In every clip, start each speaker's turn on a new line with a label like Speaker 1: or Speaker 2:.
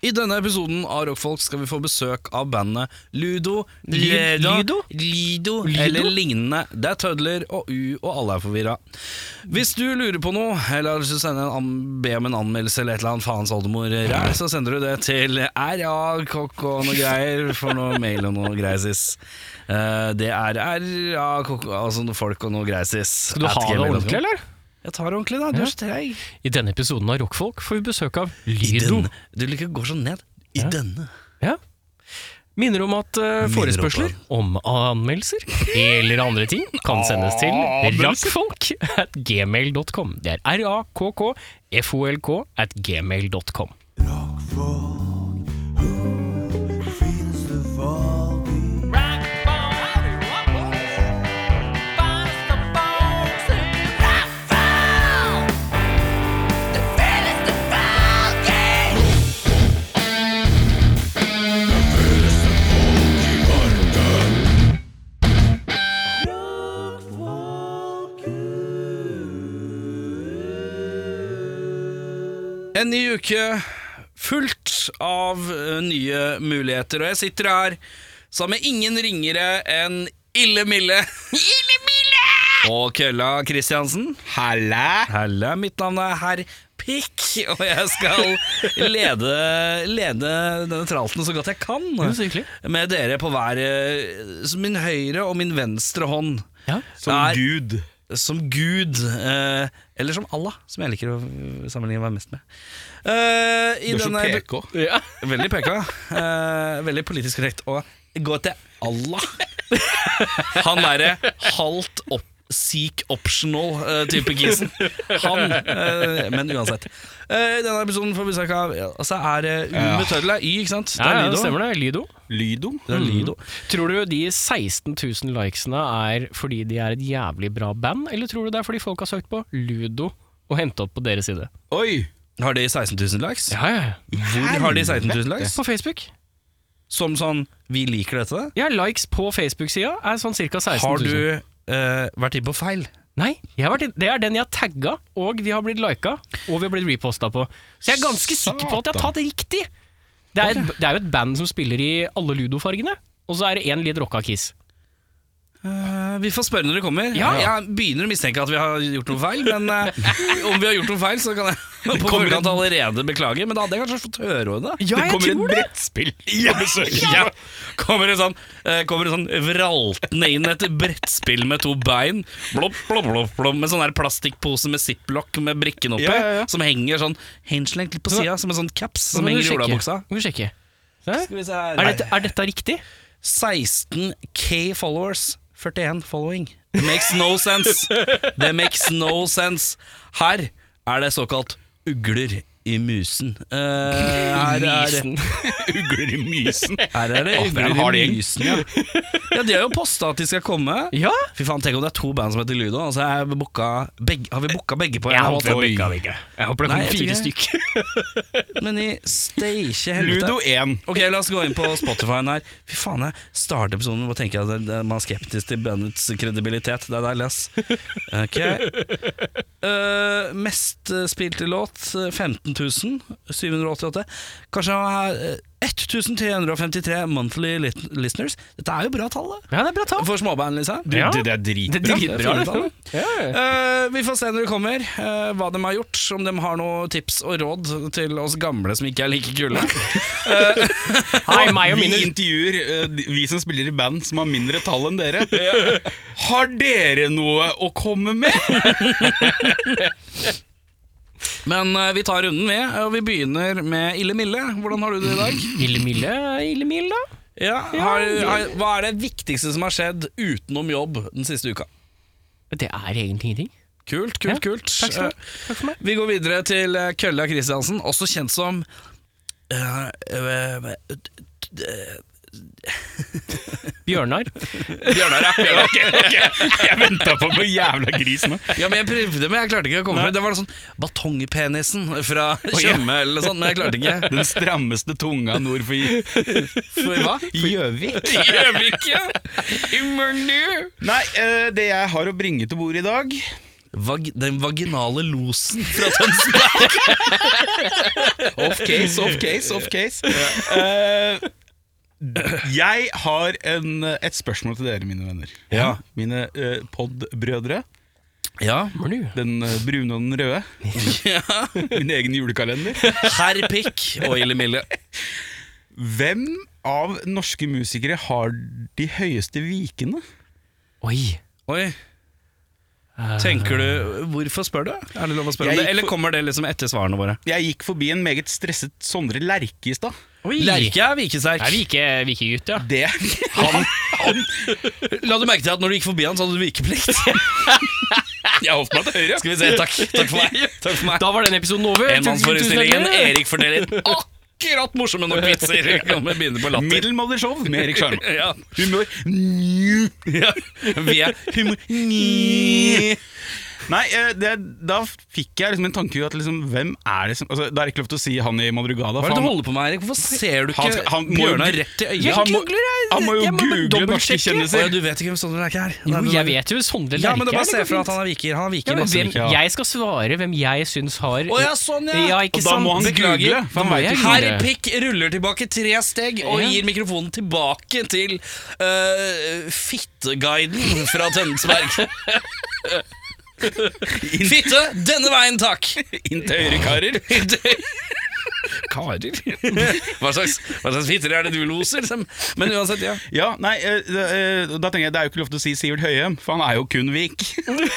Speaker 1: I denne episoden av Rockfolk skal vi få besøk av bandet Ludo,
Speaker 2: Ludo?
Speaker 1: Lido, Lido, eller lignende. Det er tødler og U, og alle er forvirra. Hvis du lurer på noe, eller har lyst til å sende en an- be om en anmeldelse eller et eller annet faens oldemor, ræl, så sender du det til RAKK og noe greier for noe mail og noe greier, sis. Eh, Det er RAKK, altså noe folk og noe greier, sis.
Speaker 2: Skal du ha det ordentlig, eller?
Speaker 1: Jeg tar det ordentlig, da. Du er så treig.
Speaker 2: I denne episoden av Rockfolk får vi besøk av
Speaker 1: I
Speaker 2: Lido.
Speaker 1: denne. Du liker å gå sånn ned. I
Speaker 2: Ja.
Speaker 1: denne.
Speaker 2: Ja. Minner om at eh,
Speaker 1: om
Speaker 2: forespørsler
Speaker 1: det.
Speaker 2: om anmeldelser eller andre ting kan sendes til rakkfolk at gmail.com. Det er r-a-k-k-f-o-l-k at gmail.com.
Speaker 1: En ny uke fullt av eh, nye muligheter, og jeg sitter her sammen med ingen ringere enn Ille Mille. Ille Mille! Og Kølla Kristiansen. Halla. Halla, Mitt navn er herr Pikk, og jeg skal lede, lede denne tralten så godt jeg kan.
Speaker 2: Jo, så hyggelig.
Speaker 1: Med dere på hver eh, så Min høyre og min venstre hånd.
Speaker 2: Ja.
Speaker 1: Som Gud. Som Gud. eh, eller som Allah, som jeg liker å sammenligne meg mest med. Eh, i
Speaker 3: Du er så
Speaker 1: denne-
Speaker 3: PK.
Speaker 2: Ja.
Speaker 1: Veldig PK. eh, veldig politisk korrekt. Og gå til Allah. Han derre halvt opp Seek optional eh, type kisen. Han, eh, men uansett. Eh, I denne episoden får vi besøk av ja, Altså er det U med tøddel er Y, ikke sant? Det
Speaker 2: Ja,
Speaker 1: er
Speaker 2: ja, det
Speaker 1: Lido.
Speaker 2: stemmer det. Mm. Lido.
Speaker 3: Lydo?
Speaker 1: Det er Lido.
Speaker 2: Tror du de 16 000 likesene er fordi de er et jævlig bra band, eller tror du det er fordi folk har søkt på Ludo og henta opp på deres side?
Speaker 3: Oi!
Speaker 1: Har de 16 000 likes?
Speaker 2: Ja, ja, ja.
Speaker 1: Hvor har de 16 000 likes?
Speaker 2: På Facebook.
Speaker 1: Som sånn 'vi liker dette'?
Speaker 2: Ja, likes på Facebook-sida er sånn ca. 16 000.
Speaker 1: Har du eh, vært inne på feil?
Speaker 2: Nei, jeg har vært inn- det er den jeg har tagga, og vi har blitt lika, og vi har blitt reposta på. Så jeg er ganske sikker på at jeg har tatt riktig. Det er, et, det er jo et band som spiller i alle ludofargene, og så er det én litt rocka kiss.
Speaker 1: Eh, vi får spørre når det kommer.
Speaker 2: Ja.
Speaker 1: Jeg begynner å mistenke at vi har gjort noe feil, men eh, om vi har gjort noe feil, så kan jeg på
Speaker 3: kommer
Speaker 1: forkant allerede beklage. Men da hadde jeg kanskje fått høre det.
Speaker 2: Ja, jeg
Speaker 3: kommer et
Speaker 2: tror det.
Speaker 3: brettspill på besøk.
Speaker 1: Ja. Kommer det sånn, eh, kommer det sånn vraltende inn et brettspill med to bein, blopp, blopp, blopp, blopp, med sånn der plastikkpose med ziplock med brikken oppi,
Speaker 3: Ja, ja, ja.
Speaker 1: som henger sånn henslengt litt på sida, som en sånn caps som
Speaker 2: Nå må
Speaker 1: henger
Speaker 2: du
Speaker 1: i
Speaker 2: sjekke.
Speaker 1: olabuksa.
Speaker 2: Nå må du sjekke. Se.
Speaker 1: Skal vi se her.
Speaker 2: Er, dette, er dette riktig?
Speaker 1: 16K followers, 41 following. It makes no sense. Det makes no sense. Her er det såkalt ugler i musen. Eh, her, er,
Speaker 3: Ugler i mysen.
Speaker 1: her er det
Speaker 3: Å, for en
Speaker 1: ugler
Speaker 3: hard
Speaker 1: i
Speaker 3: gjeng.
Speaker 1: musen, ja. ja de har jo posta at de skal komme.
Speaker 2: Ja?
Speaker 1: Fy faen, Tenk om det er to band som heter Ludo, altså, og så er vi booka begge, har vi booka begge på en eller annen
Speaker 3: Oi.
Speaker 2: Jeg håper
Speaker 1: Nei,
Speaker 2: det kommer
Speaker 1: jeg
Speaker 2: fire
Speaker 1: tror
Speaker 2: stykker.
Speaker 1: måte. Men i steike helvete
Speaker 3: Ludo 1.
Speaker 1: Ok, la oss gå inn på Spotify her. Fy faen, jeg starter episoden med å tenke at det- det- man er skeptisk til bandets kredibilitet. Det er deilig, ass. Ok. Eh, mest eh, spilte låt eh, 15 788. Kanskje han har, eh, 1353 monthly lit listeners. Dette er jo bra tall, da.
Speaker 2: Ja, det er bra tall.
Speaker 1: For småband, liksom.
Speaker 3: Du,
Speaker 2: Ja.
Speaker 3: Det det er
Speaker 2: Det er
Speaker 3: dritbra. liksom.
Speaker 2: dritbra.
Speaker 1: det er
Speaker 2: det.
Speaker 1: fint,
Speaker 2: Ja.
Speaker 1: Eh, vi får se når det kommer, eh, hva de har gjort. Om de har noen tips og råd til oss gamle som ikke er like kule.
Speaker 2: Hei, meg og
Speaker 3: vi
Speaker 2: mine
Speaker 3: intervjuer eh, de- vi som spiller i band som har mindre tall enn dere. Har dere noe å komme med?
Speaker 1: Men eh, vi tar runden med, og vi begynner med Ille Mille. Hvordan har du det i dag?
Speaker 2: Ille Mille, Ille Mille.
Speaker 1: Ja, har, har, hva er det viktigste som har skjedd utenom jobb den siste uka?
Speaker 2: Det er egentlig ingenting.
Speaker 1: Kult,
Speaker 2: Ja,
Speaker 1: kult, kult.
Speaker 2: Takk skal
Speaker 1: Eh,
Speaker 2: du ha. Takk for meg.
Speaker 1: Vi går videre til eh, Kølla Kristiansen, også kjent som eh, eh,
Speaker 2: Bjørnar.
Speaker 1: Bjørnar ja. Bjørnar.
Speaker 3: Jeg venta på noe jævla gris nå.
Speaker 1: Ja, men jeg prøvde, men jeg klarte ikke å komme frem. Det var noe sånn batongpenisen fra
Speaker 3: ja.
Speaker 1: Tjøme eller noe sånt, men jeg klarte ikke.
Speaker 3: Den strammeste tunga nord for i-
Speaker 1: For hva?
Speaker 3: Gjøvik.
Speaker 1: Gjøvik, ja! I Mørnu!
Speaker 3: Nei, eh, det jeg har å bringe til bordet i dag,
Speaker 1: Vag, den vaginale losen fra Tønsberg.
Speaker 3: Off case, off case, off case. Eh, jeg har en, et spørsmål til dere, mine venner.
Speaker 1: Ja.
Speaker 3: Mine eh, podbrødre.
Speaker 1: ja.
Speaker 3: Den eh, brune og den røde. Min egen julekalender.
Speaker 1: Herr Pikk og Ille Mille.
Speaker 3: Hvem av norske musikere har de høyeste vikene?
Speaker 2: Oi.
Speaker 1: Oi. Tenker du, Hvorfor spør du? Er det lov å spørre om
Speaker 3: Jeg
Speaker 1: det?
Speaker 3: gikk
Speaker 1: Eller
Speaker 3: for-
Speaker 1: kommer det liksom etter svarene våre?
Speaker 3: Jeg gikk forbi en meget stresset Sondre Lerche i stad.
Speaker 2: Oi.
Speaker 1: Lerke er vikesterk.
Speaker 2: Er vike, vikegutt, ja.
Speaker 3: Det han, han
Speaker 1: La du merke til at når du gikk forbi han, så hadde du vikeplikt?
Speaker 3: Jeg holdt meg til høyre.
Speaker 1: Skal vi se, takk. Takk for meg. Takk for meg.
Speaker 2: Da var den episoden over.
Speaker 1: Enmannsforestillingen
Speaker 2: Tusen takk.
Speaker 1: Erik fordeler akkurat morsomme nok vitser. Vi kan begynne på latter.
Speaker 3: Middelmådig show med Erik Sjarma.
Speaker 1: Ja,
Speaker 3: Humør Nju.
Speaker 1: ja. Vi er humor... Nei,
Speaker 3: Nei, eh, det, da fikk jeg liksom en tanke at liksom, hvem er det som altså, Det er ikke lov til å si han i Madrugada.
Speaker 1: Hva er det du
Speaker 3: han,
Speaker 1: holder på med, Erik? Hvorfor ser du
Speaker 3: han,
Speaker 1: ikke
Speaker 3: skal- han må jo-
Speaker 1: Bjørnar rett i øyet?
Speaker 2: Jeg
Speaker 3: Han må-
Speaker 2: googler, jeg.
Speaker 3: Han må jo
Speaker 2: Jeg må bare
Speaker 3: google norske
Speaker 2: dobbeltsjekke.
Speaker 1: Å ja,
Speaker 3: kjendiser.
Speaker 1: du vet ikke hvem Sondre Lerche er?
Speaker 2: Jo,
Speaker 1: Nei,
Speaker 2: jeg
Speaker 1: men-
Speaker 2: vet jo Sondre
Speaker 1: Ja,
Speaker 2: Lerche.
Speaker 1: men det er
Speaker 2: er,
Speaker 1: bare å
Speaker 2: det
Speaker 1: se
Speaker 2: går
Speaker 1: for deg
Speaker 2: fint.
Speaker 1: at han er viker. Han er
Speaker 2: ja,
Speaker 1: viker
Speaker 2: men
Speaker 1: masse
Speaker 2: hvem,
Speaker 1: viker.
Speaker 3: Ja.
Speaker 2: Jeg skal svare hvem jeg syns har
Speaker 1: Å ja, sånn ja!
Speaker 2: Ja, ikke
Speaker 3: Og da
Speaker 2: sant?
Speaker 3: må han
Speaker 1: Beklager.
Speaker 3: google. For
Speaker 2: Da må
Speaker 3: han vet
Speaker 2: jeg
Speaker 3: ikke.
Speaker 2: google.
Speaker 1: Herr Pikk ruller tilbake tre steg og
Speaker 2: Ja.
Speaker 1: gir mikrofonen tilbake til uh, fitteguiden fra Tønsberg. Fitte, denne veien, takk!
Speaker 3: Inn til høyrekarer.
Speaker 1: Karer? Hva slags, hva slags fitter er det du loser? liksom? Men uansett, ja.
Speaker 3: Ja, nei, eh, eh, da tenker jeg det er jo ikke lov til å si Sivert Høyem, for han er jo kun Vik.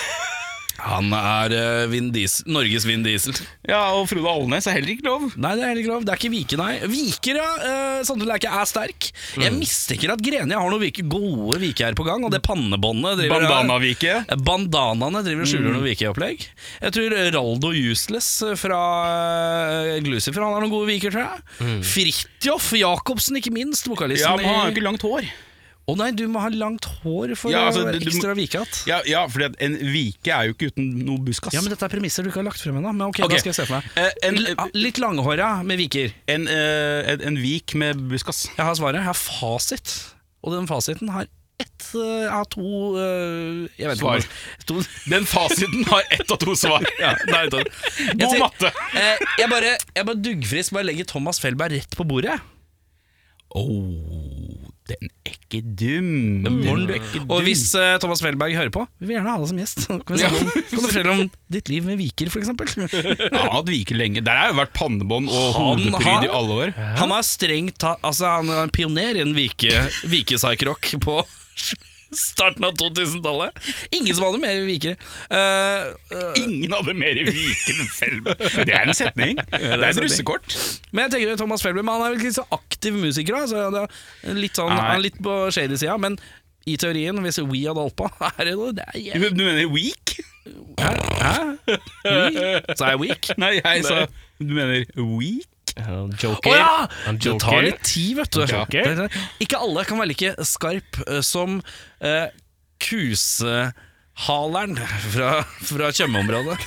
Speaker 1: Han er eh, Vin Diesel, Norges Vin Diesel.
Speaker 3: Ja, og Frode Alnes er heller ikke lov.
Speaker 1: Nei, det er heller ikke lov. Det er ikke Vike, nei. Viker, ja. eh, Sondre Lerche er sterk.
Speaker 3: Mm.
Speaker 1: Jeg mistenker at Greni har noen vike, gode viker her på gang, og det pannebåndet driver
Speaker 3: Bandanaviket.
Speaker 1: Bandanaene driver og
Speaker 3: Mm.
Speaker 1: skjuler noe vikeopplegg. Jeg tror Raldo Useless fra eh, Glucifer han har noen gode viker, tror jeg. Fridtjof Jacobsen, ikke minst,
Speaker 3: Mm. Ja,
Speaker 1: vokalisten
Speaker 3: men han har jo
Speaker 1: i
Speaker 3: ikke langt hår.
Speaker 1: Å nei, du må ha langt hår for
Speaker 3: Ja, altså,
Speaker 1: å
Speaker 3: du-
Speaker 1: være
Speaker 3: du må-
Speaker 1: ekstra vikehatt.
Speaker 3: Ja, ja fordi at en vike er jo ikke uten noe buskas.
Speaker 1: Ja, men dette er premisser du ikke har lagt frem ennå. Men ok,
Speaker 3: Ok.
Speaker 1: da skal jeg se for meg.
Speaker 3: Eh, en,
Speaker 1: L- Litt langhåra med viker.
Speaker 3: en, eh, en, en vik med buskas.
Speaker 1: Jeg har svaret. Jeg har fasit. Og den fasiten har ett eh, Jeg har to eh, Jeg vet
Speaker 3: Svar.
Speaker 1: ikke om det- to-
Speaker 3: Den fasiten har ett av to svar.
Speaker 1: Ja, det er ett av- Jeg
Speaker 3: God
Speaker 1: sier-
Speaker 3: matte!
Speaker 1: Eh, jeg bare, jeg bare duggfrisk bare legger Thomas Felberg rett på bordet.
Speaker 3: Oh, den er ikke dum. Den er ikke
Speaker 1: Og
Speaker 3: dum.
Speaker 1: hvis eh, Thomas Felberg hører på, vi vil gjerne ha deg som gjest. Kan, vi snakke om, kan du fortelle om ditt liv med Viker, f.eks.?
Speaker 3: Han har hatt vike lenge. Der har jo vært pannebånd og
Speaker 1: Han har-
Speaker 3: hodepryd i alle år.
Speaker 1: Han er strengt ta- Altså, han er en pioner i en vike, vikesarkrock på starten av 2000-tallet. Ingen som hadde mer vikere. Eh, eh,
Speaker 3: Ingen hadde mer vike enn Felber. Det er en setning. Det er
Speaker 1: en
Speaker 3: et russekort.
Speaker 1: men jeg tenker Thomas Felberg Men han er vel ikke så aktiv musiker, da. Så det er litt sånn,
Speaker 3: Nei.
Speaker 1: han er litt på shady sida. Men i teorien, hvis We hadde holdt på, er det noe det er
Speaker 3: Du
Speaker 1: jævlig.
Speaker 3: du mener weak?
Speaker 1: Hæ? Hæ? We? Så er jeg weak?
Speaker 3: Nei, jeg sa Du mener weak?
Speaker 2: Joker.
Speaker 1: Å ja!
Speaker 2: Han
Speaker 1: Det
Speaker 2: joker.
Speaker 1: tar litt tid, vet du.
Speaker 2: Joker.
Speaker 1: Det- sånn, Ikke alle kan være like skarp eh, som eh, kusehaleren fra, fra Tjøme-området.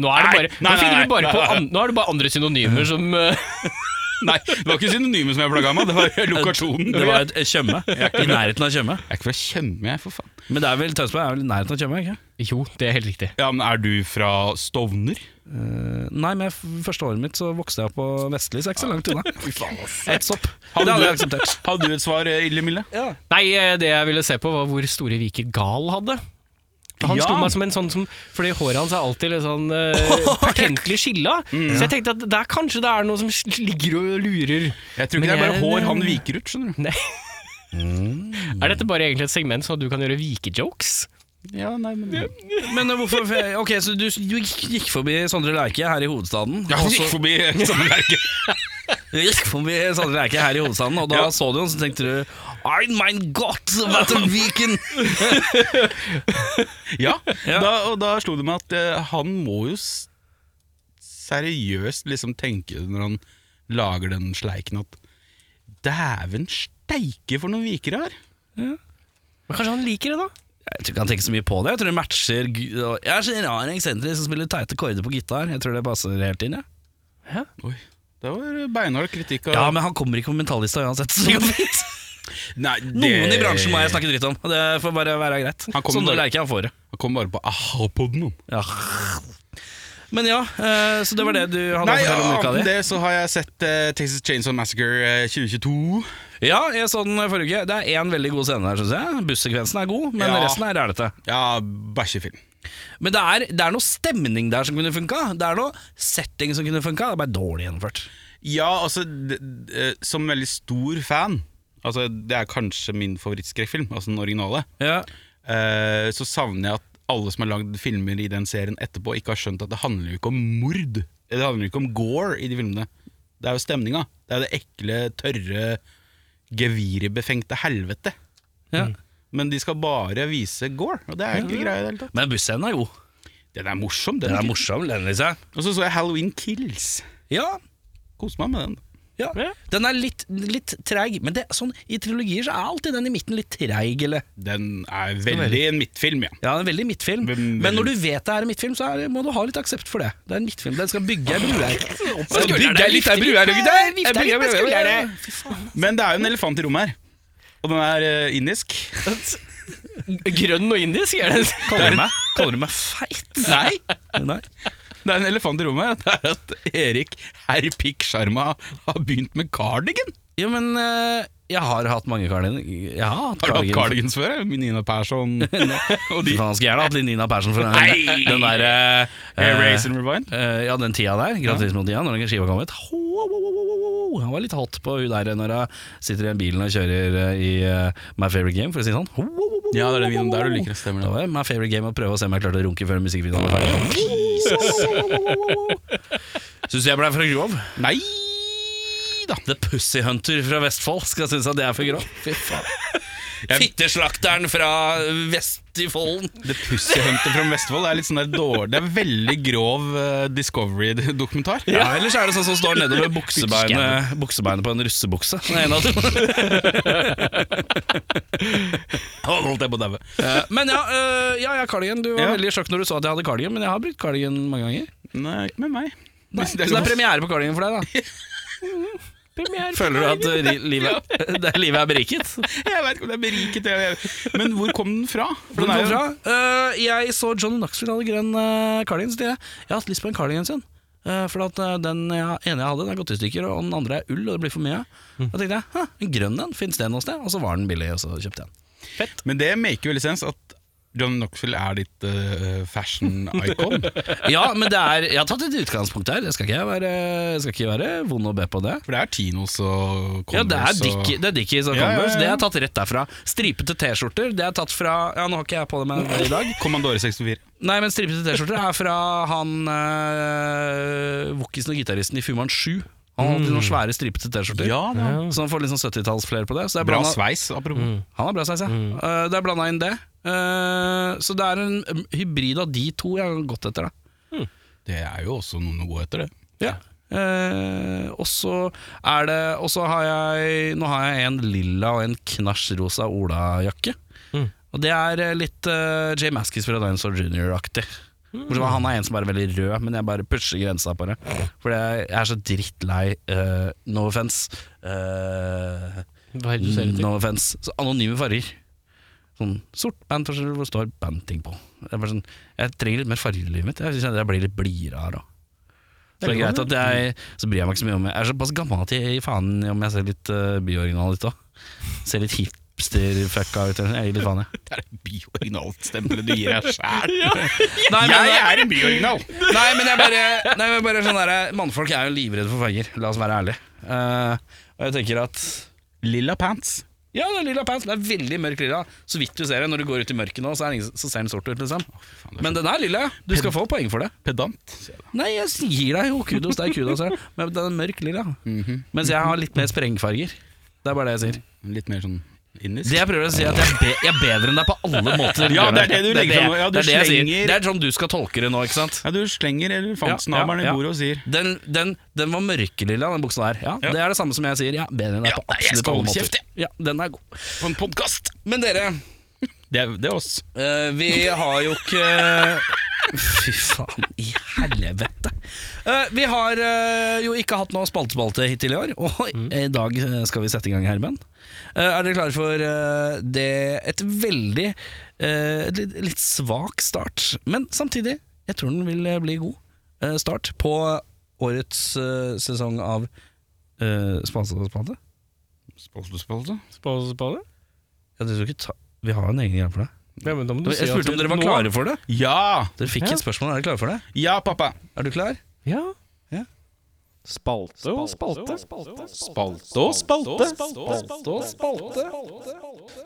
Speaker 2: Nå, er det bare,
Speaker 3: Nei, nei,
Speaker 2: nå finner
Speaker 3: nei,
Speaker 2: du bare
Speaker 3: nei,
Speaker 2: på
Speaker 3: nei.
Speaker 2: an, Nå er det bare andre synonymer som eh,
Speaker 3: Nei, det var ikke synonymet som jeg plaga meg, det var lokasjonen.
Speaker 1: Det var et et Tjøme. I nærheten av Tjøme.
Speaker 3: Jeg er ikke fra Tjøme, jeg, for faen.
Speaker 1: Men det er vel Tønsberg er vel i nærheten av Tjøme? ikke?
Speaker 2: Jo, det er helt riktig.
Speaker 3: Ja, men Er du fra Stovner?
Speaker 1: Eh, Nei, men f- første året mitt så vokste jeg opp på Vestli, så jeg er ikke så langt unna. Et sopp. Det hadde jeg akseptert.
Speaker 3: Hadde du et svar, eh, Ille Mille?
Speaker 2: Nei, eh, det jeg ville se på, var hvor store viker Gal hadde. For Han
Speaker 3: Ja.
Speaker 2: slo meg som en sånn som Fordi håret hans er alltid litt sånn eh, patentlig skilla.
Speaker 1: Mm.
Speaker 2: Så jeg tenkte at der kanskje det er noe som sl- ligger og lurer.
Speaker 3: Jeg tror
Speaker 2: Men
Speaker 3: ikke det er bare
Speaker 2: jeg-
Speaker 3: hår han viker ut, skjønner du.
Speaker 2: Nei.
Speaker 1: Mm.
Speaker 2: Er dette bare egentlig et segment sånn at du kan gjøre vikejokes?
Speaker 3: Ja, nei, men
Speaker 1: Men eh, hvorfor Ok, så du, du gikk gikk forbi Sondre Lerche her i hovedstaden.
Speaker 3: Ja,
Speaker 1: og
Speaker 3: han
Speaker 1: så-
Speaker 3: gikk forbi samme merke.
Speaker 1: Vi gikk forbi Sandra Eike her i hovedstaden, og da
Speaker 3: Ja.
Speaker 1: så du henne, så tenkte du Ein mein Gott, what a weekend!
Speaker 3: Ja,
Speaker 1: Ja.
Speaker 3: Da, og da slo det meg at eh, han må jo s- seriøst liksom tenke når han lager den sleiken at Dæven steike for noen vikere her!
Speaker 2: Men kanskje han liker det, da?
Speaker 1: Jeg tror ikke han tenker så mye på det. Jeg tror det matcher gu- og- Jeg er så en rar eksentrisk som spiller teite korder på gitar. Jeg tror det passer helt inn, jeg.
Speaker 3: Oi, det var beinhard kritikk av
Speaker 1: Ja, men han kommer ikke på mentalista uansett. Så det går fint.
Speaker 3: Nei, det-
Speaker 1: Noen i bransjen må jeg snakke dritt om. Det får bare være greit.
Speaker 3: Han kommer
Speaker 1: Sondre
Speaker 3: bare-
Speaker 1: Lerche, han får det.
Speaker 3: Han Jeg kom bare på "Ah, aha-poden.
Speaker 1: Ja. Men ja, eh, så det var det du hadde
Speaker 3: Nei,
Speaker 1: å fortelle om uka
Speaker 3: annet
Speaker 1: di?
Speaker 3: enn det så har jeg sett eh, Texas Chainsaw Massacre eh, 2022.
Speaker 1: Ja, jeg så den forrige uke. Det er én veldig god scene der, syns jeg. Bussekvensen er god, men
Speaker 3: Ja.
Speaker 1: resten er rælete.
Speaker 3: Ja, bæsjefilm.
Speaker 1: Men det er, det er noe stemning der som kunne funka. Det er noe setting som kunne funka. Det er bare dårlig gjennomført.
Speaker 3: Ja, altså d d eh, Som veldig stor fan Altså, Det er kanskje min favorittskrekkfilm, altså den originale.
Speaker 1: Ja.
Speaker 3: eh, så savner jeg at alle som har lagd filmer i den serien etterpå, ikke har skjønt at det handler jo ikke om mord. Det handler jo ikke om gore i de filmene. Det er jo stemninga. Det er det ekle, tørre, gevirbefengte helvete.
Speaker 1: Ja.
Speaker 3: Men de skal bare vise gore, og det er ikke greia i det hele tatt.
Speaker 1: Men busscenen er god.
Speaker 3: Den er morsom,
Speaker 1: Den
Speaker 3: den.
Speaker 1: er morsom, den, liksom.
Speaker 3: og så så jeg Halloween Kills.
Speaker 1: Ja.
Speaker 3: Koste meg med den.
Speaker 1: ja.
Speaker 2: Ja.
Speaker 1: Den er litt, litt treig, men det, sånn, i trilogier så er alltid den i midten litt treig, eller
Speaker 3: Den er veldig en midtfilm, ja.
Speaker 1: Ja, det er en veldig midtfilm.
Speaker 3: Hvem-
Speaker 1: Men når du vet det er en midtfilm, så er, må du ha litt aksept for det. Det er en midtfilm. Den skal bygge ei bru her. Den bygger ei lita bru her, gutter! Jeg
Speaker 2: Vifter litt
Speaker 1: bygger
Speaker 2: med
Speaker 1: ei bru her.
Speaker 2: skuldrene.
Speaker 3: Men det er jo en elefant i rommet her. Og den er eh, indisk.
Speaker 2: Grønn og indisk, er det?
Speaker 1: Kaller du meg, kaller du meg feit?
Speaker 3: Nei!
Speaker 1: Nei.
Speaker 3: Det er en elefant i rommet. Det er at Erik herr Pikk Sharma har begynt med cardigan.
Speaker 1: Ja, men eh, jeg har hatt mange Carlin. Jeg har hatt
Speaker 3: Har du hatt
Speaker 1: Carlin.
Speaker 3: cardigans før? eh? Med Nina Persson og de.
Speaker 1: Faen, skulle gjerne hatt litt Nina Persson for
Speaker 3: Nei!
Speaker 1: den, den der eh,
Speaker 3: Eh,
Speaker 1: eh,
Speaker 3: Raise and Rewind.
Speaker 1: eh, Ja, den tida der. Gratulerer når den skiva kom ut. Ho, ho, ho, ho, ho, ho. Han var litt hot på hun der når hun sitter i den bilen og kjører eh, i eh, My Favorite Game, for å si det sånn. Ho, ho, ho, ho,
Speaker 3: Ja, det er den videoen der du
Speaker 1: ho, ho.
Speaker 3: liker, det stemmer det.
Speaker 1: Da var det My Favorite Game å prøve å se om jeg klarte å runke før musikkvideoen var ferdig. Syns du jeg ble for grov?
Speaker 3: Nei da.
Speaker 1: The Pussy Hunter fra Vestfold skal synes at det er for grov. Fy faen. Fitteslakteren fra Vestfolden.
Speaker 3: The Pussy Hunter fra Vestfold er litt sånn der dårlig Det er veldig grov eh, Discovery-dokumentar.
Speaker 1: Ja, ellers er det sånn som står nedover buksebeinet, buksebeinet på en russebukse. Det er en av dem.
Speaker 3: Å, Holdt jeg på å daue.
Speaker 1: Eh, Men ja, eh, ja, ja cardigan. Du var
Speaker 3: Ja.
Speaker 1: veldig i sjokk når du så at jeg hadde cardigan, men jeg har brukt cardigan mange ganger.
Speaker 3: Nei, ikke med meg. sånn-
Speaker 1: Nei, så det er premiere på cardigan for deg, da. Føler du at eh, li- livet, det, livet er beriket?
Speaker 3: Jeg vet ikke om det er beriket. eller- Men hvor kom den fra? For
Speaker 1: Hvor
Speaker 3: den er
Speaker 1: den
Speaker 3: jo-
Speaker 1: kom fra? Eh, jeg så Johnny Knoxville hadde grønn eh, cardigan. Så jeg, jeg har hatt lyst på en cardigan sin. Eh, for at eh, den jeg, ene jeg hadde, den er gått i stykker, og den andre er ull, og det blir for mye.
Speaker 3: Mm.
Speaker 1: Da tenkte jeg «Hæ, en grønn en, fins det noe sted? Og så var den billig, og så kjøpte jeg den.
Speaker 3: Men det maker veldig sens at John Knoxville er ditt eh, fashion icon.
Speaker 1: Ja, men det er, jeg har tatt et utgangspunkt her. Jeg skal ikke være, jeg skal ikke være vond å be på det.
Speaker 3: For det er Tinos og Converse
Speaker 1: Ja, det er, Dick,
Speaker 3: og
Speaker 1: det er Dickies og
Speaker 3: Ja, ja, ja.
Speaker 1: Converse. Det er tatt rett derfra. Stripete T-skjorter, det er tatt fra Ja, nå har ikke jeg på det med i dag.
Speaker 3: Commandore 64.
Speaker 1: Nei, men stripete T-skjorter er fra han uh, Vokkisen og gitaristen i Fumann 7. Han hadde noen svære stripete T-skjorter.
Speaker 3: Mm. Ja, da.
Speaker 1: Så han får litt sånn 70-tallsflair på det. Så det er
Speaker 3: Bra Mm.
Speaker 1: blanda-
Speaker 3: sveis, apropos.
Speaker 1: Han har bra sveis, ja. Eh, det er blanda inn det. Eh, så det er en um, hybrid av de to jeg har gått etter, da.
Speaker 3: Det er jo også noen å gå etter, det.
Speaker 1: Eh, og så er det Og så har jeg Nå har jeg en lilla og en knasj rosa olajakke. Og det er eh, litt eh, Jay Maskis fra Dinosaur Junior-aktig. Bortsett fra Han er en som er veldig rød, men jeg bare pusher grensa på det. For jeg jeg er så drittlei eh, no offense. eh,
Speaker 2: Hva er det du ser etter?
Speaker 1: no offense. Så anonyme farger. Sånn sort band, for eksempel, hvor det står bandting på. Det er bare sånn, jeg trenger litt mer farger i livet mitt. Jeg synes jeg blir litt blidere her òg. Så, det er greit at jeg, så bryr jeg meg ikke så mye om Jeg er såpass gammel at jeg gir faen i om jeg ser litt uh, byoriginal ut òg. Ser litt hipster-fucka ut. Jeg gir litt faen, jeg.
Speaker 3: Det er det bioriginalstempelet du gir deg sjæl.
Speaker 1: Nei, men,
Speaker 3: Jeg er en bioriginal!
Speaker 1: nei, men jeg bare, nei, men bare sånn der, Mannfolk er jo livredde for farger, la oss være ærlige. Eh, og jeg tenker at
Speaker 3: Lilla pants.
Speaker 1: Ja, det er lilla pants, men det er veldig mørk lilla. Så vidt du ser det. Når du går ut i mørket nå, så, er det ingen, så ser den sort ut, liksom.
Speaker 3: det er
Speaker 1: Men den er lilla. Du skal få poeng for det.
Speaker 3: Pedant. sier jeg da.
Speaker 1: Nei, jeg gir deg jo kudos. Det er kudos, jeg. Men den er mørk lilla.
Speaker 3: Mhm.
Speaker 1: Mens jeg har litt mer sprengfarger. Det er bare det jeg sier.
Speaker 3: Litt mer sånn indisk.
Speaker 1: Det jeg prøver å si er at jeg, er be, jeg er bedre enn deg på alle måter.
Speaker 3: Ja, det er det du legger
Speaker 1: det-
Speaker 3: fram nå. Ja, du
Speaker 1: det er det jeg
Speaker 3: slenger-
Speaker 1: sier. Det er sånn du skal tolke det nå, ikke sant?
Speaker 3: Ja, du slenger elefantsnabelen
Speaker 1: Ja, ja, ja.
Speaker 3: i bordet og sier
Speaker 1: Den, den, den var mørkelilla, den buksa der. Ja, Det er det samme som jeg sier. Ja, bedre enn deg
Speaker 3: Ja,
Speaker 1: på
Speaker 3: nei, jeg
Speaker 1: absolutt
Speaker 3: skal
Speaker 1: alle
Speaker 3: holde
Speaker 1: måter.
Speaker 3: kjeft, jeg.
Speaker 1: Ja, den er god.
Speaker 3: På en podkast!
Speaker 1: Men dere,
Speaker 3: Det, er- det er oss.
Speaker 1: eh, vi har jo ikke Fy eh, faen i helvete. helvete! Eh, vi har eh, jo ikke hatt noen spaltespalte hittil i år, og i dag eh, skal vi sette i gang, Herman. Eh, er dere klare for eh, det Et veldig eh, litt, litt svak start, men samtidig, jeg tror den vil eh, bli god eh, start på årets eh, sesong av uh, spaltespalte.
Speaker 3: Spalte, spalte.
Speaker 2: Spalte, spalte?
Speaker 1: Jeg tror ikke ta vi har en egen greie for det.
Speaker 2: Ja, men da må du si
Speaker 1: Jeg
Speaker 2: at
Speaker 1: spurte om
Speaker 2: vi-
Speaker 1: dere var
Speaker 2: nå-
Speaker 1: klare for det.
Speaker 3: Ja!
Speaker 1: Dere fikk
Speaker 2: Ja.
Speaker 1: et spørsmål. Er dere klare for det?
Speaker 3: Ja, pappa!
Speaker 1: Er du klar?
Speaker 2: Ja.
Speaker 4: Spalte og spalte.
Speaker 3: Spalte og spalte. Spalte og spalte.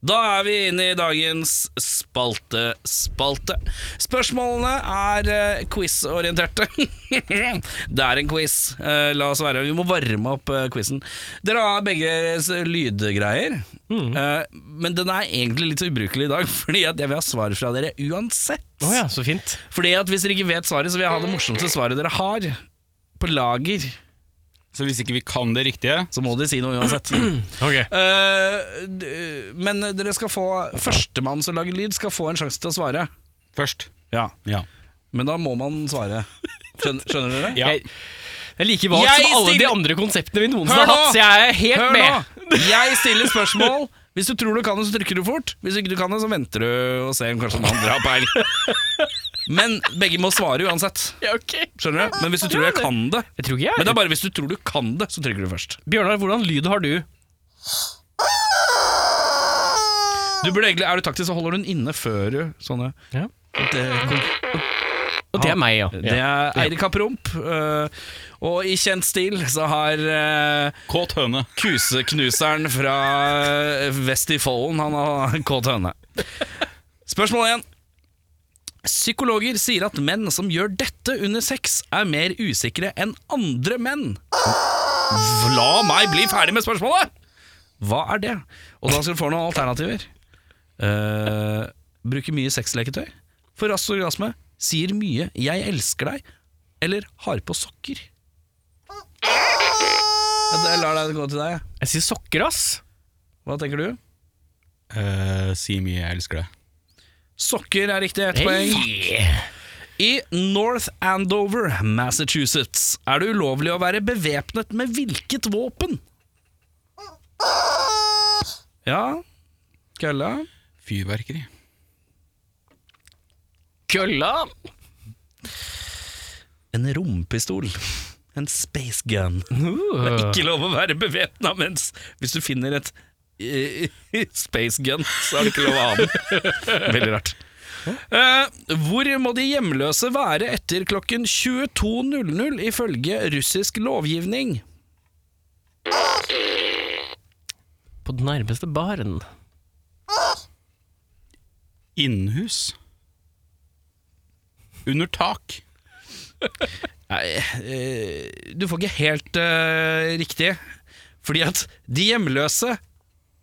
Speaker 1: Da er vi inne i dagens spalte-spalte. Spørsmålene er eh, quiz-orienterte. det er en quiz. Eh, la oss være Vi må varme opp eh, quizen. Dere har begge deres lydgreier,
Speaker 2: Mm.
Speaker 1: eh, men den er egentlig litt ubrukelig i dag, fordi at jeg vil ha svar fra dere uansett.
Speaker 2: Å ja, så fint.
Speaker 1: Fordi at Hvis dere ikke vet svaret, så vil jeg ha det morsomste svaret dere har, på lager.
Speaker 3: Så hvis ikke vi kan det riktige
Speaker 1: Så må dere si noe uansett.
Speaker 2: Ok.
Speaker 1: Eh, d- men dere skal få Førstemann som lager lyd, skal få en sjanse til å svare.
Speaker 3: først
Speaker 1: Ja
Speaker 3: Ja.
Speaker 1: Men da må man svare. Skjønner, skjønner dere?
Speaker 3: ja.
Speaker 2: Jeg, jeg liker valgt
Speaker 1: Jeg
Speaker 2: som alle de
Speaker 1: stiller-
Speaker 2: andre konseptene vi noensinne
Speaker 1: Hør
Speaker 2: har
Speaker 1: nå!
Speaker 2: hatt, så jeg er helt
Speaker 1: Hør
Speaker 2: med.
Speaker 1: nå! Jeg stiller spørsmål. Hvis du tror du kan det, så trykker du fort. Hvis ikke du kan det, så venter du og ser om kanskje den andre har peil. Men begge må svare uansett.
Speaker 2: Ja, ok.
Speaker 1: Skjønner du? Men hvis du tror jeg kan det
Speaker 2: Jeg tror ikke jeg
Speaker 1: Men det er bare hvis du tror du kan det, så trykker du først.
Speaker 2: Bjørnar, hvordan lyd har du?
Speaker 1: Du burde egentlig, Er du taktisk, så holder du den inne før du sånne
Speaker 2: Ja.
Speaker 1: det,
Speaker 2: Og det er meg, ja.
Speaker 1: det er Eirik har promp, øh, og i kjent stil så har øh,
Speaker 3: Kåt høne.
Speaker 1: Kuseknuseren fra vest i Follen, han har kåt høne. Spørsmål 1. Psykologer sier at menn som gjør dette under sex, er mer usikre enn andre menn. La meg bli ferdig med spørsmålet! Hva er det? Og da skal du få noen alternativer. Eh, bruker mye sexleketøy. For rask orgasme. Sier mye 'jeg elsker deg' eller har på sokker. Jeg lar deg gå til deg. jeg.
Speaker 2: Jeg sier sokker, ass.
Speaker 1: Hva tenker du?
Speaker 3: Eh, si mye 'jeg elsker deg'.
Speaker 1: Sokker er riktig ett poeng.
Speaker 2: Hey.
Speaker 1: I North Andover, Massachusetts, er det ulovlig å være bevæpnet med hvilket våpen? Ja Kølla?
Speaker 3: Fyrverkeri.
Speaker 2: Kølla.
Speaker 1: En rompistol. En space gun. Det er ikke lov å være bevæpna mens Hvis du finner et eh, space gun, så er det ikke lov å ha den. Veldig rart. Eh, hvor må de hjemløse være etter klokken 22.00 ifølge russisk lovgivning?
Speaker 2: På den nærmeste baren.
Speaker 3: Innhus. Under tak.
Speaker 1: Nei, eh, du får ikke helt eh, riktig. Fordi at de hjemløse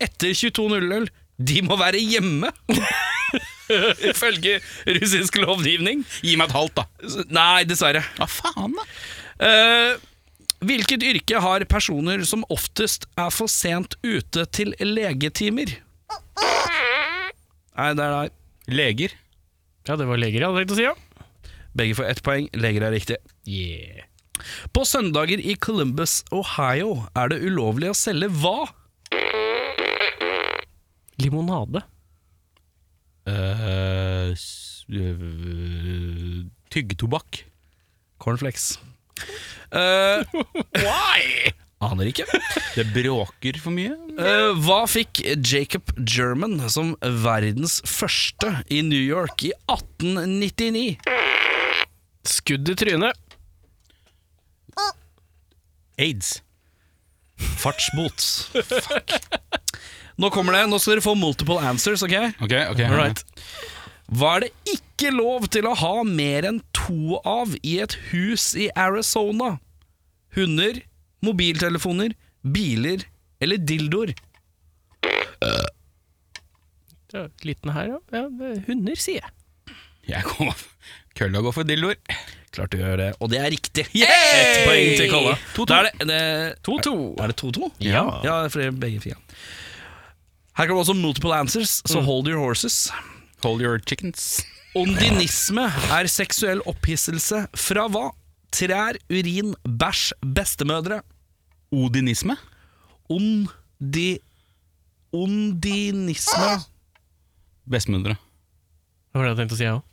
Speaker 1: etter 22.00, de må være hjemme. Ifølge russisk lovgivning.
Speaker 3: Gi meg et halvt, da.
Speaker 1: Så- Nei, dessverre.
Speaker 3: Hva faen, da?
Speaker 1: Eh, hvilket yrke har personer som oftest er for sent ute til legetimer? Nei, det er deg.
Speaker 3: Leger.
Speaker 2: Ja, det var leger jeg hadde tenkt å si, ja.
Speaker 1: Begge får ett poeng. Leger er riktig.
Speaker 2: Yeah.
Speaker 1: På søndager i Columbus, Ohio, er det ulovlig å selge hva?
Speaker 2: Limonade.
Speaker 3: Eh, s- øh, Tyggetobakk.
Speaker 1: Cornflakes. Eh,
Speaker 2: Why?
Speaker 1: aner ikke.
Speaker 3: Det bråker for mye.
Speaker 1: Eh, hva fikk Jacob German som verdens første i New York i 1899?
Speaker 2: Skudd i trynet.
Speaker 3: Aids.
Speaker 1: Fartsbot. Fuck. Nå kommer det, nå skal dere få multiple answers, ok?
Speaker 3: Ok, ok
Speaker 2: Alright.
Speaker 1: Hva er det ikke lov til å ha mer enn to av i et hus i Arizona? Hunder, mobiltelefoner, biler eller dildoer?
Speaker 2: Ja, liten her, ja. ja. det- Hunder, sier jeg.
Speaker 3: Jeg kommer Kølla går for dildoer.
Speaker 1: Klart du gjør det, og det er riktig.
Speaker 2: Yay!
Speaker 1: Ett poeng til Kalle.
Speaker 2: 2-2.
Speaker 1: Da er det, det
Speaker 2: 2-2.
Speaker 1: Er det 2-2?
Speaker 2: Ja.
Speaker 1: ja for det er begge fire.
Speaker 2: Mm.
Speaker 1: Her kommer også multiple answers, så hold your horses.
Speaker 3: Hold your chickens.
Speaker 1: Ondinisme er seksuell opphisselse fra hva? Trær, urin, bæsj, bestemødre.
Speaker 3: Odinisme?
Speaker 1: Ondi... Ondinisme.
Speaker 3: Bestemødre.
Speaker 2: Det var det jeg tenkte å si, jeg òg.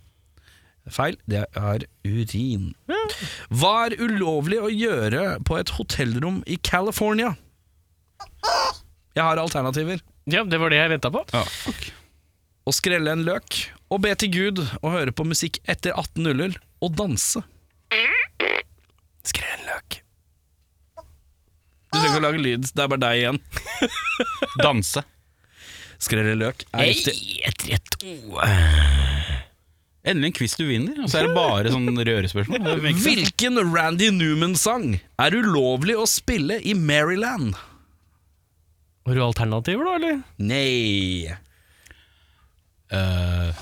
Speaker 1: Feil. Det er urin. Hva er ulovlig å gjøre på et hotellrom i California? Jeg har alternativer.
Speaker 2: Ja, det var det jeg venta på.
Speaker 3: Ja.
Speaker 1: Å skrelle en løk, å be til Gud, å høre på musikk etter 18.00, å danse. Skrelle en løk. Du trenger ikke å lage lyd, det er bare deg igjen.
Speaker 3: Danse.
Speaker 1: Skrelle en løk er riktig.
Speaker 2: et rett ord.
Speaker 3: Endelig en quiz du vinner, og så er det bare sånn rørespørsmål. Det virker-
Speaker 1: Hvilken Randy Newman-sang er ulovlig å spille i Maryland?
Speaker 2: Har du alternativer, da, eller?
Speaker 1: Nei.
Speaker 3: Eh,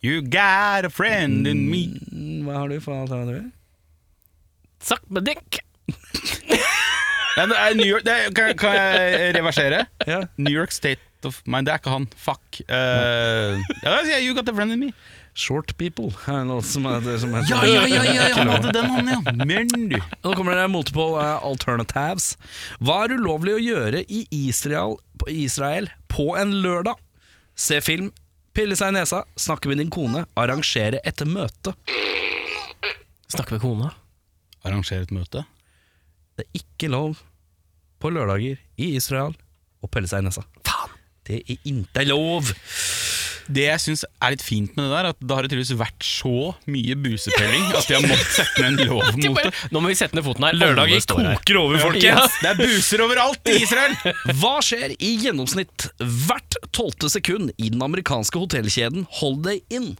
Speaker 3: You got a friend in me.
Speaker 1: Mm, Hva har du for alternativer?
Speaker 2: Sakk med dekk.
Speaker 3: Ja, det er New York, det er, kan, kan jeg reversere?
Speaker 1: Ja.
Speaker 3: New York State of Mind. Det er ikke han. Fuck. Eh, ja, da sier jeg You got a friend in me.
Speaker 1: Short People er en låt som heter, som heter
Speaker 3: Ja, ja, ja, ja, ja han hadde den, han, ja. Men du.
Speaker 1: Nå kommer det multiple eh, alternatives. Hva er ulovlig å gjøre i Israel på, Israel på en lørdag? Se film, pille seg i nesa, snakke med din kone, arrangere et møte.
Speaker 2: Snakke med kona.
Speaker 3: Arrangere et møte.
Speaker 1: Det er ikke lov på lørdager i Israel å pille seg i nesa. Faen! Det er ikke lov!
Speaker 3: Det jeg syns er litt fint med det der, at det har det tydeligvis vært så mye busepelling at de har måttet sette ned en lov mot det.
Speaker 2: Nå må vi sette ned foten her. Alle
Speaker 1: Lørdager
Speaker 2: står her.
Speaker 1: koker over,
Speaker 3: Ja,
Speaker 1: folkens!
Speaker 3: Det er buser overalt i Israel!
Speaker 1: Hva skjer i gjennomsnitt hvert tolvte sekund i den amerikanske hotellkjeden Holiday Inn?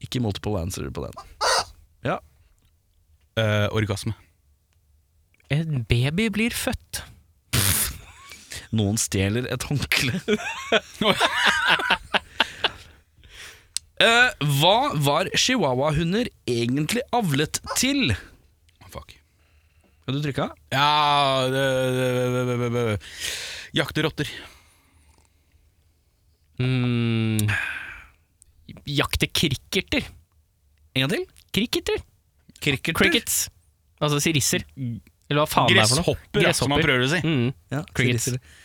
Speaker 1: Ikke multiple answer på den. Ja,
Speaker 3: Eh, orgasme.
Speaker 2: En baby blir født.
Speaker 1: noen stjeler et håndkle. Eh, hva var chihuahuahunder egentlig avlet til?
Speaker 3: Fuck.
Speaker 1: Har du trykka?
Speaker 3: Ja det, det, det, det, det. Jakte rotter.
Speaker 2: Mm. Jakte krikkerter.
Speaker 1: En gang til?
Speaker 2: Krikkerter?
Speaker 1: Cricket.
Speaker 2: Crickets. Altså sirisser. Eller hva faen
Speaker 3: Gresshopper,
Speaker 2: det
Speaker 3: ja,
Speaker 2: er for
Speaker 3: som
Speaker 2: noe.
Speaker 3: han prøver å si.
Speaker 2: Mm.
Speaker 1: Ja,
Speaker 2: Crickets.
Speaker 1: sirisser.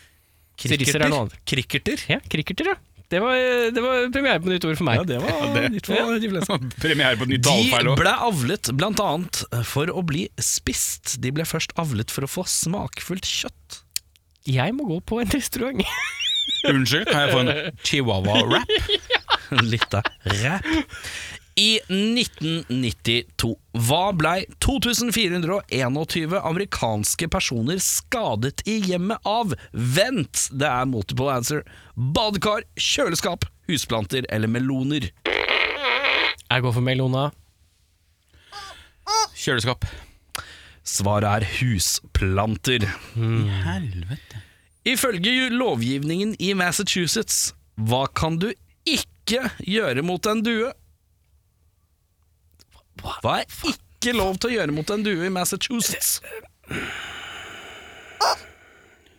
Speaker 2: Sirisser er noe annet.
Speaker 1: Cricketer?
Speaker 2: Ja, krikkerter, ja. Det var, det var premiere på nytt ord for meg.
Speaker 1: Ja, det var
Speaker 3: det-
Speaker 1: litt for de fleste.
Speaker 3: Premiere på et nytt tallfeil
Speaker 1: De
Speaker 3: òg.
Speaker 1: ble avlet blant annet eh, for å bli spist. De ble først avlet for å få smakfullt kjøtt.
Speaker 2: Jeg må gå på en restaurant.
Speaker 3: Unnskyld, kan jeg få en chihuahua-rap?
Speaker 1: Litt av rap. I 1992 hva blei 2421 amerikanske personer skadet i hjemmet av Vent, det er multiple answer. Badekar, kjøleskap, husplanter eller meloner.
Speaker 2: Jeg går for Melona.
Speaker 3: Kjøleskap.
Speaker 1: Svaret er husplanter.
Speaker 3: Helvete.
Speaker 1: Ifølge ju- lovgivningen i Massachusetts, hva kan du ikke gjøre mot en due? Hva er ikke lov til å gjøre mot en due i Massachusetts?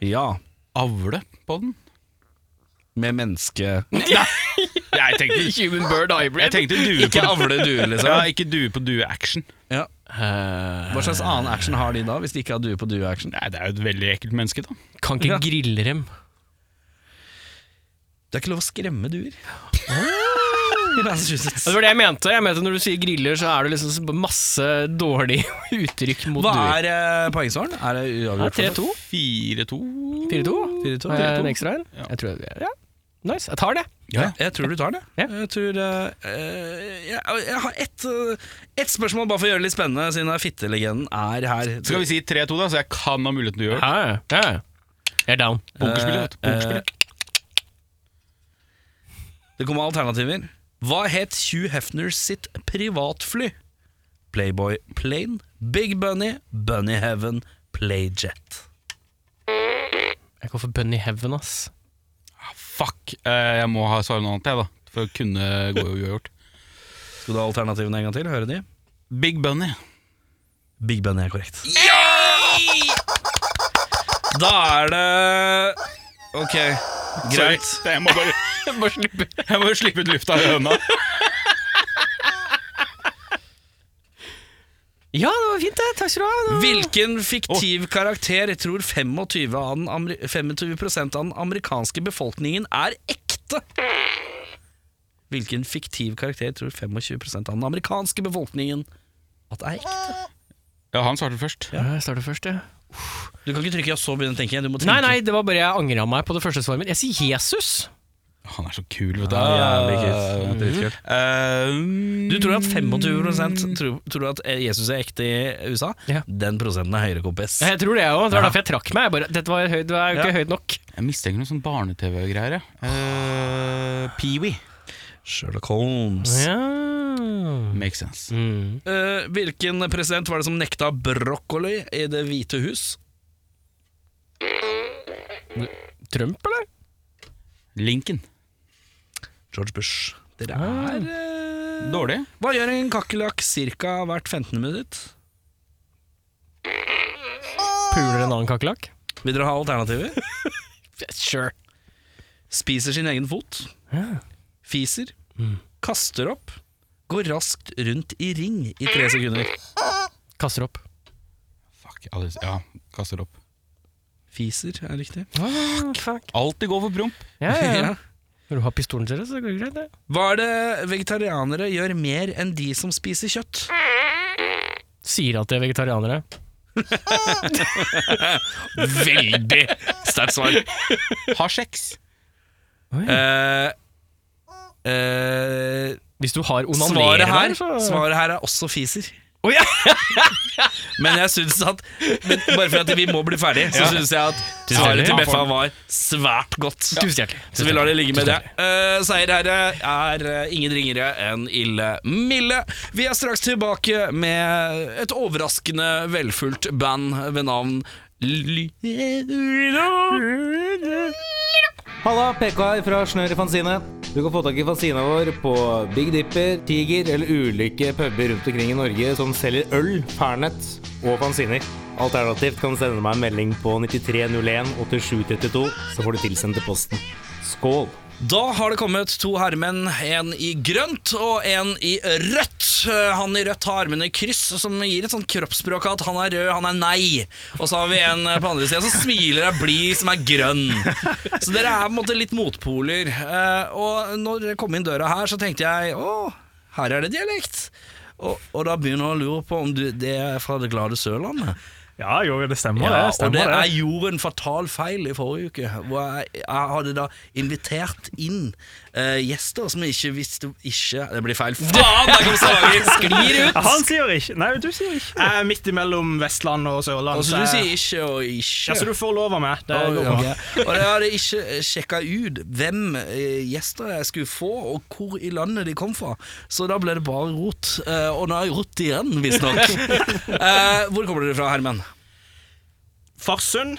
Speaker 1: Ja,
Speaker 3: Avle på den?
Speaker 1: med menneske...
Speaker 3: Jeg tenkte,
Speaker 2: Human bird hybrid.
Speaker 3: jeg tenkte due
Speaker 1: Ikke
Speaker 3: på
Speaker 1: avle due,
Speaker 3: ja,
Speaker 1: liksom.
Speaker 3: Ikke due på due-action.
Speaker 1: Ja.
Speaker 2: Eh,
Speaker 1: Hva slags annen action har de da, hvis de ikke har due på due-action?
Speaker 3: Nei, Det er jo et veldig ekkelt menneske, da.
Speaker 2: Kan ikke
Speaker 1: Ja.
Speaker 2: grille dem.
Speaker 1: Det er ikke lov å skremme duer. I Massachusetts.
Speaker 2: Det var det jeg mente. Jeg mente Når du sier griller, så er det liksom så masse dårlige uttrykk mot
Speaker 1: Hva
Speaker 2: duer.
Speaker 1: er eh, poengsvaren? Er det uavgjort?
Speaker 2: Ja, 3-2. 4-2?
Speaker 3: 4-2
Speaker 1: Fire, to.
Speaker 2: Har jeg En
Speaker 1: Fire, to.
Speaker 2: ekstra en?
Speaker 3: Ja.
Speaker 2: Jeg tror det ja. Nice. Jeg tar det.
Speaker 3: Ja.
Speaker 1: Jeg tror du tar det.
Speaker 2: Ja.
Speaker 1: Jeg, tror, eh, eh, jeg, jeg har ett et spørsmål bare for å gjøre det litt spennende, siden den fittelegenden er her.
Speaker 3: Skal vi si 3-2, da, så jeg kan ha muligheten til å gjøre det?
Speaker 2: Ja, ja. Jeg er down.
Speaker 3: Pokerspiller, vet du.
Speaker 1: Eh,
Speaker 3: Pokerspiller.
Speaker 1: Det kommer alternativer. Hva het Hugh Hefner sitt privatfly? Playboy Plane, Big Bunny, Bunny Heaven, Playjet.
Speaker 2: Jeg går for Bunny Heaven, ass.
Speaker 3: Fuck, eh, jeg må ha svare noe annet, jeg, da. For å kunne gå uavgjort.
Speaker 1: Skal du ha alternativene en gang til? Høre de?
Speaker 3: Big Bunny.
Speaker 1: Big Bunny er korrekt. Da er det Ok, greit.
Speaker 3: Sorry, det- jeg må bare
Speaker 2: Bare slippe.
Speaker 3: Jeg må jo slippe ut lufta i høna.
Speaker 2: Ja, det var fint, det. Takk skal du ha. Det var-
Speaker 1: Hvilken fiktiv karakter tror 25 av den, ameri- 25 av den amerikanske befolkningen er ekte? Hvilken fiktiv karakter tror 25 av den amerikanske befolkningen at er ekte?
Speaker 3: Ja, han svarte først.
Speaker 2: Ja, Jeg starter først, jeg.
Speaker 1: Du kan ikke trykke ja, så begynne å tenke. Du må tenke.
Speaker 2: Nei, nei, det var bare jeg angra meg på det første svaret mitt. Jeg sier Jesus.
Speaker 3: Han er så kul, vet du.
Speaker 1: jævlig kult. Dritkult.
Speaker 3: Eh,
Speaker 1: Du tror at 25 tror, tror at eh, Jesus er ekte i USA?
Speaker 2: Ja.
Speaker 1: Den prosenten er høyere, kompis.
Speaker 2: Jeg tror det, jeg òg. Det var
Speaker 1: Ja.
Speaker 2: derfor jeg trakk meg. Jeg bare, Dette var, høy, det var jo ikke høyt nok.
Speaker 3: Jeg mistenker noen sånn barne-TV-greier. Uh, Peewee.
Speaker 1: Sherlock Holmes.
Speaker 2: Ja.
Speaker 3: Makes sense.
Speaker 2: Mm.
Speaker 1: Eh, hvilken president var det som nekta brokkoli i Det hvite hus?
Speaker 2: Trump, eller?
Speaker 3: Lincoln.
Speaker 1: George Bush. Dere er eh,
Speaker 3: Dårlig.
Speaker 1: Hva gjør en kakerlakk ca. hvert 15. minutt?
Speaker 2: Puler en annen kakerlakk?
Speaker 1: Vil dere ha alternativer?
Speaker 2: Sure.
Speaker 1: Spiser sin egen fot.
Speaker 2: Ja.
Speaker 1: Fiser. Kaster opp. Går raskt rundt i ring i tre sekunder.
Speaker 2: Kaster opp.
Speaker 3: Fuck, Alice. Ja, kaster opp.
Speaker 1: Fiser er riktig.
Speaker 2: Fuck, fuck.
Speaker 3: Alltid gå for promp.
Speaker 2: Ja, ja, ja.
Speaker 1: Ah, Ja.
Speaker 2: Når du har pistolen deres, så går det greit, det.
Speaker 1: Hva er det vegetarianere gjør mer enn de som spiser kjøtt?
Speaker 2: Sier at de er vegetarianere.
Speaker 1: Veldig sterkt svar.
Speaker 3: Ha sex.
Speaker 1: Eh, eh,
Speaker 2: Hvis du har
Speaker 1: svaret,
Speaker 2: onanerer
Speaker 1: her,
Speaker 2: der, så
Speaker 1: svaret her er også fiser.
Speaker 2: Å, ja.
Speaker 1: Men jeg synes at men Bare for at vi må bli ferdig, så synes jeg at svaret til
Speaker 2: hjertelig.
Speaker 1: Beffa var svært godt.
Speaker 2: Tusen hjertelig.
Speaker 1: Så vi lar det ligge med det. Uh, Seierherre er eh, ingen ringere enn Ille Mille. Vi er straks tilbake med et overraskende velfullt band ved navn Lyra.
Speaker 4: Halla, PK her fra Snør i Fanzine. Du kan få tak i fanzina vår på Big Dipper, Tiger eller ulike puber rundt omkring i Norge som selger øl, Fernet og fanziner. Alternativt kan du sende meg en melding på 9301 8732, så får du tilsendt til posten. Skål!
Speaker 1: Da har det kommet to herremenn, en i grønt og en i rødt. Eh, Han i rødt har armene i kryss, som gir et sånt kroppsspråk av at han er rød, han er nei. Og så har vi en eh, på andre sida som smiler og er blid, som er grønn. Så dere er på en måte litt motpoler. Eh, Og når dere kom inn døra her, så tenkte jeg å, her er det dialekt. Og, og da begynner jeg å lure på om du, det er fra det glade Sørlandet.
Speaker 5: Ja, jo, det stemmer
Speaker 1: Ja,
Speaker 5: det.
Speaker 1: og
Speaker 5: Stemmer
Speaker 1: det
Speaker 5: det.
Speaker 1: jeg gjorde en fatal feil i forrige uke. Hvor jeg, jeg hadde da invitert inn eh, gjester som jeg ikke visste ikke Det blir feil. Faen, der kom Stavanger! Sklir ut!
Speaker 5: Han sier ikke. Nei, du sier ikke.
Speaker 6: Jeg er midt imellom Vestland og Sørland.
Speaker 1: Altså,
Speaker 6: så
Speaker 1: du sier
Speaker 6: jeg-
Speaker 1: ikke og
Speaker 6: ja, så
Speaker 1: ikke.
Speaker 6: du får lov av meg. Det
Speaker 1: Å,
Speaker 6: går
Speaker 1: ja,
Speaker 6: bra.
Speaker 1: ok. Og jeg hadde ikke sjekka ut hvem eh, gjester jeg skulle få, og hvor i landet de kom fra. Så da ble det bare rot. Eh, og nå er jeg rot igjen, visstnok. uh, hvor kommer dere fra, Herman?
Speaker 5: Farsund.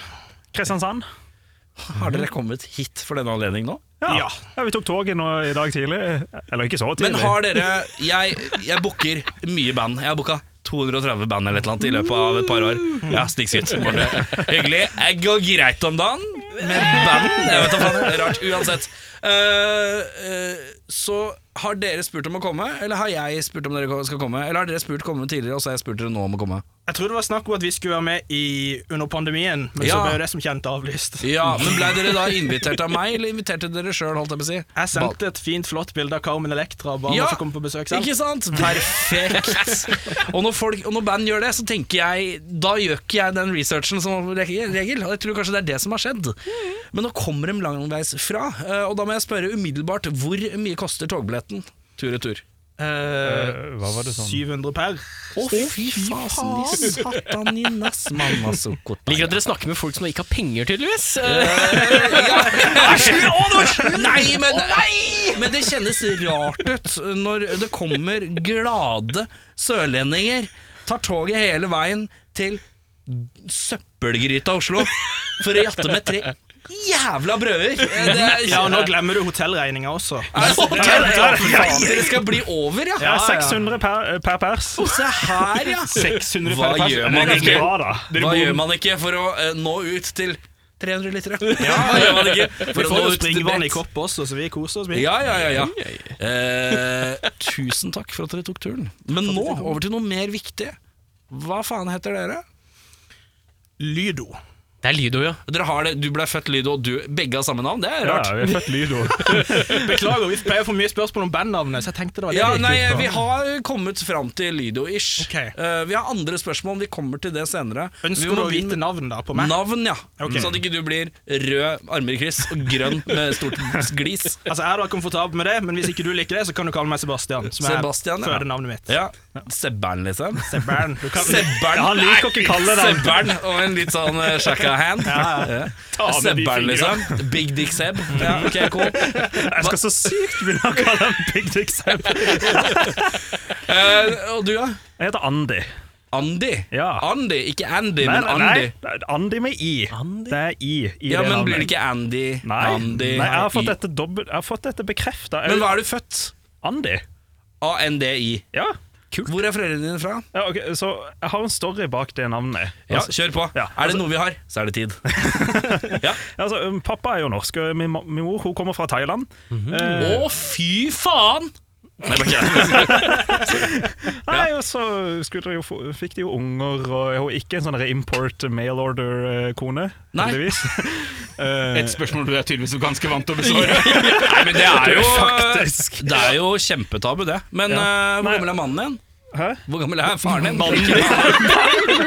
Speaker 5: Kristiansand.
Speaker 1: Har
Speaker 6: Mhm.
Speaker 1: dere kommet hit for denne anledning nå?
Speaker 5: Ja.
Speaker 6: Ja.
Speaker 5: ja. vi tok toget nå i dag tidlig. Eller ikke så tidlig.
Speaker 1: Men har dere Jeg, jeg booker mye band. Jeg har booka 230 band eller et eller annet i løpet av et par år. Ja, snikskryt. Bare Hyggelig. Jeg går greit om dagen med band. Jeg vet da faen. det er Rart. Uansett. Eh, eh, så har dere spurt om å komme, eller har jeg spurt om dere skal komme? Eller har dere spurt komme tidligere, og så har jeg spurt dere nå om å komme?
Speaker 6: Jeg trodde det var snakk om at vi skulle være med i, under pandemien, men
Speaker 1: Ja.
Speaker 6: så ble jo det som kjent avlyst.
Speaker 1: Ja, Men blei dere da invitert av meg, eller inviterte dere sjøl, holdt jeg på å si?
Speaker 6: Jeg sendte et fint, flott bilde av Carmen Electra bare
Speaker 1: Ja,
Speaker 6: for å komme på besøk selv.
Speaker 1: Ikke sant? Perfekt. og, når folk, og når band gjør det, så tenker jeg Da gjør ikke jeg den researchen som regel. regel, Og jeg tror kanskje det er det som har skjedd. Men nå kommer de langveis fra, eh, og da må jeg spørre umiddelbart hvor mye koster togbilletten tur-retur?
Speaker 6: Eh,
Speaker 5: Hva var det sånn?
Speaker 6: 700 per.
Speaker 1: Å, fy fasen i satan i nass, altså. manna så godt.
Speaker 2: Liker at dere snakker med folk som ikke har penger, tydeligvis.
Speaker 1: Nei, men, men det kjennes rart ut når det kommer glade sørlendinger, tar toget hele veien til søppelgryta Oslo for å jatte med tre jævla brøder. Det er,
Speaker 6: Ja, Eh, og nå glemmer du hotellregninga også.
Speaker 1: Er det- sånn?
Speaker 5: Ja, ja, ja.
Speaker 1: Dere skal bli over, ja?
Speaker 5: Ja, 600 per, per pers.
Speaker 1: Se her, ja.
Speaker 5: 600
Speaker 1: Hva
Speaker 5: per pers.
Speaker 1: gjør
Speaker 5: Det er
Speaker 1: man
Speaker 5: ganske
Speaker 1: egentlig?
Speaker 5: bra, da.
Speaker 1: Hva gjør man ikke for å eh, nå ut til 300 liter, ja. Det var det ikke.
Speaker 6: Vi
Speaker 1: å
Speaker 6: får
Speaker 1: nå
Speaker 6: jo
Speaker 1: ut til
Speaker 6: springvann i
Speaker 1: bredt.
Speaker 6: kopp også, så vi koser oss. vi.
Speaker 1: Ja, ja, ja, ja. Eh, tusen takk for at dere tok turen. Men nå over til noe mer viktig. Hva faen heter dere?
Speaker 6: Lydo.
Speaker 2: Det er Lydo, ja.
Speaker 1: Dere har det, Du ble født Lydo, og du begge har samme navn. Det er
Speaker 5: Ja,
Speaker 1: rart.
Speaker 5: vi er født Lydo.
Speaker 6: Beklager, vi pleier å få mye spørsmål om bandnavnet, så jeg tenkte det var det
Speaker 1: Ja,
Speaker 6: vi gikk
Speaker 1: nei,
Speaker 6: ut fra.
Speaker 1: Vi har kommet fram til Lydo-ish.
Speaker 6: Ok.
Speaker 1: Eh, vi har andre spørsmål, vi kommer til det senere. Vi
Speaker 6: Ønsker du
Speaker 1: må
Speaker 6: å
Speaker 1: begynne
Speaker 6: vite
Speaker 1: med
Speaker 6: navn da på meg?
Speaker 1: Navn, ja.
Speaker 6: Ok.
Speaker 1: Sånn at ikke du blir rød armer i kryss og grønn med stort glis.
Speaker 6: Altså, Jeg er da komfortabel med det, men hvis ikke du liker det, så kan du kalle meg Sebastian. Som er
Speaker 1: Sebastian, ja.
Speaker 6: fødenavnet mitt.
Speaker 1: Ja. Sebbern, liksom.
Speaker 6: Sebbern. Du kan...
Speaker 1: Sebbern.
Speaker 5: Han liker å ikke kalle det
Speaker 1: Sebbern og en litt sånn eh, shaka hand. Ja.
Speaker 5: med de
Speaker 1: Sebbern,
Speaker 5: fingrene.
Speaker 1: liksom. Big Dick Seb. Ja, ok, cool.
Speaker 5: Jeg skal så sykt begynne å kalle ham Big Dick Sam.
Speaker 1: Eh, og du, da?
Speaker 5: Jeg heter Andy.
Speaker 1: Andy.
Speaker 5: Ja.
Speaker 1: Andy, ikke Andy,
Speaker 5: Nei,
Speaker 1: men
Speaker 5: nei,
Speaker 1: Andy.
Speaker 5: nei, Andy med I. Det er I. i
Speaker 1: Ja,
Speaker 5: det
Speaker 1: men
Speaker 5: navnet.
Speaker 1: blir det ikke Andy?
Speaker 5: Nei,
Speaker 1: Andy
Speaker 5: nei jeg, har fått
Speaker 1: I-
Speaker 5: dette dobbelt, jeg har fått dette bekrefta.
Speaker 1: Men hva er du født?
Speaker 5: Andy.
Speaker 1: ANDI.
Speaker 5: Ja.
Speaker 1: Hvor er foreldrene dine fra?
Speaker 5: ja ok, Så jeg har en story bak det navnet.
Speaker 1: Ja,
Speaker 5: Altså,
Speaker 1: kjør på.
Speaker 5: Ja, Eh.
Speaker 1: er det noe vi har, så er det tid.
Speaker 5: altså, um, pappa er jo norsk, og min, ma- min mor hun kommer fra Thailand.
Speaker 2: Å, fy faen!
Speaker 5: Nei, og så skulle de jo, få- fikk de jo unger, og hun er ikke en sånn der import mail order-kone,
Speaker 1: Nei.
Speaker 5: heldigvis. Eh,
Speaker 3: Et spørsmål du er tydeligvis ganske vant til å besvare.
Speaker 1: Nei, men det er jo
Speaker 5: Faktisk.
Speaker 1: Det er jo kjempetabu, det. Men eh, hvor
Speaker 5: Nei.
Speaker 1: gammel er mannen din?
Speaker 5: Hæ?
Speaker 1: Hvor gammel er faren din? Ikke mannen.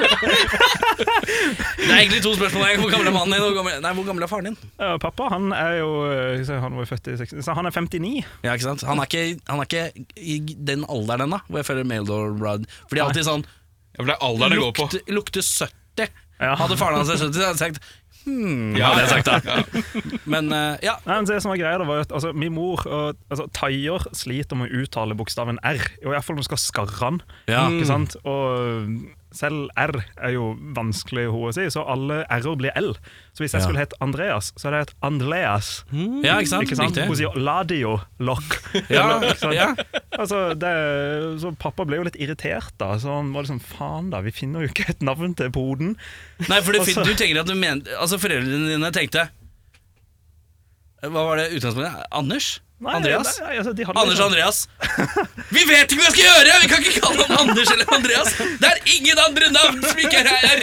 Speaker 1: Det er egentlig to spørsmål. her. Hvor gammel er mannen din? og Hvor gammel, nei, hvor gammel er faren din?
Speaker 5: Ja, pappa han er jo eh, så Han var jo født i 60, så han er 59.
Speaker 1: Ja, ikke sant? Han er ikke, han er ikke i den alderen ennå, hvor jeg føler Maildor Bride For de er alltid sånn
Speaker 3: Ja, for det er alderen det går på.
Speaker 1: lukte, lukte 70.
Speaker 5: Ja.
Speaker 1: Hadde faren hans vært 70, hadde jeg sagt "Hmm,"
Speaker 3: Ja, det er sagt, da.
Speaker 1: Men eh, ja,
Speaker 5: Nei, men det som var greia, det var jo at altså, min mor og altså, thaier sliter med å uttale bokstaven R. Og iallfall når du skal skarre den.
Speaker 1: Ja. Mm.
Speaker 5: Ikke sant? Og selv R er jo vanskelig å si, så alle R-er blir L. Så hvis jeg skulle hett Andreas, så hadde jeg hett Andreas.
Speaker 1: ja ikke sant?
Speaker 5: Ikke sant?
Speaker 1: Mm, Riktig.
Speaker 5: Hun sier Ladio Lock.
Speaker 1: Ja,
Speaker 5: Eller, ikke sant?
Speaker 1: ja.
Speaker 5: Altså, det, så pappa ble jo litt irritert, da. Så han var liksom faen, da. Vi finner jo ikke et navn til poden.
Speaker 1: Nei, for det,
Speaker 5: Altså-
Speaker 1: du tenker at du men, Altså foreldrene dine tenkte Hva var det utgangspunktet? Anders?
Speaker 5: Nei,
Speaker 1: Andreas?
Speaker 5: nei, altså, de hadde
Speaker 1: Anders og
Speaker 5: liksom-
Speaker 1: Andreas. Vi vet ikke hva jeg skal gjøre! Vi kan ikke kalle han Anders eller Andreas! Det er ingen andre navn som ikke er her!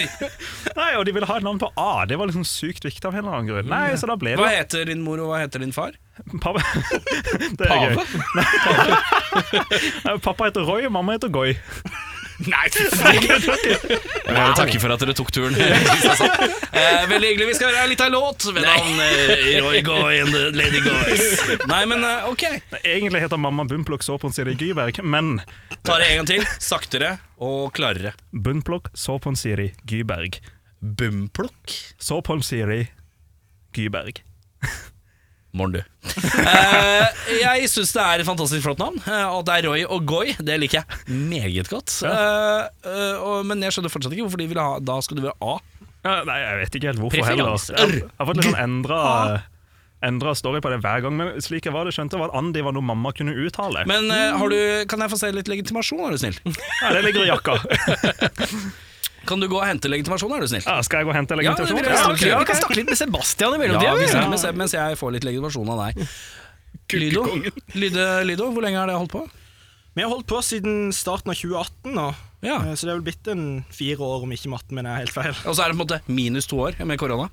Speaker 5: Nei, og de ville ha et navn på A. Det var liksom sykt viktig av en eller annen grunn. Nei, så da ble
Speaker 1: Mm. Hva
Speaker 5: det
Speaker 1: heter din mor, og hva heter din far?
Speaker 5: Pappa. Det er gøy. Nei, Nei, pappa heter Roy, og mamma heter Goy.
Speaker 1: Nei, Takker for at dere tok turen. eh, veldig hyggelig. Vi skal høre litt av en låt ved navn eh, Roy Goy and the Lady Goys. Nei, men eh, ok.
Speaker 5: Egentlig heter mamma Bunnplukk Sårpån Siri Gyberg, men
Speaker 1: Ta det en gang til. Saktere og klarere.
Speaker 5: Bunnplukk Sårpån Siri Gyberg.
Speaker 1: Bumplukk.
Speaker 5: Sårpån Siri Gyberg.
Speaker 1: Morn, du. Eh, jeg syns det er et fantastisk flott navn. eh, Og at det er Roy og Goy, det liker jeg meget godt. Eh, eh, og, men jeg skjønner fortsatt ikke hvorfor de ville ha Da skal du være A.
Speaker 5: Ja, nei, jeg vet ikke helt hvorfor heller.
Speaker 2: Preferanse.
Speaker 5: Jeg jeg har fått litt sånn endra Endra story på det hver gang, men slik jeg var det skjønte, var at Andi var noe mamma kunne uttale.
Speaker 1: Men eh, har du, kan jeg få se litt legitimasjon, er du snill?
Speaker 5: ja, det ligger i jakka.
Speaker 1: Kan du gå og hente legitimasjon, er du snill?
Speaker 5: Ja, skal jeg gå og hente
Speaker 1: Ja, det
Speaker 5: legitimasjon?
Speaker 1: blir det.
Speaker 5: ok.
Speaker 1: Ja,
Speaker 2: Vi kan snakke litt med Sebastian i
Speaker 1: Ja, vi
Speaker 2: mellomtida.
Speaker 1: snakker med Seb mens jeg får litt legitimasjon av deg. Lydo, Lyde, Lydo, hvor lenge har det holdt på?
Speaker 6: Vi har holdt på siden starten av 2018 nå,
Speaker 1: Ja.
Speaker 6: Eh, så det er vel blitt en fire år, om ikke matten min er helt feil.
Speaker 1: Og så er det på en måte minus to år med korona.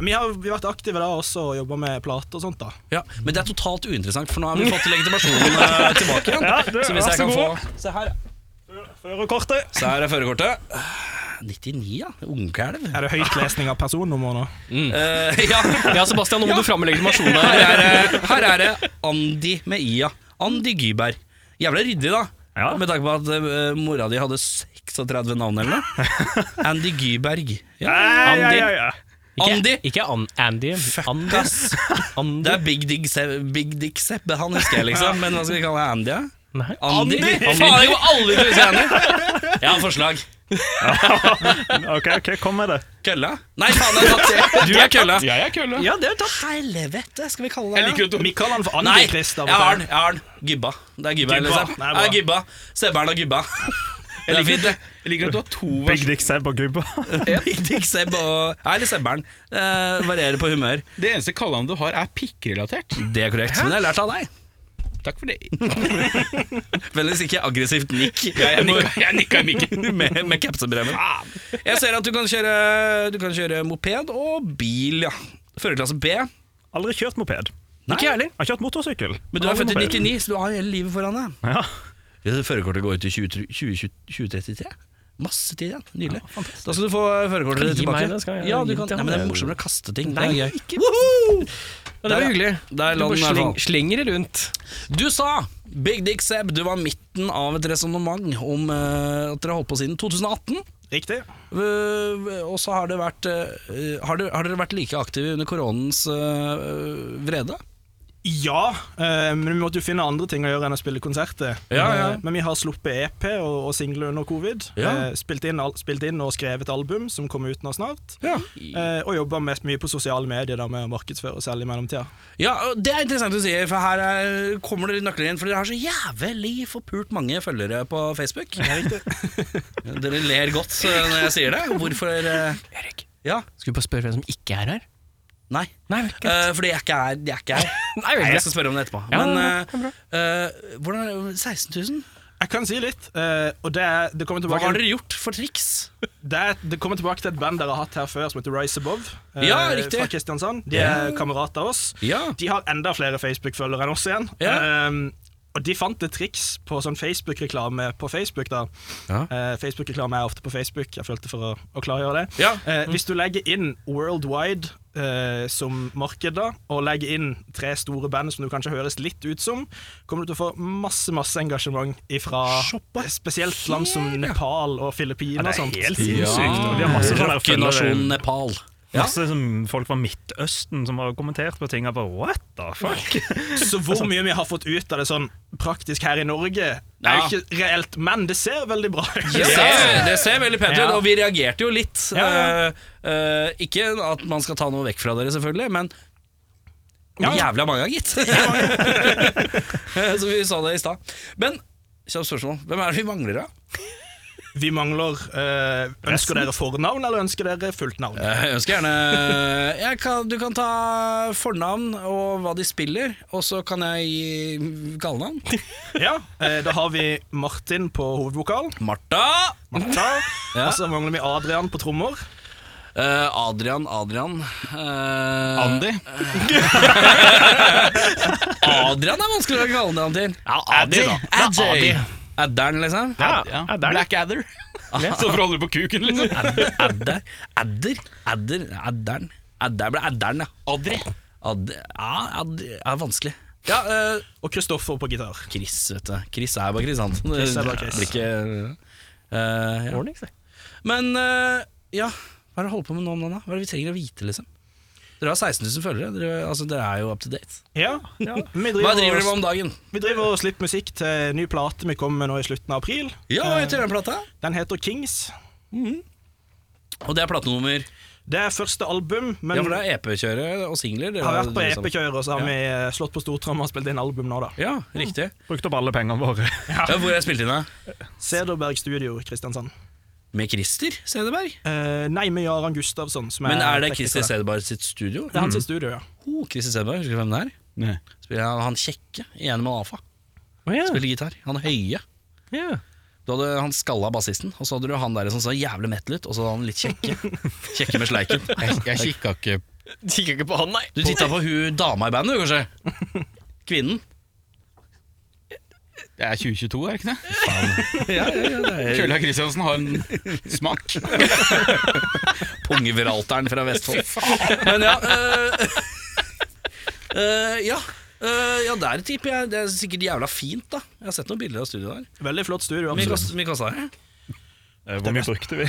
Speaker 6: Vi har vi har vært aktive da også og jobba med plater og sånt. da
Speaker 1: Ja, Men det er totalt uinteressant, for nå har vi fått legitimasjonen eh, tilbake igjen.
Speaker 5: Ja, du,
Speaker 1: så hvis
Speaker 5: vær
Speaker 1: jeg
Speaker 5: så
Speaker 1: kan få
Speaker 5: god.
Speaker 1: Se her,
Speaker 5: Førerkortet!
Speaker 1: så her er førerkortet. 99, ja. Ungkalv.
Speaker 6: Er det høytlesning av personnummer nå?
Speaker 1: Eh, ja,
Speaker 2: Ja, Sebastian, nå må du fram med legitimasjonen.
Speaker 1: her er, det- her er det Andi med I-a. Andi Gyberg. Jævla ryddig, da.
Speaker 5: Ja.
Speaker 1: Med tanke på at eh, mora di hadde 36 navn eller noe. Andy Gyberg. Ja.
Speaker 5: Ja, ja,
Speaker 2: Andi.
Speaker 5: ja, ja.
Speaker 2: Ikke-
Speaker 1: Andy.
Speaker 2: Ikke An Andy. Andy.
Speaker 1: Ass. Det
Speaker 2: Andy.
Speaker 1: er Big Dick Seb, Big Dick Seb han husker jeg, liksom. Men hva skal vi kalle Andy? ja?
Speaker 2: Nei.
Speaker 1: Andy? Faen, jeg kommer aldri til å si Andy! Jeg har forslag.
Speaker 5: Ok, ok, kom med det.
Speaker 1: Kølla? Nei, faen, jeg har tatt det. Du er kølla.
Speaker 3: Jeg er kølla.
Speaker 6: Ja, det er tatt.
Speaker 1: Helvete, skal vi kalle
Speaker 3: Jeg
Speaker 1: det
Speaker 3: liker jo
Speaker 6: Vi kaller den
Speaker 1: Nei,
Speaker 6: for Andi
Speaker 1: jeg
Speaker 6: Christ. av og
Speaker 1: har
Speaker 6: til.
Speaker 1: den. jeg har den Gibba. Det er Gibba.
Speaker 6: Gibba.
Speaker 1: Liksom.
Speaker 6: Nei,
Speaker 1: Nei,
Speaker 6: bra.
Speaker 1: Gibba. Sebern og Gibba. Det er fint, det.
Speaker 3: Jeg liker at du har to
Speaker 5: Big
Speaker 3: versjoner.
Speaker 5: Dick Seb og Gubba.
Speaker 1: Big Dick Seb og Nei, eller Sebberen. Eh, varierer på humør.
Speaker 3: Det eneste kallenavnet du har, er pikkrelatert.
Speaker 1: Det er korrekt. Men jeg har lært av deg.
Speaker 3: Takk for det.
Speaker 1: Vennligst ikke aggressivt nikk.
Speaker 3: Jeg nikka, jeg nikka i mikken.
Speaker 1: med, med capsebrevet. Jeg ser at du kan kjøre, du kan kjøre moped og bil, ja. Førerklasse B.
Speaker 5: Aldri kjørt moped.
Speaker 1: Ikke jeg heller.
Speaker 5: Jeg har kjørt motorsykkel.
Speaker 1: Men du er født i
Speaker 5: Aldri moped.
Speaker 1: 99, så du har hele livet foran deg.
Speaker 5: Ja.
Speaker 1: Førerkortet går ut i 2033. Masse tid igjen. Nydelig. da skal du få førerkortet
Speaker 2: Kan
Speaker 1: ditt
Speaker 2: du gi meg
Speaker 1: tilbake.
Speaker 2: det? Skal jeg
Speaker 1: ja, du
Speaker 2: gi
Speaker 1: kan,
Speaker 2: det
Speaker 1: nei,
Speaker 2: til han?
Speaker 1: men det er morsommere å kaste ting. det
Speaker 2: Nei,
Speaker 1: er gøy.
Speaker 2: ikke-
Speaker 1: Woohoo!
Speaker 2: Ja, det var
Speaker 1: Der-
Speaker 2: hyggelig.
Speaker 1: der
Speaker 2: Du
Speaker 1: la den
Speaker 2: bare
Speaker 1: i hvert
Speaker 2: sleng,
Speaker 1: fall.
Speaker 2: slenger det rundt.
Speaker 1: Du sa, Big Dick Seb, du var midten av et resonnement om eh, at dere har holdt på siden 2018.
Speaker 6: Riktig.
Speaker 1: Eh, og så har det vært eh, har, dere- har dere vært like aktive under koronens eh, vrede?
Speaker 6: Ja, eh, men vi måtte jo finne andre ting å gjøre enn å spille konserter.
Speaker 1: Ja, ja.
Speaker 6: Eh, Men vi har sluppet EP og, og singler under covid.
Speaker 1: Ja.
Speaker 6: Eh, Spilt, inn, al- spilt inn og skrevet album som kommer ut nå snart.
Speaker 1: Ja.
Speaker 6: Eh, Og jobba mest mye på sosiale medier da, med å markedsføre og selge i mellomtida.
Speaker 1: og Det er interessant du sier, for her er, kommer dere nøkler inn. For dere har så jævlig forpult mange følgere på Facebook. dere ler godt eh, når jeg sier det. Hvorfor eh,
Speaker 2: Erik,
Speaker 1: Ja,
Speaker 2: skal vi bare spørre hvem som ikke er her?
Speaker 1: nei.
Speaker 2: Nei, vel, greit.
Speaker 1: Eh, fordi jeg ikke er, jeg er ikke her.
Speaker 2: Nei, vel,
Speaker 1: Nei, jeg
Speaker 2: greit.
Speaker 1: skal spørre om det etterpå.
Speaker 2: Ja,
Speaker 1: Men
Speaker 2: ja, ja, det er
Speaker 1: eh, eh, hvordan er det- 16 000?
Speaker 6: Jeg kan si litt, eh, og det, er- det, kommer
Speaker 1: Hva
Speaker 6: tilbake,
Speaker 1: har dere gjort for triks?
Speaker 6: det, er- det kommer tilbake til et band dere har hatt her før, som heter Rise Above. eh,
Speaker 1: Ja, riktig.
Speaker 6: Fra Kristiansand. De er kamerater av oss.
Speaker 1: Ja.
Speaker 6: De har enda flere Facebook-følgere enn oss igjen.
Speaker 1: Ja.
Speaker 6: Ehm, og de fant et triks på sånn Facebook-reklame på Facebook. da.
Speaker 1: Ja.
Speaker 6: Eh, Facebook-reklame er ofte på Facebook, jeg følte for å, å klargjøre det.
Speaker 1: Ja.
Speaker 6: Eh, hvis du legger inn Worldwide eh, som marked, da, og legger inn tre store band som du kanskje høres litt ut som, kommer du til å få masse masse engasjement fra spesielt land som Nepal og
Speaker 5: Ja,
Speaker 6: Filippinene.
Speaker 5: det
Speaker 6: og sånt.
Speaker 5: er helt sinnssykt. og Vi har masse sånne der
Speaker 1: Rockenasjonen
Speaker 5: følgere.
Speaker 1: Nepal. Ja.
Speaker 5: Masse som folk fra Midtøsten som har kommentert på ting. Jeg bare, What the fuck?
Speaker 6: Så
Speaker 1: Altså-
Speaker 6: hvor mye vi har fått ut av det sånn praktisk her i Norge, er jo ikke reelt, men det ser veldig bra ut.
Speaker 1: Det ser, det ser veldig pent ut,
Speaker 6: Ja.
Speaker 1: og vi reagerte jo litt.
Speaker 6: Ja, ja.
Speaker 1: Eh, eh, ikke at man skal ta noe vekk fra dere, selvfølgelig, men
Speaker 6: Ja.
Speaker 1: jævla mange, gitt. Så vi sa det i stad. Men kjapt spørsmål, hvem er det vi mangler, da?
Speaker 6: Vi mangler eh, Ønsker dere fornavn, eller ønsker dere fullt navn?
Speaker 1: Eh, Jeg ønsker gjerne jeg kan, Du kan ta fornavn og hva de spiller, og så kan jeg gi kallenavn.
Speaker 6: Ja, eh, Da har vi Martin på hovedvokal.
Speaker 1: Martha!
Speaker 6: Martha. Og så mangler vi Adrian på trommer.
Speaker 1: Eh, Adrian, Adrian eh,
Speaker 3: Andy.
Speaker 1: Adrian er vanskelig å kalle navn til.
Speaker 2: Ja, Adi, da.
Speaker 1: Adj. Adderen, liksom?
Speaker 2: Ja,
Speaker 3: Ja.
Speaker 2: ja, der.
Speaker 3: Blackadder. Så for å holde på kuken, liksom.
Speaker 1: Adder, adder, adder, adder, adderen. Adder ble adderen, ja.
Speaker 3: Adri.
Speaker 1: Adder, ja, adder, ja, vanskelig. Ja, eh,
Speaker 6: Og Kristoffer på gitar.
Speaker 1: Chris, vet du. Chris er bare Chris, han.
Speaker 6: Chris er bare Chris.
Speaker 1: Blir ikke, eh, ja.
Speaker 2: Ordnings, det.
Speaker 1: Men eh, ja, hva er det du holder på med nå om dagen? da? Hva er det vi trenger å vite, liksom? Dere har 16 000 følgere. Dere, altså, dere er jo up to date.
Speaker 6: Ja, Vi,
Speaker 1: Hva
Speaker 6: driver
Speaker 1: driver dere
Speaker 6: og-
Speaker 1: med om dagen?
Speaker 6: vi driver og slipper musikk til ny plate vi kommer med nå i slutten av april.
Speaker 1: Ja, hva heter den plata?
Speaker 6: Den heter Kings.
Speaker 1: Og det er platenummer.
Speaker 6: Det er første album, men
Speaker 1: Ja, for det er EP-kjøret og singler. dere
Speaker 6: har vært på E
Speaker 1: liksom-
Speaker 6: EP-kjøret, og så har vi eh, slått på stortromma og spilt inn album nå, da.
Speaker 1: Ja, riktig.
Speaker 5: Brukt opp alle pengene våre.
Speaker 1: Ja, hvor jeg spilte inn, da?
Speaker 6: Sederberg Studio, Kristiansand.
Speaker 1: Med Christer Sedeberg.
Speaker 6: Eh, nei, med Jaran Gustavsson. Som
Speaker 1: Men er det
Speaker 6: tekniker
Speaker 1: Christer
Speaker 6: der.
Speaker 1: Sedeberg sitt studio?
Speaker 6: Det er hans studio, ja.
Speaker 1: Oh, Christer Sedeberg, husker du hvem det er?
Speaker 3: Nei.
Speaker 1: Spiller han, han kjekke i Animal Alfa.
Speaker 2: Å, ja.
Speaker 1: Spiller gitar. Han høye.
Speaker 2: Ja.
Speaker 1: Du hadde han skalla bassisten, og så hadde du han der som så jævlig metal ut, og så hadde han litt kjekke. Kjekke med sleiken.
Speaker 3: Jeg, jeg kikka ikke
Speaker 2: Kikker ikke på han, nei.
Speaker 1: Du titta på hun dama i bandet, du, kanskje? Kvinnen.
Speaker 3: Det er 2022, er det ikke det?
Speaker 1: Ja, ja, ja, det er
Speaker 3: Kjøla Kristiansen har en smak.
Speaker 1: Pungevralteren fra Vestfold. Men ja øh, øh, Ja. øh, ja, der tipper jeg. Det er sikkert jævla fint, da. Jeg har sett noen bilder av studioet der.
Speaker 6: Veldig flott studio.
Speaker 1: Hvor mye
Speaker 6: absolutt.
Speaker 1: kost- mye kosta det?
Speaker 5: Eh, Hvor mye brukte vi?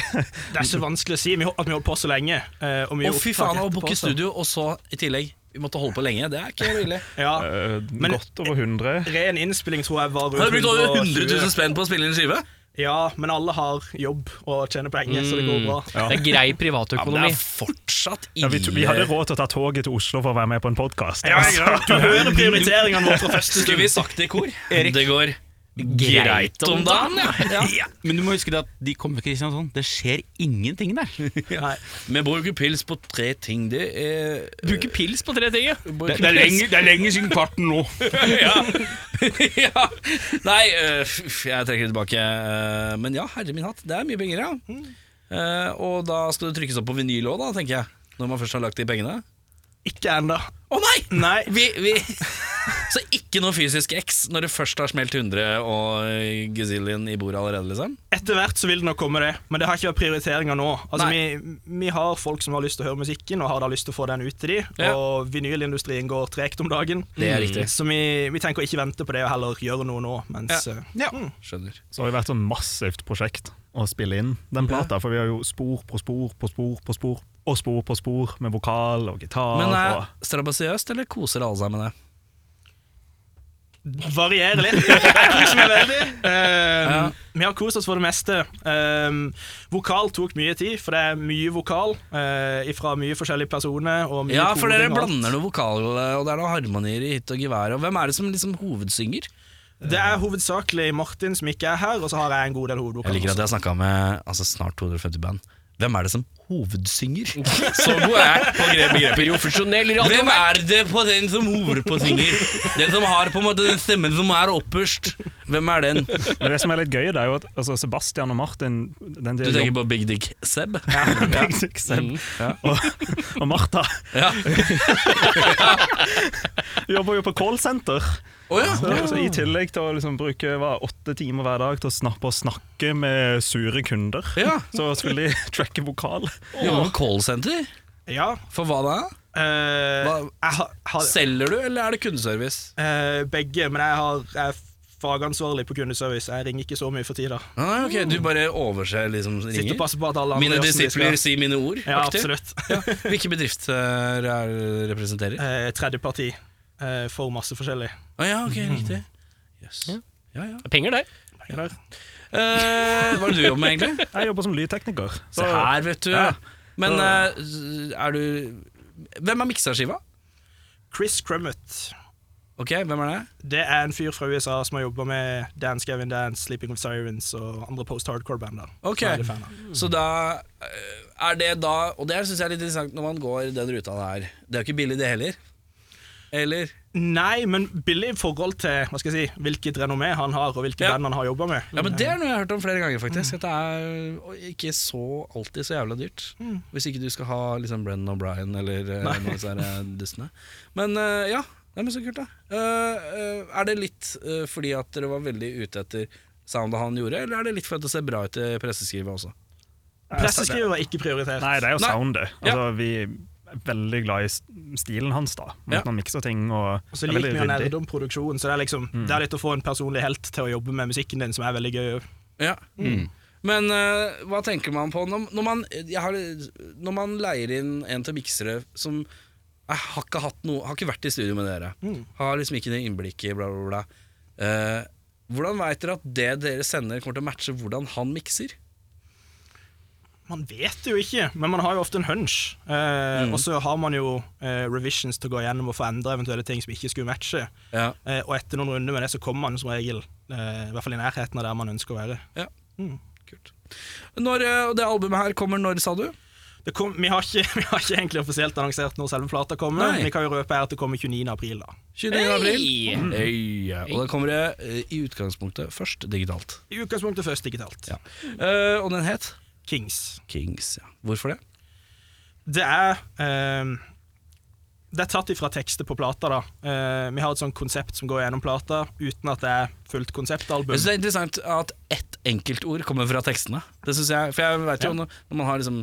Speaker 6: Det er så vanskelig å si vi, hol- at vi holdt på så lenge. eh, og vi
Speaker 1: Å,
Speaker 6: gjorde
Speaker 1: fy
Speaker 6: opptak
Speaker 1: faen, å
Speaker 6: etterpå
Speaker 1: booke
Speaker 6: også.
Speaker 1: studio, og så i tillegg Vi måtte holde på lenge, det er ikke ille.
Speaker 6: Ja,
Speaker 5: Eh,
Speaker 6: Men-
Speaker 5: Godt over 100.
Speaker 6: Ren innspilling tror jeg
Speaker 1: Har
Speaker 6: var rundt
Speaker 1: du brukt over 100 000
Speaker 6: 120.
Speaker 1: spenn på å spille inn skive?
Speaker 6: Ja, men alle har jobb og tjener penger, så det
Speaker 1: Mm,
Speaker 6: går bra.
Speaker 2: Mm. Det er grei
Speaker 1: Ja, men det
Speaker 2: privatøkonomi.
Speaker 1: er fortsatt
Speaker 5: Ja,
Speaker 1: ille.
Speaker 5: vi, vi hadde råd til å ta toget til Oslo for å være med på en podkast.
Speaker 6: Du hører prioriteringene våre fra første
Speaker 1: Skulle vi
Speaker 6: stund.
Speaker 1: sagt det i kor? Det går greit om dagen, ja.
Speaker 3: Ja. Men du må huske det at de kommer til Kristiansand. Det skjer ingenting der.
Speaker 6: Nei.
Speaker 1: Vi bruker pils på tre ting. Det er
Speaker 2: Bruke pils på tre ting, ja.
Speaker 1: bruker
Speaker 3: lenge siden kvarten nå.
Speaker 1: ja. ja. Nei, øh, f- jeg trekker det tilbake. øh, Men ja, herre min hatt, det er mye penger, ja. Eh, og da skal det trykkes opp på vinyl òg, da, tenker jeg. Når man først har lagt de pengene.
Speaker 6: Ikke ennå.
Speaker 1: Å nei!
Speaker 6: Nei.
Speaker 1: Vi, vi. Så ikke noe fysisk X når det først har smelt 100 og gazillion i bordet allerede, liksom?
Speaker 6: Etter hvert så vil det nok komme, det. Men det har ikke vært prioriteringer nå. Altså, vi, vi har folk som har lyst til å høre musikken, og har da lyst til å få den ut til de.
Speaker 1: Ja.
Speaker 6: Og vinylindustrien går tregt om dagen.
Speaker 1: Det er riktig.
Speaker 6: Så vi, vi tenker å ikke vente på det, og heller gjøre noe nå. Mens, eh,
Speaker 1: Mm. Skjønner.
Speaker 5: Så har det vært sånn massivt prosjekt å spille inn den plata, for vi har jo spor på spor på spor på spor, og spor på spor med vokal og gitar.
Speaker 1: Men eh, er
Speaker 5: og
Speaker 1: strabasiøst, eller koser alle seg med det?
Speaker 6: Varierer litt. Jeg koser meg veldig. Um, Vi har kost oss for det meste. Um, vokal tok mye tid, for det er mye vokal uh, fra mye forskjellige personer. Og mye
Speaker 1: Ja, for dere
Speaker 6: koring og alt.
Speaker 1: blander noe vokal, og det er noe harmonier i hytt og gevær. Og hvem er det som liksom hovedsynger?
Speaker 6: Det er hovedsakelig Martin som ikke er her, og så har jeg en god del
Speaker 1: Jeg
Speaker 6: hovedvokal.
Speaker 1: liker at jeg har snakka med altså, snart 250 band. Hvem er det som hovedsynger? Så god er jeg på gre- begreper.
Speaker 2: Profesjonell radio.
Speaker 1: Hvem er det på den som hovedpåsynger? Den som har på en måte den stemmen som er opperst. Hvem er den?
Speaker 5: Men det som er litt gøy, det er jo at altså, Sebastian og Martin den
Speaker 1: Du tenker på Big Dick Seb? Ja. Mm.
Speaker 5: og, og Martha jobber jo på callsenter.
Speaker 1: Å ja.
Speaker 5: Så, så I tillegg til å liksom bruke hva, åtte timer hver dag til å snappe og snakke med sure kunder,
Speaker 1: Ja.
Speaker 5: så skulle de tracke vokal.
Speaker 1: Jobber på callsenter?
Speaker 6: Ja,
Speaker 1: For hva da?
Speaker 6: uh,
Speaker 1: Hva-
Speaker 6: jeg har, har
Speaker 1: Selger du, eller er det kundeservice?
Speaker 6: uh, begge, men jeg, har, jeg er fagansvarlig på kundeservice. Jeg ringer ikke så mye for tida.
Speaker 1: Ah, ok, Du bare overser liksom
Speaker 6: Sitter og
Speaker 1: ringer?
Speaker 6: passer på at alle andre
Speaker 1: Mine
Speaker 6: gjør som de skal.
Speaker 1: disipler si mine ord?
Speaker 6: Ja,
Speaker 1: aktiv?
Speaker 6: absolutt.
Speaker 1: Ja. Hvilke bedrifter eh, er det du representerer?
Speaker 6: Uh, Tredjeparti. Uh, for masse forskjellig.
Speaker 1: Å ja, ok,
Speaker 5: Mhm.
Speaker 1: riktig. Yes. Ja, ja.
Speaker 2: Penger der.
Speaker 1: Eh, hva er det du jobber med, egentlig?
Speaker 5: Jeg jobber som lydtekniker.
Speaker 1: Se
Speaker 5: Så,
Speaker 1: her, vet du.
Speaker 5: Ja.
Speaker 1: Men eh, er du Hvem er mikserskiva?
Speaker 6: Chris Crummett.
Speaker 1: Ok, hvem er det?
Speaker 6: Det er en fyr fra USA som har jobba med Dance Gavin Dance, Sleeping with Sirens og andre post-hardcore-band. da, som
Speaker 1: Ok.
Speaker 6: jeg er veldig fan av.
Speaker 5: Mm.
Speaker 1: Så da eh, er det da Og det syns jeg er litt interessant når man går den ruta der. Det er jo ikke billig, det heller. Eller?
Speaker 6: Nei, men billig i forhold til hva skal jeg si, hvilket renommé han har, og hvilke
Speaker 1: Ja.
Speaker 6: band han har jobba med. Eh,
Speaker 1: Ja, men Det er noe jeg har hørt om flere ganger, faktisk. At det er og ikke så alltid så jævla dyrt. Hvis ikke du skal ha liksom Brennan O'Brien eller eh, noen av disse her, eh, dustene. Men eh, ja. Det er men så kult, da. Eh, eh, er det litt eh, fordi at dere var veldig ute etter soundet han gjorde, eller er det litt for at det ser bra ut i presseskrivet også?
Speaker 6: Presseskriver er ikke prioritert.
Speaker 5: nei, det er jo
Speaker 1: Nei.
Speaker 5: soundet.
Speaker 1: Ja.
Speaker 5: Altså, vi er veldig glad i s- stilen hans, da.
Speaker 1: Ja.
Speaker 5: Måten han mikser ting og
Speaker 6: Og så
Speaker 5: er
Speaker 6: liker
Speaker 5: veldig
Speaker 6: vi å
Speaker 5: ryddig.
Speaker 6: nerde om produksjonen, så det er liksom,
Speaker 1: Mm.
Speaker 6: det er litt å få en personlig helt til å jobbe med musikken din, som er veldig gøy.
Speaker 1: Ja. Men eh, hva tenker man på når, når, man, jeg har, når man leier inn en til miksere som jeg har ikke, hatt noe, har ikke vært i studio med dere, har liksom ikke det innblikket i bla, bla, bla. Eh, hvordan veit dere at det dere sender, kommer til å matche hvordan han mikser?
Speaker 6: Man vet jo ikke, men man har jo ofte en hunch. Eh,
Speaker 1: Mm.
Speaker 6: Og så har man jo eh, revisions til å gå gjennom og få endra eventuelle ting som ikke skulle matche.
Speaker 1: Ja.
Speaker 6: Eh, og etter noen runder med det, så kommer man som regel eh, i hvert fall i nærheten av der man ønsker å være.
Speaker 1: Kult. Når, eh, og det albumet her kommer når, sa du?
Speaker 6: Det kom, vi, har ikke, vi har ikke egentlig offisielt annonsert når selve plata kommer.
Speaker 1: Nei.
Speaker 6: Vi kan jo røpe her at det kommer 29. april. da.
Speaker 1: 29. april. Hey, ja. Og da kommer det eh, i utgangspunktet først digitalt.
Speaker 6: I utgangspunktet først digitalt.
Speaker 1: Eh, og den het
Speaker 6: Kings.
Speaker 1: Kings. Ja. Hvorfor det?
Speaker 6: Det er eh, Det er tatt ifra tekster på plata. da. Eh, vi har et sånt konsept som går gjennom plata, uten at det er fullt konseptalbum.
Speaker 1: Jeg synes det er interessant at ett enkeltord kommer fra tekstene. Det synes jeg, For jeg vet jo når, når man har liksom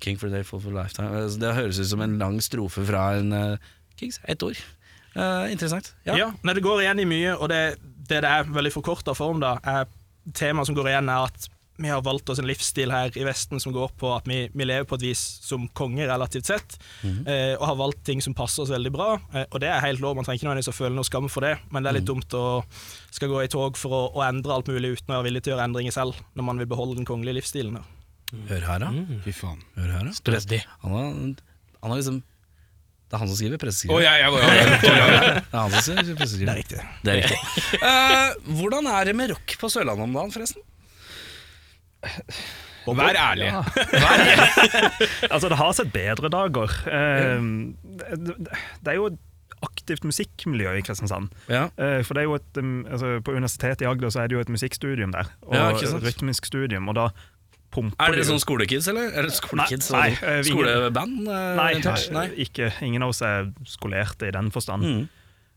Speaker 1: King for a day, full for a lifetime altså, Det høres ut som en lang strofe fra en eh, Kings. Ett ord. Eh, interessant. Ja.
Speaker 6: Ja. Nei, det går igjen i mye, og det det, det er veldig forkorta form, da, er temaet som går igjen, er at vi har valgt oss en livsstil her i Vesten som går på at vi, vi lever på et vis som konger, relativt sett, eh, og har valgt ting som passer oss veldig bra. Eh, og det er helt lov, man trenger ikke nødvendigvis å føle noe skam for det, men det er litt dumt å skal gå i tog for å, å endre alt mulig uten å være villig til å gjøre endringer selv, når man vil beholde den kongelige livsstilen. Da.
Speaker 1: Hør her, da.
Speaker 3: Fy faen.
Speaker 1: Hør her, da. Han har, han har liksom Det er han som skriver presseskrivet.
Speaker 3: Å, ja, ja, ja, ja.
Speaker 1: Det er han som skriver presseskrivet.
Speaker 6: riktig.
Speaker 1: Det er riktig. Eh, hvordan er det med rock på Sørlandet om dagen, forresten?
Speaker 3: Vær ærlig.
Speaker 5: Altså, det har sett bedre dager. Eh, det, det er jo et aktivt musikkmiljø i Kristiansand.
Speaker 1: Ja.
Speaker 5: Eh, For det er jo et, um, altså, På Universitetet i Agder så er det jo et musikkstudium der. Og
Speaker 1: Ja, ikke sant?
Speaker 5: et rytmisk studium, og da pumper
Speaker 1: Er dere
Speaker 5: de jo-
Speaker 1: sånn skolekids, eller? Er det skolekids?
Speaker 5: Nei,
Speaker 1: og
Speaker 5: nei, eh, vi-
Speaker 1: Skoleband? eh,
Speaker 5: Nei,
Speaker 1: orientert? nei.
Speaker 5: Ikke, ingen av oss er skolerte i den forstand.
Speaker 1: Mm.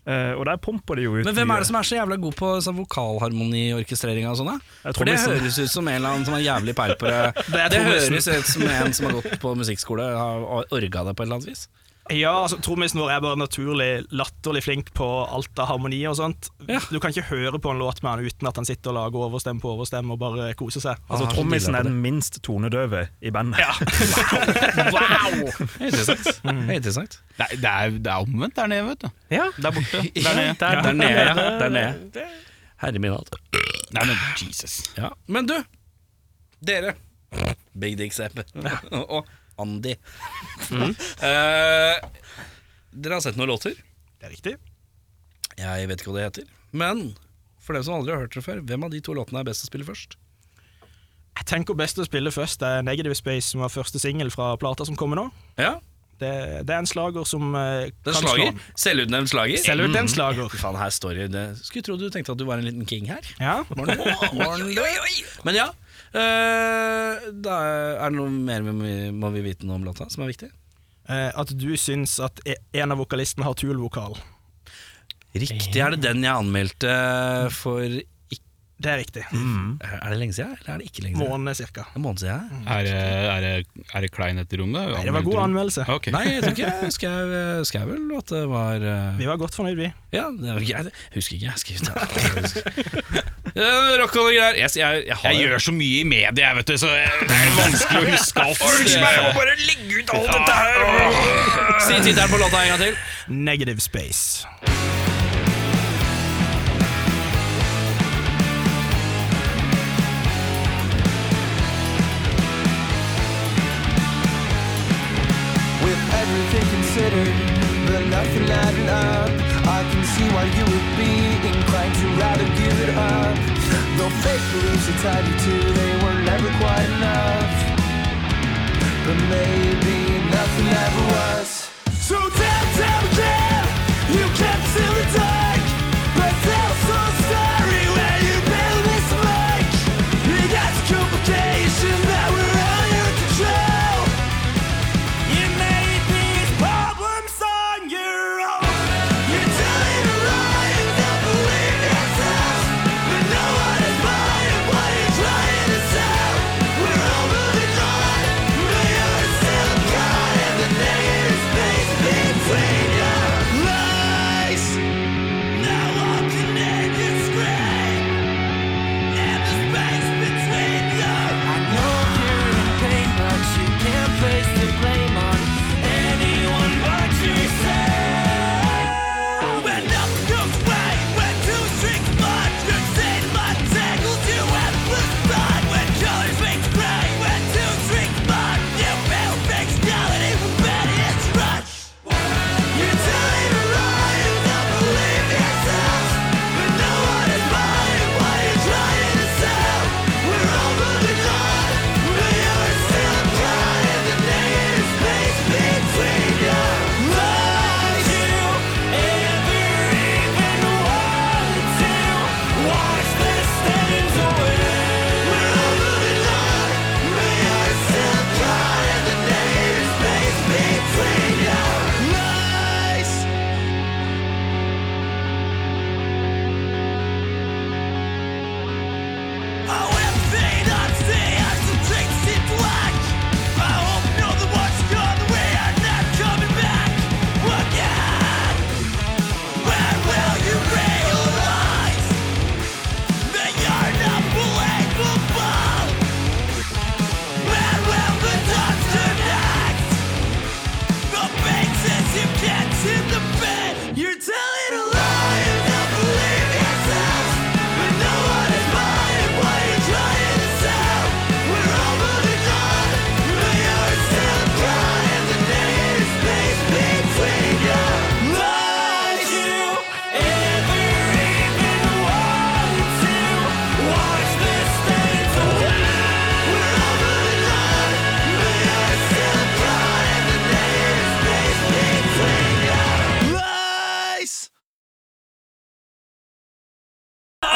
Speaker 5: Eh, og der pumper de jo ut
Speaker 1: Men hvem er det som er så jævla god på sånn vokalharmoniorkestrering og sånn? da?
Speaker 5: Jeg
Speaker 1: For det
Speaker 5: tror
Speaker 1: høres ut som en eller annen som har jævlig peil på det.
Speaker 6: er
Speaker 1: Det
Speaker 6: trommisen.
Speaker 1: høres ut som en som har gått på musikkskole har orga det på et eller annet vis.
Speaker 6: Ja, altså, Trommisen vår er bare naturlig latterlig flink på alt av harmoni og sånt.
Speaker 1: Ja.
Speaker 6: Du kan ikke høre på han låt med han uten at han sitter og lager overstem på overstem og bare koser seg.
Speaker 5: Altså,
Speaker 1: Ah,
Speaker 5: Trommisen
Speaker 1: så dilla
Speaker 5: er den minst tonedøve i bandet.
Speaker 1: Wow! Det er Interessant. Det er Interessant.
Speaker 3: Nei, det er, det er omvendt der nede, vet du.
Speaker 2: Ja.
Speaker 3: Der borte. Der nede.
Speaker 1: Der, der nede, ja. Der nede. Herre min hatt.
Speaker 3: Nei, men Jesus.
Speaker 1: Ja. Men du, dere. Big Dick Sepp og og Andy. Mm. Eh, dere har sett noen låter.
Speaker 6: Det er riktig.
Speaker 1: Jeg vet ikke hva det heter. Men for dem som aldri har hørt det før, hvem av de to låtene er best å spille først?
Speaker 6: Jeg tenker best å spille først Det er Negative Space, som var første singel fra plata som kommer nå.
Speaker 1: Ja,
Speaker 6: Det, det er en slager som eh,
Speaker 1: det er
Speaker 6: kan
Speaker 1: slager.
Speaker 6: slå.
Speaker 1: Selvutnevnt slager. Mm.
Speaker 6: Selv ut en slager.
Speaker 1: Fy faen, her står det- det Skulle tro du tenkte at du var en liten king her.
Speaker 6: Ja.
Speaker 1: Men ja. eh, da er det noe mer vi må- må vi vite noe om låta som er viktig?
Speaker 6: Eh, at du syns at e- en av vokalistene har tul-vokal.
Speaker 1: Riktig er det den jeg anmeldte for ikke,
Speaker 6: Det er riktig.
Speaker 1: Mm. Er det lenge siden, eller er det ikke lenge siden?
Speaker 6: Måned cirka.
Speaker 1: En måned siden? ja.
Speaker 3: Er det, er det, er det klein etter rommet?
Speaker 6: Nei, det var god anmeldelse.
Speaker 3: Ok.
Speaker 1: Nei, jeg tror ikke jeg skrev, skrev vel at det var eh,
Speaker 6: Vi var godt fornøyd, vi.
Speaker 1: Ja, det er greit. Jeg husker ikke. Jeg skrev det. Eh, Rock og greier. Jeg, jeg, jeg, har,
Speaker 3: Jeg gjør så mye i media, jeg, vet du, så det er vanskelig å huske alt.
Speaker 1: bare legge ut alt dette her! Si tittelen på låta en gang til.
Speaker 6: Negative Space.
Speaker 7: With everything considered, the nothing adding up. I can see why you would be inclined to rather give it up. Though fake beliefs that tied you to, they were never quite enough. But maybe nothing ever was. So tell, tell, tell, you kept till the dark. But tell so sorry where you made a mistake. You got the complication that were out of your control. You made these problems on your own. You're telling a lie and don't believe yourself. But no one is buying what you're trying to sell. We're all moving on, but you're still caught in the negative space between.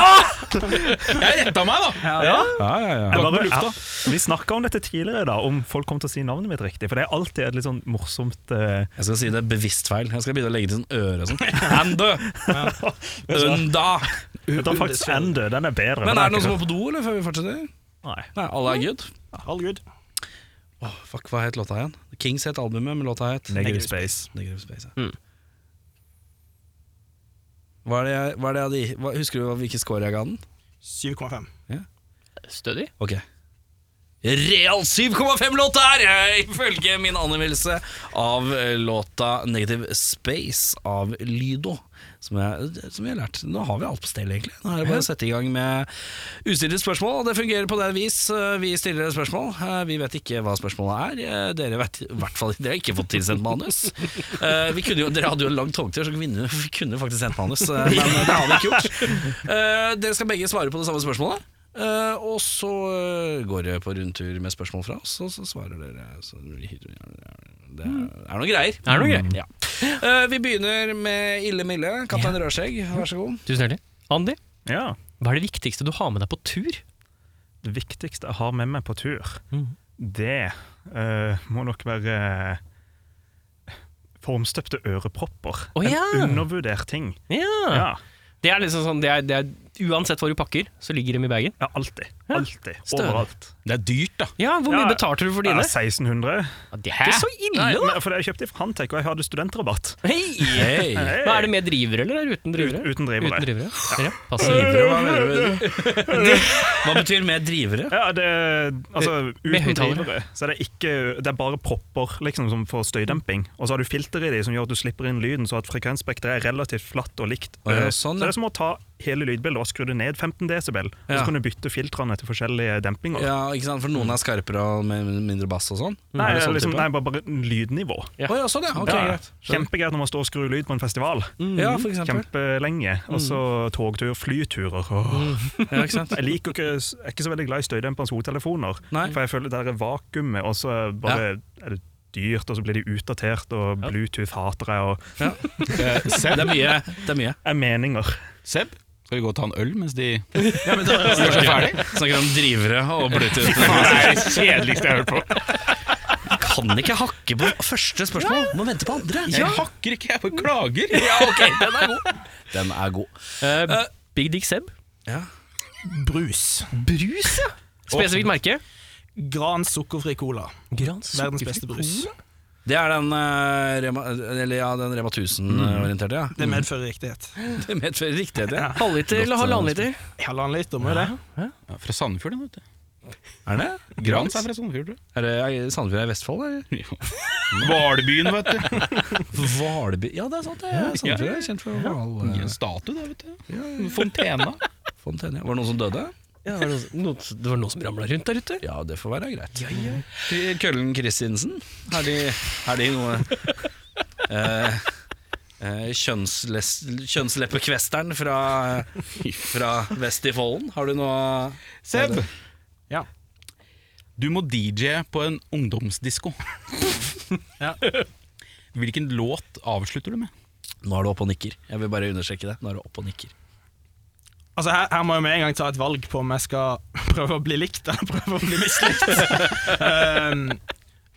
Speaker 3: Jeg retta meg, da!
Speaker 8: Ja, ja, ja.
Speaker 5: Jeg bare- ja. Vi snakka om dette tidligere, da, om folk kom til å si navnet mitt riktig. For det er alltid et litt sånn morsomt eh,
Speaker 1: Jeg skal si det er bevisst feil. Jeg skal begynne å legge til sånn øre og sånn. Andø! Ønda!
Speaker 5: Jeg tror faktisk Ender, den er bedre.
Speaker 1: Men
Speaker 5: den
Speaker 1: er det noen
Speaker 5: ikke
Speaker 1: som må på do, eller før vi fortsetter?
Speaker 5: Nei.
Speaker 1: Nei, alle er good.
Speaker 6: All good.
Speaker 1: Åh, fuck, hva het låta igjen? The Kings het albumet, men låta het
Speaker 5: Negative Space.
Speaker 1: Negative Space. Ja. Hva er det jeg, hva er det jeg hadde i? Hva, Husker du hva- hvilken score jeg ga den?
Speaker 6: 7,5.
Speaker 2: Stødig.
Speaker 1: Ok. Real 7,5-låt er jeg, ifølge min anmeldelse av eh, låta 'Negative Space' av Lydo. Som jeg, som jeg har lært. Nå har vi alt på stell, egentlig. Nå er det bare å sette i gang med ustilte spørsmål. Og det fungerer på det vis. Eh, Vi stiller et spørsmål. Eh, Vi vet ikke hva spørsmålet er. Eh, Dere vet i hvert fall Dere har ikke fått tilsendt manus. Eh, Vi kunne jo, dere hadde jo en lang togtur, så vi kunne- vi kunne faktisk sendt manus. eh, Men det har vi ikke gjort. Eh, Dere skal begge svare på det samme spørsmålet. Eh, og så eh, går det på rundtur med spørsmål fra oss, og så svarer dere. Så det er noen greier.
Speaker 2: Er det noe greit?
Speaker 1: Ja. Eh, vi begynner med Ille Mille. Kaptein Rødskjegg, vær så god.
Speaker 2: Tusen hjertelig. Andy,
Speaker 5: Ja.
Speaker 2: hva er det viktigste du har med deg på tur?
Speaker 5: Det viktigste jeg har med meg på tur, det eh, må nok være eh, formstøpte ørepropper.
Speaker 2: Å, ja.
Speaker 5: En undervurdert ting.
Speaker 2: Ja.
Speaker 5: Ah. Ja.
Speaker 2: Det er liksom sånn, det er, det er, uansett hva du pakker, så ligger dem i bagen.
Speaker 5: ja, alltid. Alltid.
Speaker 2: Stødig.
Speaker 5: Overalt.
Speaker 3: Det er dyrt, da.
Speaker 2: Ja, Hvor mye
Speaker 5: Ja.
Speaker 2: betalte du for
Speaker 5: Det er
Speaker 2: dine?
Speaker 5: 1600.
Speaker 2: Ja, det er ikke så ille,
Speaker 5: Nei,
Speaker 2: da!
Speaker 5: men, for jeg kjøpte fra Hantec, og jeg hadde studentrabatt.
Speaker 2: Hei.
Speaker 5: Hey.
Speaker 2: Hva er det med drivere, eller er det uten drivere?
Speaker 5: Ut- uten drivere.
Speaker 2: Uten drivere. Ja. Passer drivere.
Speaker 1: Hva, betyr mer drivere?
Speaker 5: Ja, det, altså,
Speaker 2: Med
Speaker 5: uten
Speaker 2: høyttalere.
Speaker 5: drivere. Så er det, ikke, det er bare propper liksom, som får støydemping. Og så har du filter i de som gjør at du slipper inn lyden, så at frekvensspekteret er relativt flatt og likt. Eh,
Speaker 1: Å, ja, sånn,
Speaker 5: så det er som å ta hele lydbildet og skru det ned 15 desibel. Og
Speaker 1: Ja.
Speaker 5: så kan du bytte filtrene til forskjellige dempinger.
Speaker 1: Ja, ikke sant? For noen er skarpere og med mindre bass og sånn.
Speaker 5: Nei,
Speaker 1: Er det sånn
Speaker 5: liksom,
Speaker 1: type?
Speaker 5: nei, bare, bare lydnivå.
Speaker 1: Å ja, sånn ja. Ok,
Speaker 5: Ja.
Speaker 1: greit. Mm. Skjønner.
Speaker 5: Kjempegøyt når man står og skrur lyd på en festival.
Speaker 1: Ja,
Speaker 2: Mm.
Speaker 1: Mm. for eksempel.
Speaker 5: Kjempelenge. Og så togtur, flyturer. Åh.
Speaker 1: Mm. Ja, ikke sant?
Speaker 5: Jeg, liker ikke, jeg er ikke så veldig glad i støydempende hodetelefoner.
Speaker 1: Nei.
Speaker 5: For jeg føler det er vakuumet, og så er bare er det dyrt, og så blir de utdatert, og Bluetooth hater jeg, og
Speaker 1: Det er mye. Det er mye.
Speaker 5: er meninger.
Speaker 3: Seb, skal vi gå og ta en øl mens de
Speaker 1: Snakker om drivere og Bluetooth.
Speaker 5: Kjedeligste jeg har hørt på.
Speaker 1: Kan ikke hakke på første spørsmål, må vente på andre.
Speaker 3: Jeg hakker ikke, jeg bare klager!
Speaker 1: Den er god. Den er god.
Speaker 2: Eh, Big Dick Seb.
Speaker 1: Ja.
Speaker 6: Brus.
Speaker 2: Brus, ja! Spesifikt merke.
Speaker 6: Gran sukkerfri cola.
Speaker 2: Gran
Speaker 6: Verdens beste brus.
Speaker 1: Det er den eh, Rema, eller, ja, den Rema 1000-orienterte, ja.
Speaker 6: Det medfører riktighet.
Speaker 1: Det medfører riktighet, ja.
Speaker 2: Halvliter eller halvannen liter?
Speaker 6: Halvannen liter må jo det.
Speaker 3: Ja, fra Sandefjord, den, vet du.
Speaker 1: Er det?
Speaker 3: Grans er fra Sandefjord, tror
Speaker 1: Er det Sandefjord er i Vestfold, eller?
Speaker 3: jeg. Hvalbyen, vet du.
Speaker 1: Hvalby Ja, det er sant, det. er Sandefjord er kjent for hval...
Speaker 3: En statue der, vet du. Fontena.
Speaker 1: Fontene. Var det noen som døde?
Speaker 2: Ja, var det, noen, det var noen som ramla rundt der ute.
Speaker 1: Ja, det får være greit. Køllen Kristinsen, er de, er de noe eh, eh, kjønnsles, Kjønnsleppekvesteren fra, fra vest i Follen? Har du noe
Speaker 3: Seb,
Speaker 6: Ja.
Speaker 3: du må DJ på en ungdomsdisko.
Speaker 6: Ja.
Speaker 3: Hvilken låt avslutter du med?
Speaker 1: Nå er du oppe og nikker. Jeg vil bare understreke det. Nå er du oppe og nikker.
Speaker 6: Altså her, her må jeg med en gang ta et valg på om jeg skal prøve å bli likt eller prøve å bli mislikt. um,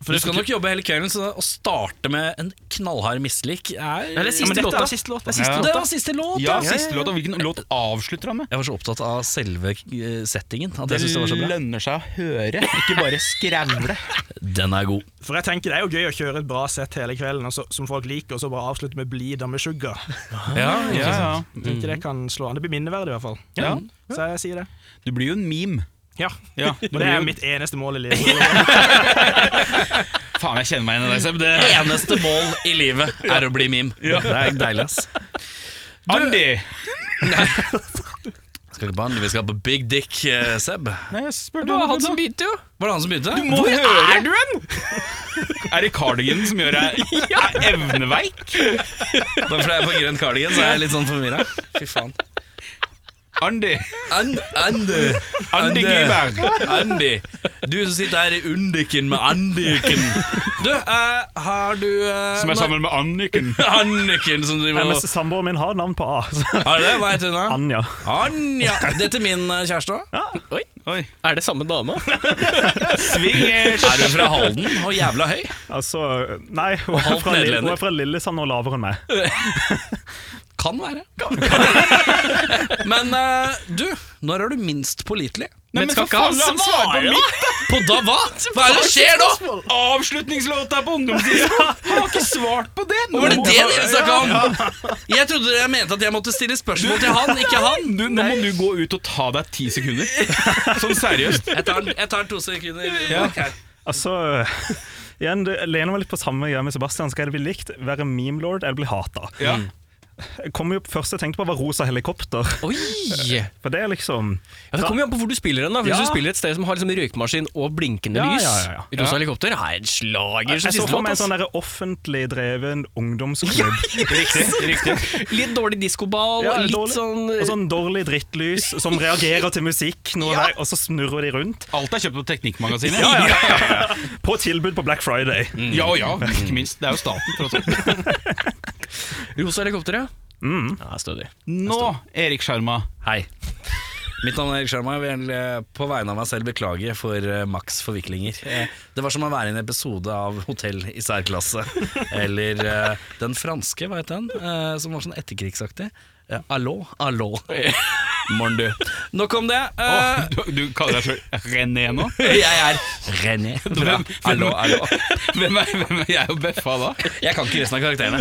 Speaker 1: For du skal nok jobbe hele kvelden, så å starte med en knallhard mislik er
Speaker 2: Nei, det er
Speaker 6: ja, men
Speaker 2: siste
Speaker 6: dette
Speaker 2: låta.
Speaker 6: er siste låta.
Speaker 2: siste
Speaker 1: Det var siste låt,
Speaker 3: Ja, siste låta. Hvilken låt avslutter han med?
Speaker 1: Jeg var så opptatt av selve eh, settingen at jeg synes det var så bra.
Speaker 3: lønner seg å høre, ikke bare skrevle.
Speaker 1: Den er god.
Speaker 6: For jeg tenker Det er jo gøy å kjøre et bra sett hele kvelden og så, som folk liker, og så bare avslutte med 'Bleed med sugar'.
Speaker 1: Ah, Ja,
Speaker 3: Ja, ja.
Speaker 6: Jeg tenker Det kan slå an. Det blir minneverdig, i hvert fall.
Speaker 3: Ja.
Speaker 6: Så jeg sier det.
Speaker 3: Du blir jo en meme.
Speaker 6: Ja.
Speaker 3: Ja, du
Speaker 6: Og det
Speaker 3: blir
Speaker 6: er
Speaker 3: jo-
Speaker 6: mitt eneste mål i livet.
Speaker 3: Faen, jeg kjenner meg igjen i deg, Seb. Det...
Speaker 1: Eneste mål i livet er å bli meme. Det er deilig, ass.
Speaker 3: Andy!
Speaker 1: Skal ikke på han, vi skal på Big Dick eh, Seb. Var
Speaker 3: Nei, jeg spurte
Speaker 2: Det var
Speaker 3: hva
Speaker 2: han
Speaker 3: du
Speaker 2: som begynte, jo!
Speaker 1: det han som begynte?
Speaker 3: må høre! Er du en? Er det cardigan som gjør deg er evneveik?
Speaker 1: Bare fordi jeg er på grønn cardigan, så er jeg litt sånn forvirra. Fy faen.
Speaker 3: Andy.
Speaker 1: And, Ande.
Speaker 3: Andy Gyberg.
Speaker 1: Andy. Du som sitter her i Undiken med Andiken. Du, eh, har du eh,
Speaker 3: Som er sammen med Anniken.
Speaker 1: nå- Anniken som driver og
Speaker 5: Hennes samboer min har navn på A. så-
Speaker 1: Har du det? Hva heter hun, da?
Speaker 5: Anja.
Speaker 1: Anja. Dette er min eh, kjæreste òg.
Speaker 2: Oi,
Speaker 3: Oi.
Speaker 2: er det samme dame?
Speaker 3: Swingers.
Speaker 1: Er du fra Halden og jævla høy?
Speaker 5: Altså, nei, hun er,
Speaker 1: halvt
Speaker 5: fra, Lill-
Speaker 1: nederlender.
Speaker 5: hun er fra Lillesand og lavere enn meg.
Speaker 1: Kan være. Men eh, du, når er du minst pålitelig?
Speaker 3: Nei, men
Speaker 2: Men skal
Speaker 3: for
Speaker 2: ikke han
Speaker 3: faen, han svarer
Speaker 2: svare,
Speaker 3: på mitt
Speaker 2: da?
Speaker 1: På da hva? Hva er det som skjer nå?
Speaker 3: avslutningslåta på ungdomstida! Han har ikke svart på det!
Speaker 1: Var det det dere snakka om? Jeg trodde dere mente at jeg måtte stille spørsmål til han, ikke han.
Speaker 3: Du, nå må du gå ut og ta deg ti sekunder. Sånn seriøst.
Speaker 1: Jeg tar, jeg tar to sekunder. Ok.
Speaker 5: Altså, igjen, det lener meg litt på samme greia med Sebastian. Skal jeg bli likt, være memelord eller bli hata?
Speaker 3: Ja.
Speaker 5: Jeg kom jo først jeg tenkte på, var rosa helikopter.
Speaker 2: Oi! Ja,
Speaker 5: For det er liksom
Speaker 2: Det kommer jo an på hvor du spiller den. da For Hvis
Speaker 5: Ja.
Speaker 2: du spiller et sted som har liksom røykmaskin og blinkende
Speaker 5: Ja,
Speaker 2: lys,
Speaker 5: ja, ja, ja.
Speaker 2: Rosa helikopter er en slager som
Speaker 5: Jeg så
Speaker 2: siste
Speaker 5: for meg
Speaker 2: låt.
Speaker 5: en
Speaker 2: altså.
Speaker 5: sånn
Speaker 2: ass.
Speaker 5: der offentlig dreven ungdomsklubb.
Speaker 3: Riktig.
Speaker 1: sånn
Speaker 3: riktig
Speaker 2: Litt dårlig diskoball,
Speaker 5: Ja,
Speaker 2: litt
Speaker 5: dårlig-
Speaker 2: sånn
Speaker 5: Og sånn dårlig drittlys som reagerer til musikk, noe der, og så snurrer de rundt.
Speaker 3: Alt er kjøpt på Teknikkmagasinet. Mm.
Speaker 5: Ja, ja, På tilbud på Black Friday.
Speaker 3: ja, ja, ikke minst. Det er jo staten, tross alt.
Speaker 2: Rosa helikopter, ja. Ja, Stødig.
Speaker 3: Nå, Erik Sjarma.
Speaker 1: Hei. Mitt navn er Erik Sjarma. Jeg vil gjerne, eh, på vegne av meg selv beklage for eh, Max forviklinger. Eh, Det var som å være i en episode av Hotell i særklasse. Eller eh, den franske, hva het den? Eh, Som var sånn etterkrigsaktig. Eh, Allô, allô. Morn, du. Nok om det. Eh,
Speaker 3: Du, du kaller deg sjøl René nå?
Speaker 1: Jeg er René. fra
Speaker 3: Hvem- hvem-
Speaker 1: Allô, allô.
Speaker 3: Hvem er, hvem er jeg og Beffa da?
Speaker 1: Jeg kan ikke resten av karakterene.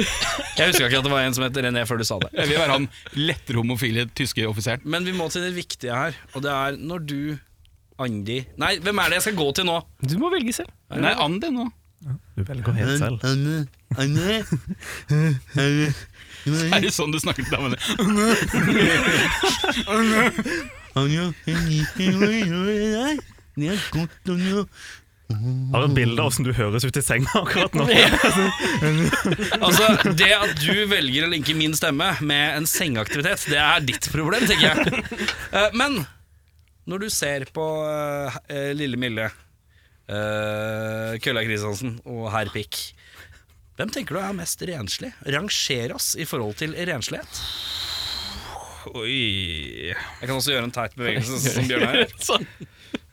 Speaker 1: Jeg huska ikke at det var en som het René før du sa det.
Speaker 3: Jeg vil være han lettere homofile tyske offiseren.
Speaker 1: Men vi må til det viktige her, og det er når du Andi Nei, hvem er det jeg skal gå til nå?
Speaker 2: Du må velge selv.
Speaker 3: Nei, Andy nå.
Speaker 5: Du velger helt selv.
Speaker 3: Er det sånn du snakker til damene?
Speaker 5: Har et bilde av åssen du høres ut i senga akkurat nå.
Speaker 1: Altså, Det at du velger å linke min stemme med en sengeaktivitet, det er ditt problem, tenker jeg. Eh, Men når du ser på eh, Lille Mille, eh, Kølla Kristiansen og Herr Pikk hvem tenker du er mest renslig? Ranger oss i forhold til renslighet.
Speaker 3: Oi
Speaker 1: Jeg kan også gjøre en teit bevegelse, sånn som Bjørn her.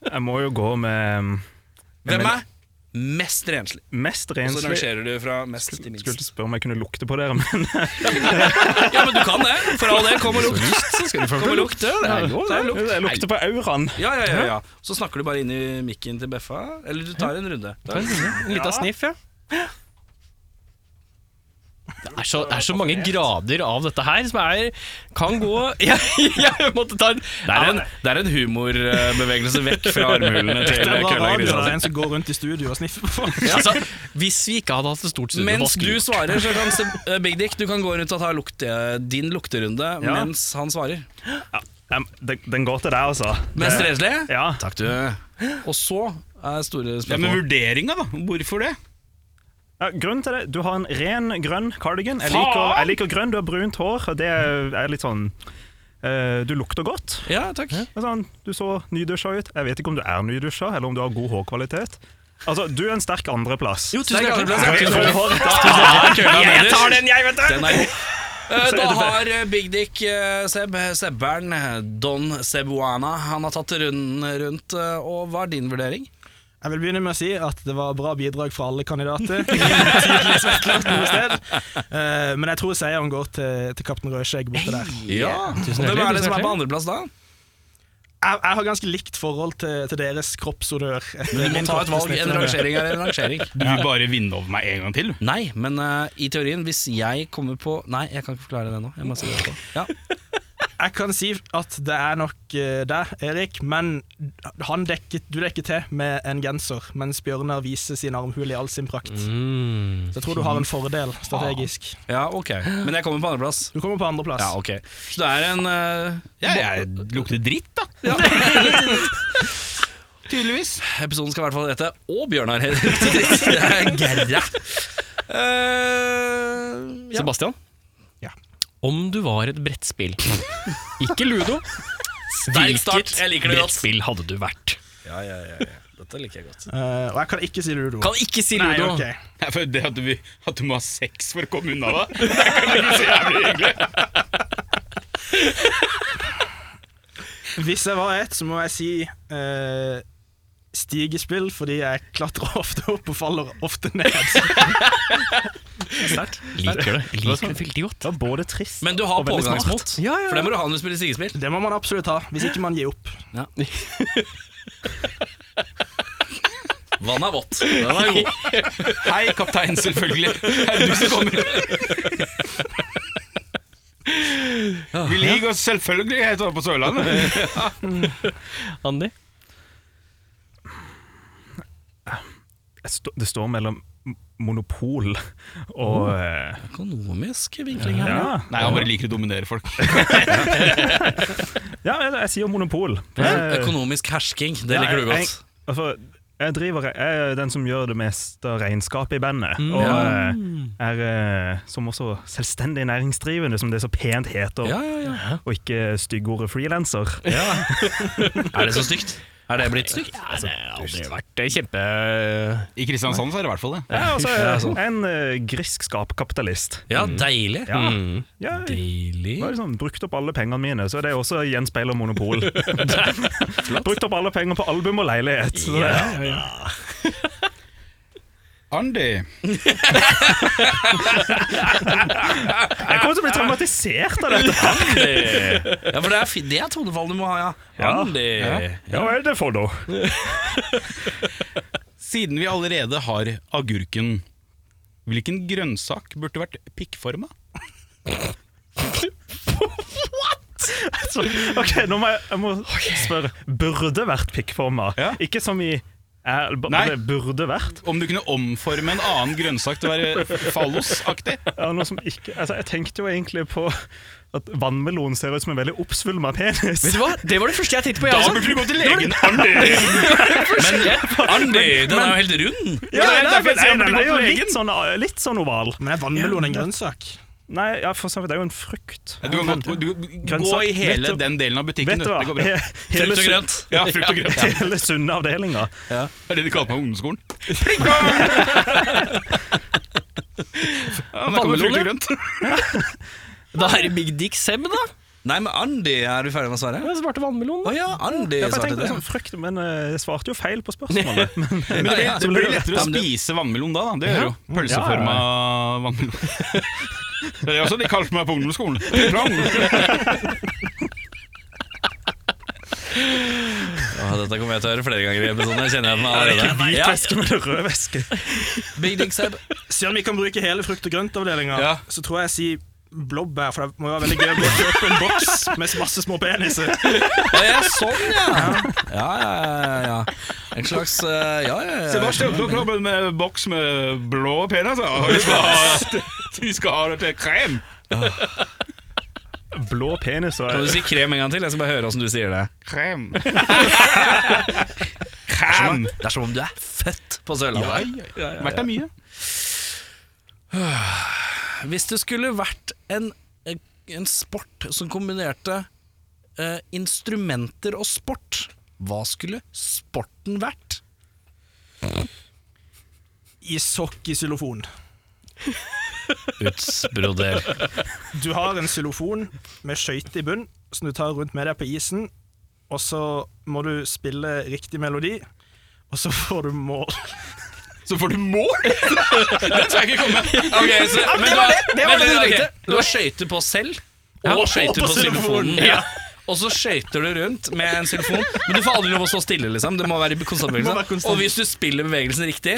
Speaker 5: Jeg må jo gå med mm,
Speaker 1: Hvem er mest renslig?
Speaker 5: mest
Speaker 1: Og så
Speaker 5: renslig
Speaker 1: rangerer du fra mest til
Speaker 5: Skulle
Speaker 1: minst.
Speaker 5: spørre om jeg kunne lukte på dere, men
Speaker 1: Ja, men du kan det. For all det. Kom og lukt.
Speaker 2: Så skal du få
Speaker 1: Kom og lukt. Ja, det går, det er lukt.
Speaker 5: jeg lukter på auraen.
Speaker 1: Ja, ja, ja, ja. Så snakker du bare inn i mikken til Beffa. Eller du tar en runde.
Speaker 2: En liten sniff, ja. Det er, så, det er så mange grader av dette her som er Kan gå Jeg, jeg måtte ta en
Speaker 1: Det er
Speaker 2: Ja,
Speaker 1: en,
Speaker 2: men-
Speaker 1: det er en humorbevegelse vekk fra armhulene til
Speaker 6: Det er bare
Speaker 1: Kølla
Speaker 6: radio, det er
Speaker 1: Kristiansen.
Speaker 6: en som går rundt i studio og sniffer på folk.
Speaker 2: altså, Hvis vi ikke hadde hatt et stort studio hva
Speaker 1: Mens du
Speaker 2: skulle vi gjort?
Speaker 1: svarer, så kan Seb- eh, Big Dick Du kan gå rundt og ta lukte, din lukterunde
Speaker 5: Ja.
Speaker 1: mens han svarer.
Speaker 5: Em, Den den går til deg, altså.
Speaker 1: Mest renslig?
Speaker 5: Ja.
Speaker 1: Takk, du. Og så er store
Speaker 3: Ja, Men
Speaker 1: spørsmål.
Speaker 3: vurderinga, da? Hvorfor det?
Speaker 5: Ja, grunnen til det, Du har en ren grønn cardigan. Jeg liker, jeg liker grønn, du har brunt hår. og Det er litt sånn eh, Du lukter godt.
Speaker 1: Ja, takk.
Speaker 5: Det er Sånn, du så nydusja ut. Jeg vet ikke om du er nydusja, eller om du har god hårkvalitet. Altså, Du er en sterk andreplass.
Speaker 1: Jo, tusen
Speaker 2: Sterk
Speaker 1: hjertelig.
Speaker 5: Rød-
Speaker 1: takk.
Speaker 5: rød hår, da.
Speaker 1: Jeg tar den, jeg, vet du! da
Speaker 5: Så er det det.
Speaker 1: har eh, Big Dick eh, Seb, Sebbern, eh, Don Sebuana, han har tatt runden rundt. eh, Og hva er din vurdering?
Speaker 6: Jeg vil begynne med å si at det var bra bidrag fra alle kandidater. Tydeligvis vektlagt noe sted. Eh, Men jeg tror seieren går til, til kaptein Rødskjegg borte der.
Speaker 1: Ja,
Speaker 2: Tusen
Speaker 1: Hvem
Speaker 2: hjertelig,
Speaker 1: er det
Speaker 2: tusen
Speaker 1: som er på
Speaker 2: hjertelig.
Speaker 1: andreplass da?
Speaker 6: Jeg, jeg har ganske likt forhold til, til deres kroppsodør.
Speaker 1: Du må ta et valg. En rangering er en rangering.
Speaker 3: Du vil bare vinne over meg en gang til?
Speaker 1: Nei, men eh, i teorien, hvis jeg kommer på Nei, jeg kan ikke forklare det nå. Jeg må si det etterpå. ja.
Speaker 6: Jeg kan si at det er nok eh, der, Erik, men han dekket, du dekker til med en genser, mens Bjørnar viser sin armhule i all sin prakt.
Speaker 2: Mm.
Speaker 6: Så jeg tror du har en fordel strategisk.
Speaker 1: ja, ok. Men jeg kommer på andreplass.
Speaker 6: Du kommer på andreplass.
Speaker 1: Ja, ok. Så det er en eh,
Speaker 3: Ja, jeg lukter dritt, da. Tydeligvis.
Speaker 1: Episoden skal i hvert fall hete Å, Bjørnar Hedvig. Det er Gerra. Eh, ja.
Speaker 2: Sebastian?
Speaker 6: Ja.
Speaker 2: om du var et brettspill. Ikke ludo.
Speaker 1: Sterk start. Jeg liker det godt.
Speaker 2: brettspill hadde du vært?
Speaker 1: Ja, ja, ja, ja. Dette liker jeg godt.
Speaker 6: Eh, og jeg kan ikke si ludo.
Speaker 2: Kan ikke si
Speaker 6: Nei,
Speaker 2: ludo.
Speaker 6: ok.
Speaker 3: Nei, for det at du, vil- at du må ha sex for å komme unna da Det er kanskje ikke så jævlig hyggelig
Speaker 6: Hvis jeg var et, så må jeg si eh, stigespill, fordi jeg klatrer ofte opp og faller ofte ned.
Speaker 2: Liker det. Liker det veldig godt.
Speaker 5: sånn- Det var både trist
Speaker 1: Men du har
Speaker 5: veldig
Speaker 1: pågangsmot,
Speaker 2: Ja, ja,
Speaker 1: for det må du ha når du spiller stigespill.
Speaker 6: Det må man absolutt ha, hvis ikke man gir opp.
Speaker 1: Vann er vått. Den er god.
Speaker 3: Hei, kaptein, selvfølgelig. Det er du som kommer. Vi liker oss selvfølgelig, heter det på Sørlandet.
Speaker 2: Andy?
Speaker 5: Jeg stå- Det står mellom m- monopol og
Speaker 2: Mm.
Speaker 5: eh,
Speaker 1: Økonomisk vinkling her.
Speaker 5: Ja,
Speaker 3: Nei, han bare liker å dominere folk.
Speaker 5: ja jeg, jeg sier monopol.
Speaker 1: Ø-
Speaker 5: Eh,
Speaker 1: Økonomisk hersking, det
Speaker 5: Ja,
Speaker 1: liker du
Speaker 5: jeg-
Speaker 1: godt.
Speaker 5: Altså, jeg, driver, jeg er den som gjør det meste av regnskapet i bandet. Og
Speaker 1: Mm. Ja.
Speaker 5: eh, er eh, som også selvstendig næringsdrivende, som det så pent heter.
Speaker 1: Ja, ja, ja.
Speaker 5: Og ikke styggordet frilanser.
Speaker 1: Er det så stygt? Er det blitt stygt?
Speaker 2: Ja, det har aldri vært kjempe...
Speaker 3: I Kristiansand så er det i hvert fall det.
Speaker 5: Ja, altså,
Speaker 3: sånn.
Speaker 5: en eh, grisk skapkapitalist.
Speaker 1: Ja, deilig.
Speaker 5: Ja. Ja, jeg
Speaker 1: Deilig.
Speaker 5: har liksom brukt opp alle pengene mine, så det er også gjenspeiler monopol. brukt opp alle penger på album og leilighet. Så det,
Speaker 3: Andy,
Speaker 5: jeg kommer til å bli traumatisert av dette.
Speaker 1: Eh, Ja, for det er, fi- det er tonefall du må ha, ja.
Speaker 5: Ja.
Speaker 1: Andy.
Speaker 5: Ja, hva er det for noe?
Speaker 3: siden vi allerede har agurken, hvilken grønnsak burde vært pikkforma?
Speaker 5: Så, ok, nå må jeg, jeg må spørre. Burde vært pikkforma?
Speaker 3: Oh, Ja.
Speaker 5: Ikke som i er, b-
Speaker 3: Nei.
Speaker 5: det burde vært.
Speaker 3: Om du kunne omforme en annen grønnsak til å være fallosaktig?
Speaker 5: Ja, noe som ikke, altså, jeg tenkte jo egentlig på at vannmelon ser ut som en veldig oppsvulma penis.
Speaker 2: Vet du hva? Det var det første jeg tenkte på.
Speaker 3: Da
Speaker 2: Jeg,
Speaker 3: burde du gå til legen, Andy!
Speaker 1: Men Andy, den er jo helt rund.
Speaker 5: Ja,
Speaker 3: det er derfor jeg sier burde
Speaker 5: nei, nei,
Speaker 3: gå til
Speaker 5: nei,
Speaker 3: legen.
Speaker 5: litt, sånn, litt sånn oval.
Speaker 6: Men er vannmelon en grønnsak?
Speaker 5: Nei, ja, for så vidt. Det er jo en frukt.
Speaker 3: Du kan gå, du, gå
Speaker 5: Grønnsak.
Speaker 3: i hele
Speaker 5: Vet du-
Speaker 3: den delen av butikken,
Speaker 5: Vet
Speaker 3: du.
Speaker 5: du hva?
Speaker 3: Det går bra.
Speaker 5: Hele
Speaker 1: Frukt og
Speaker 5: sun-
Speaker 1: grønt.
Speaker 3: Ja, frukt og grønt.
Speaker 5: Hele sunne avdelinga.
Speaker 3: Det er det de kaller meg ungdomsskolen. Ja, da kommer frukt og grønt.
Speaker 2: da er det Big Dick Seb, da.
Speaker 1: Nei, men Andy, er du ferdig med å svare?
Speaker 2: Jeg svarte vannmelon.
Speaker 1: Å ja, Andy
Speaker 5: Ja, for jeg
Speaker 1: svarte
Speaker 5: tenkte
Speaker 1: det.
Speaker 5: liksom frukt, men eh, jeg svarte jo feil på spørsmålet. Men,
Speaker 3: Men det, det blir lettere å
Speaker 1: Ja, men det-
Speaker 3: spise vannmelon da, da. Det gjør jo. Pølseforma vannmelon. Det er også de kalte meg på ungdomsskolen. Det er bra ungdomsskole.
Speaker 1: Å, dette kommer jeg til å høre flere ganger i episoden. Jeg kjenner jeg den allerede.
Speaker 5: hvit
Speaker 1: Ja,
Speaker 5: væske med rød væske.
Speaker 1: Big Dick Seb.
Speaker 6: Siden vi kan bruke hele frukt- og grøntavdelinga,
Speaker 3: Ja.
Speaker 6: så tror jeg jeg sier blåbær, for det må jo være veldig gøy å bare kjøpe en boks med masse små peniser.
Speaker 1: Å ja, sånn, ja. Ja, ja, ja. ja. En slags eh, Ja, ja, ja.
Speaker 3: Sebastian, du kommer med boks med blå peniser. Vi skal ha, vi skal ha det til krem.
Speaker 5: Blå penis og
Speaker 1: Kan du si krem en gang til? Jeg skal bare høre åssen du sier det.
Speaker 3: Krem. Krem.
Speaker 1: Det er som om du er født på Sørlandet.
Speaker 3: Verdt er mye.
Speaker 1: Hvis det skulle vært en, en sport som kombinerte eh, instrumenter og sport, hva skulle sporten vært?
Speaker 6: Ishockey-xylofon.
Speaker 1: Utsbroder.
Speaker 6: Du har en xylofon med skøyte i bunn, som du tar rundt med deg på isen, og så må du spille riktig melodi, og så får du mål.
Speaker 3: Så får du mål! Det skal jeg ikke komme
Speaker 1: Ok, så, men du har,
Speaker 2: det var
Speaker 1: men
Speaker 2: det du
Speaker 1: ok,
Speaker 2: tenkte.
Speaker 1: du har skøyter på selv,
Speaker 2: Ja,
Speaker 1: og
Speaker 2: og
Speaker 1: skøyter
Speaker 2: på
Speaker 1: på xylofonen.
Speaker 2: xylofonen, ja.
Speaker 1: Og så skøyter du rundt med en xylofon, men du får aldri lov å stå stille. liksom Det må være konstant
Speaker 6: Det må være
Speaker 1: bevegelse.
Speaker 6: konstant.
Speaker 1: Og hvis du spiller bevegelsen riktig,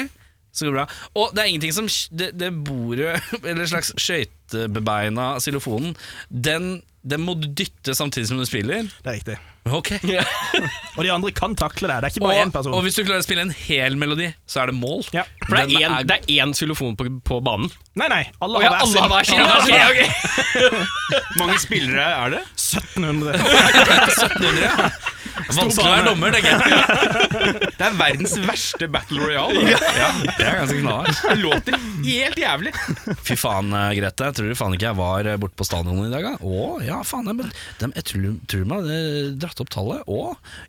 Speaker 1: så går det bra. Og det er ingenting som Det, det bordet, eller slags skøytebebeina xylofonen, den, den må du dytte samtidig som du spiller.
Speaker 6: Det er riktig.
Speaker 1: Ok
Speaker 6: Og de andre kan takle det. Det er ikke
Speaker 1: Og,
Speaker 6: bare én person.
Speaker 1: og hvis du klarer å spille en hel melodi, så er det mål.
Speaker 6: Ja.
Speaker 2: For det
Speaker 1: Den
Speaker 2: er én- det er én xylofon på, på banen.
Speaker 6: Nei, nei. Alle
Speaker 2: Og ja,
Speaker 6: har
Speaker 2: alle har sånn.
Speaker 6: hver
Speaker 2: hver sin. Ok, ok.
Speaker 3: mange spillere er det?
Speaker 6: sin. 1700.
Speaker 1: Vanskelig å være dommer, tenker jeg.
Speaker 3: Det er verdens verste battle royale. det.
Speaker 1: Det er ganske knallhardt.
Speaker 3: Det låter helt jævlig.
Speaker 1: Fy faen, eh, Grete. Jeg tror faen ikke jeg var eh, borte på stadionet i dag. da. Å, ja, faen. Jeg, men, dem, jeg tror, tror de hadde eh, dratt opp tallet. Å,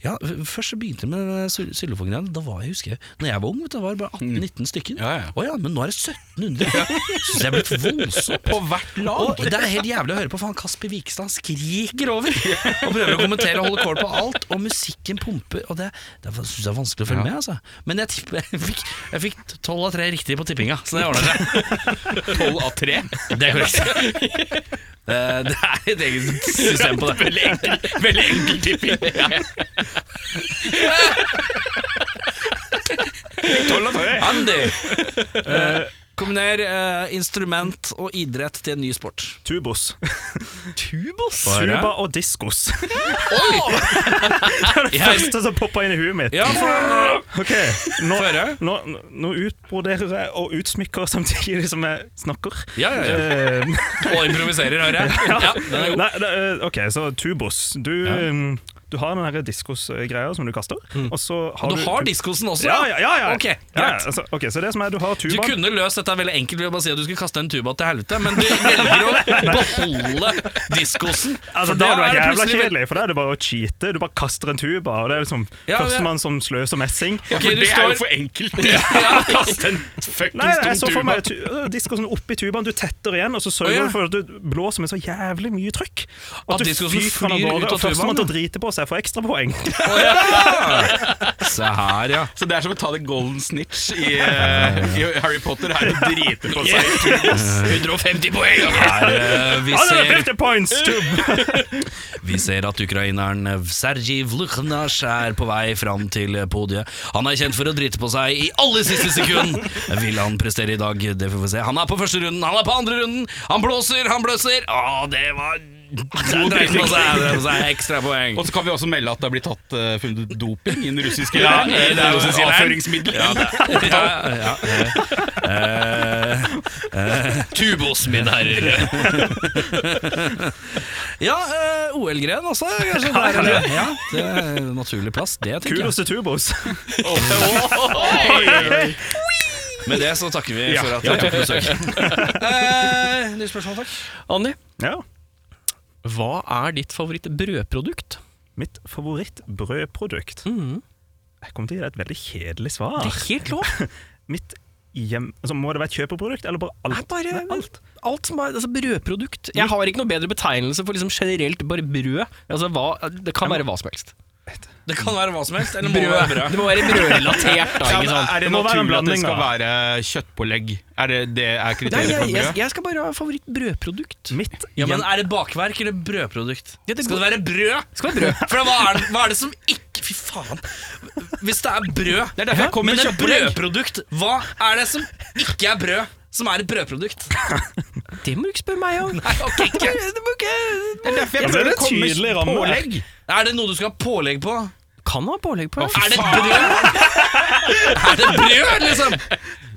Speaker 1: ja. f- Først så begynte det med den syl- syltefonggreiene. Da var jeg, husker jeg, når jeg var ung, vet du, da var det bare 18-19 stykker.
Speaker 3: Mm. Ja, ja.
Speaker 1: Å ja, men nå er det 1700. Syns jeg er blitt voldsom.
Speaker 3: På hvert lag.
Speaker 1: Og det er helt jævlig å høre på, for han Kasper Wikestad skriker over og prøver å kommentere og holde kål på alt, og musikken pumper, og det, det syns jeg er vanskelig å følge med, altså. Men jeg, tipper- jeg fikk- jeg fikk tolv av tre riktige på tippinga, så det ordner seg.
Speaker 3: Tolv av tre.
Speaker 1: Det er korrekt. Eh, Det er et eget system på det. Veldig enkel, veldig enkel tipping.
Speaker 5: Tolv av tre.
Speaker 1: Andy! Eh, Kombiner eh, instrument og idrett til en ny sport.
Speaker 5: Tubos.
Speaker 2: Tubos?
Speaker 5: Tuba og diskos. Det
Speaker 1: Jeg-
Speaker 5: første som poppa inn i huet mitt.
Speaker 1: Ja, for
Speaker 5: Ok, nå,
Speaker 1: Få høre.
Speaker 5: nå, nå utbroderer jeg og utsmykker samtidig som jeg snakker.
Speaker 1: Ja, ja, ja.
Speaker 5: Eh,
Speaker 1: Og improviserer, hører jeg. Ja, den er god.
Speaker 5: Nei, det, eh, ok, så tubos. Du, eh, du har den her diskos-greia som du kaster, og så har
Speaker 1: Du
Speaker 5: du
Speaker 1: Mm. har diskosen også?
Speaker 5: Ja, ja, ja. ja.
Speaker 1: Ok,
Speaker 5: ja, ja,
Speaker 1: greit.
Speaker 5: altså, ok, så det som er, du har
Speaker 1: Du
Speaker 5: tubaen.
Speaker 1: kunne løst dette veldig enkelt ved å bare si at du skulle kaste en tuba til helvete, men du velger å beholde diskosen.
Speaker 5: Altså,
Speaker 1: for da
Speaker 5: da er det
Speaker 1: er det
Speaker 5: jævla
Speaker 1: plutselig-
Speaker 5: kjedelig, for da er det bare å cheate. Du bare kaster en tuba, og det er liksom
Speaker 1: Ja, ja.
Speaker 5: førstemann som sløser messing.
Speaker 1: Ok, du
Speaker 3: For det er
Speaker 1: står
Speaker 3: jo for enkelt.
Speaker 1: ja,
Speaker 3: En fucking
Speaker 5: Nei, nei, jeg så
Speaker 3: stor
Speaker 5: for meg
Speaker 3: tuba.
Speaker 5: tu øh, diskosen oppi tubaen, du tetter igjen, og så sørger
Speaker 1: Å, ja.
Speaker 5: du for at du blåser med så jævlig mye trykk.
Speaker 1: At
Speaker 5: At, du
Speaker 1: diskosen
Speaker 5: fyker den av
Speaker 1: flyr ut
Speaker 5: gårde,
Speaker 1: av
Speaker 5: og førstemann til
Speaker 1: tubaen,
Speaker 5: å drite på seg får ekstrapoeng.
Speaker 1: Se her, ja.
Speaker 3: Så det er som å ta det golden snitch i, eh, i Harry Potter. Her og drite på seg.
Speaker 1: 150 poeng! Her, eh, vi, ser, Eh,
Speaker 5: 150 points, tub!
Speaker 1: vi ser at ukraineren eh, Sergij Vlukhnas er på vei fram til eh, podiet. Han er kjent for å drite på seg i aller siste sekund. Vil han prestere i dag? Det får vi se. Han er på første runden, han er på andre runden. Han blåser, han bløsser. Å, det var Han dreit på seg, dreit på seg. Ekstra poeng.
Speaker 3: Og så kan vi også melde at det blir tatt eh, funnet doping i den russiske
Speaker 1: Ja,
Speaker 3: leiren.
Speaker 1: i den
Speaker 3: Eh,
Speaker 1: russiske leiren.
Speaker 3: Avføringsmiddel.
Speaker 1: ja, ja, ja. Eh, eh, Tubos, mine herrer. ja, eh, OL-gren også, kanskje. Der, eller? ja, det er en naturlig plass, det tenker jeg.
Speaker 5: Kudos til tubos.
Speaker 1: Med det så takker vi for at dere tok besøk. Eh, Nytt spørsmål, takk.
Speaker 2: Anni,
Speaker 5: Ja.
Speaker 2: hva er ditt favoritt-brødprodukt?
Speaker 5: Mitt favorittbrødprodukt.
Speaker 1: Mhm.
Speaker 5: Jeg kommer til å gi deg et veldig kjedelig
Speaker 2: Det
Speaker 5: svar.
Speaker 2: er helt lov.
Speaker 5: Mitt hjem... Altså, må det være et kjøpeprodukt, eller bare alt?
Speaker 2: Nei, bare-
Speaker 5: Nei, alt.
Speaker 2: Alt som er altså brødprodukt. Jeg har ikke noe bedre betegnelse for liksom generelt bare brød. Altså, hva, det kan være hva som helst.
Speaker 1: Det kan være hva som helst. Eller må være
Speaker 2: Brød.
Speaker 1: brød.
Speaker 2: Det må være brødrelatert, da. ikke sant?
Speaker 3: Er det
Speaker 5: Det må være
Speaker 3: naturlig at
Speaker 5: en
Speaker 3: det
Speaker 5: blanding,
Speaker 3: skal
Speaker 5: da.
Speaker 3: være kjøttpålegg? Er det, det er
Speaker 2: Nei,
Speaker 3: kriteriet
Speaker 2: jeg,
Speaker 3: for
Speaker 2: jeg,
Speaker 3: brød?
Speaker 2: jeg skal bare ha favorittbrødprodukt.
Speaker 5: Mitt
Speaker 1: Ja, men Er det bakverk eller brødprodukt?
Speaker 2: Ja, det
Speaker 1: Skal det
Speaker 2: går-
Speaker 1: være brød?
Speaker 2: Skal være brød.
Speaker 1: For hva er, det, hva er det som ikke Fy faen. Hvis det er brød
Speaker 3: Det er derfor jeg kom
Speaker 1: Men
Speaker 3: med
Speaker 1: et
Speaker 3: kjøttpålegg.
Speaker 1: brødprodukt, hva er det som ikke er brød, som er et brødprodukt?
Speaker 2: Det må du ikke spørre meg om.
Speaker 1: Nei, ok, ikke.
Speaker 2: Det må ikke-
Speaker 3: Det er derfor
Speaker 5: Ja,
Speaker 3: jeg
Speaker 5: men
Speaker 3: prøver å
Speaker 5: det er
Speaker 3: komme
Speaker 5: tydelig
Speaker 3: med
Speaker 5: ramme.
Speaker 3: pålegg.
Speaker 1: Er det noe du skal ha pålegg på?
Speaker 2: Kan ha pålegg på.
Speaker 1: Er det brød? Er det brød, liksom?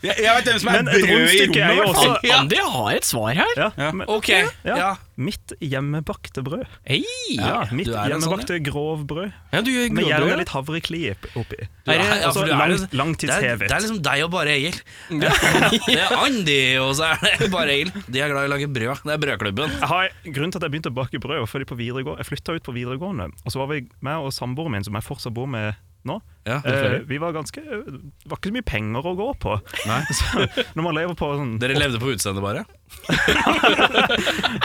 Speaker 3: Jeg, jeg vet hvem som er
Speaker 5: Men et
Speaker 3: brød i
Speaker 5: rundstykke er
Speaker 3: rommet.
Speaker 5: jo
Speaker 3: i hvert fall.
Speaker 5: også-
Speaker 2: Ja. Andy har et svar her.
Speaker 5: ja,
Speaker 3: Ja.
Speaker 5: men-
Speaker 1: Ok,
Speaker 5: Ja.
Speaker 1: ja.
Speaker 5: Mitt hjemmebakte brød.
Speaker 2: Hei.
Speaker 5: Ja, mitt
Speaker 1: du er en sånn,
Speaker 5: hjemmebakte grovbrød.
Speaker 2: Ja, du gjør
Speaker 5: Med gjerne
Speaker 2: gråbrød.
Speaker 5: litt havrekli oppi.
Speaker 1: Du er- ja,
Speaker 5: Altså,
Speaker 1: for du er
Speaker 5: lang,
Speaker 1: liksom- Det er, det
Speaker 5: langtidshevet.
Speaker 1: er liksom deg og bare Egil. Det er Andy, og så er det bare Egil. De er glad i å lage brød. Det er Brødklubben.
Speaker 5: Jeg har, grunnen til at jeg begynte å bake brød, var fordi på videregående, jeg flytta ut på videregående. Og så var vi meg og samboeren min, som jeg fortsatt bor med nå.
Speaker 1: Ja,
Speaker 5: eh, vi var ganske Det var ikke så mye penger å gå på. Så, når man lever på sånn
Speaker 1: Dere levde på utseendet, bare?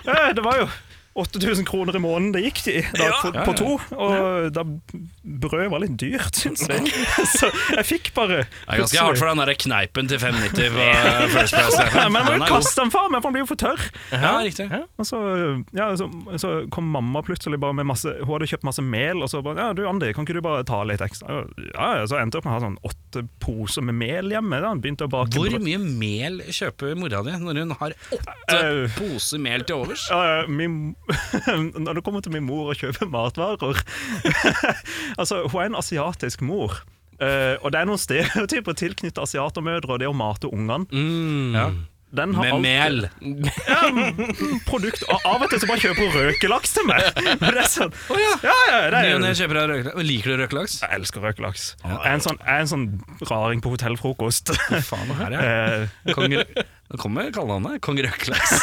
Speaker 5: eh, Det var jo 8000 kroner i måneden det gikk til da, på, på to. Og da brød var litt dyrt, syns jeg. Så jeg fikk bare
Speaker 1: Det er ganske hardt for den der kneipen til 590 på First Price.
Speaker 5: Nei, men jeg må
Speaker 1: Den er
Speaker 5: jo
Speaker 1: god.
Speaker 5: kaste den fra meg, for den blir jo for tørr.
Speaker 1: Ja, riktig.
Speaker 5: Og så, ja, så, så kom mamma plutselig bare med masse Hun hadde kjøpt masse mel, og så bare Ja, du Andi, kan ikke du bare ta litt ekstra? Ja, ja, så endte jeg opp med å ha sånn åtte poser med mel hjemme. Da. Begynte å bake
Speaker 1: Hvor
Speaker 5: brød.
Speaker 1: mye mel kjøper mora di når hun har åtte
Speaker 5: Eh.
Speaker 1: poser mel til overs?
Speaker 5: Ja, ja, min, når det kommer til min mor og kjøper matvarer Altså, hun er en asiatisk mor. Eh, og det er noen stereotyper tilknyttet asiatermødre og det å mate ungene.
Speaker 1: Ja.
Speaker 5: Den har
Speaker 1: Mm. Med
Speaker 5: alt-
Speaker 1: mel.
Speaker 5: produkt. Og av og til så bare kjøper hun røkelaks til meg. Det er sånn. ja, ja, det
Speaker 1: Ny
Speaker 5: er
Speaker 1: og ne kjøper deg røkelaks. Liker du røkelaks?
Speaker 5: Jeg elsker røkelaks. Jeg er en sånn, jeg er en sånn raring på hotellfrokost.
Speaker 1: Faen, her er jeg.
Speaker 5: Eh,
Speaker 1: Kong Rø- Nå kommer kallenavnet. Kong Røkelaks.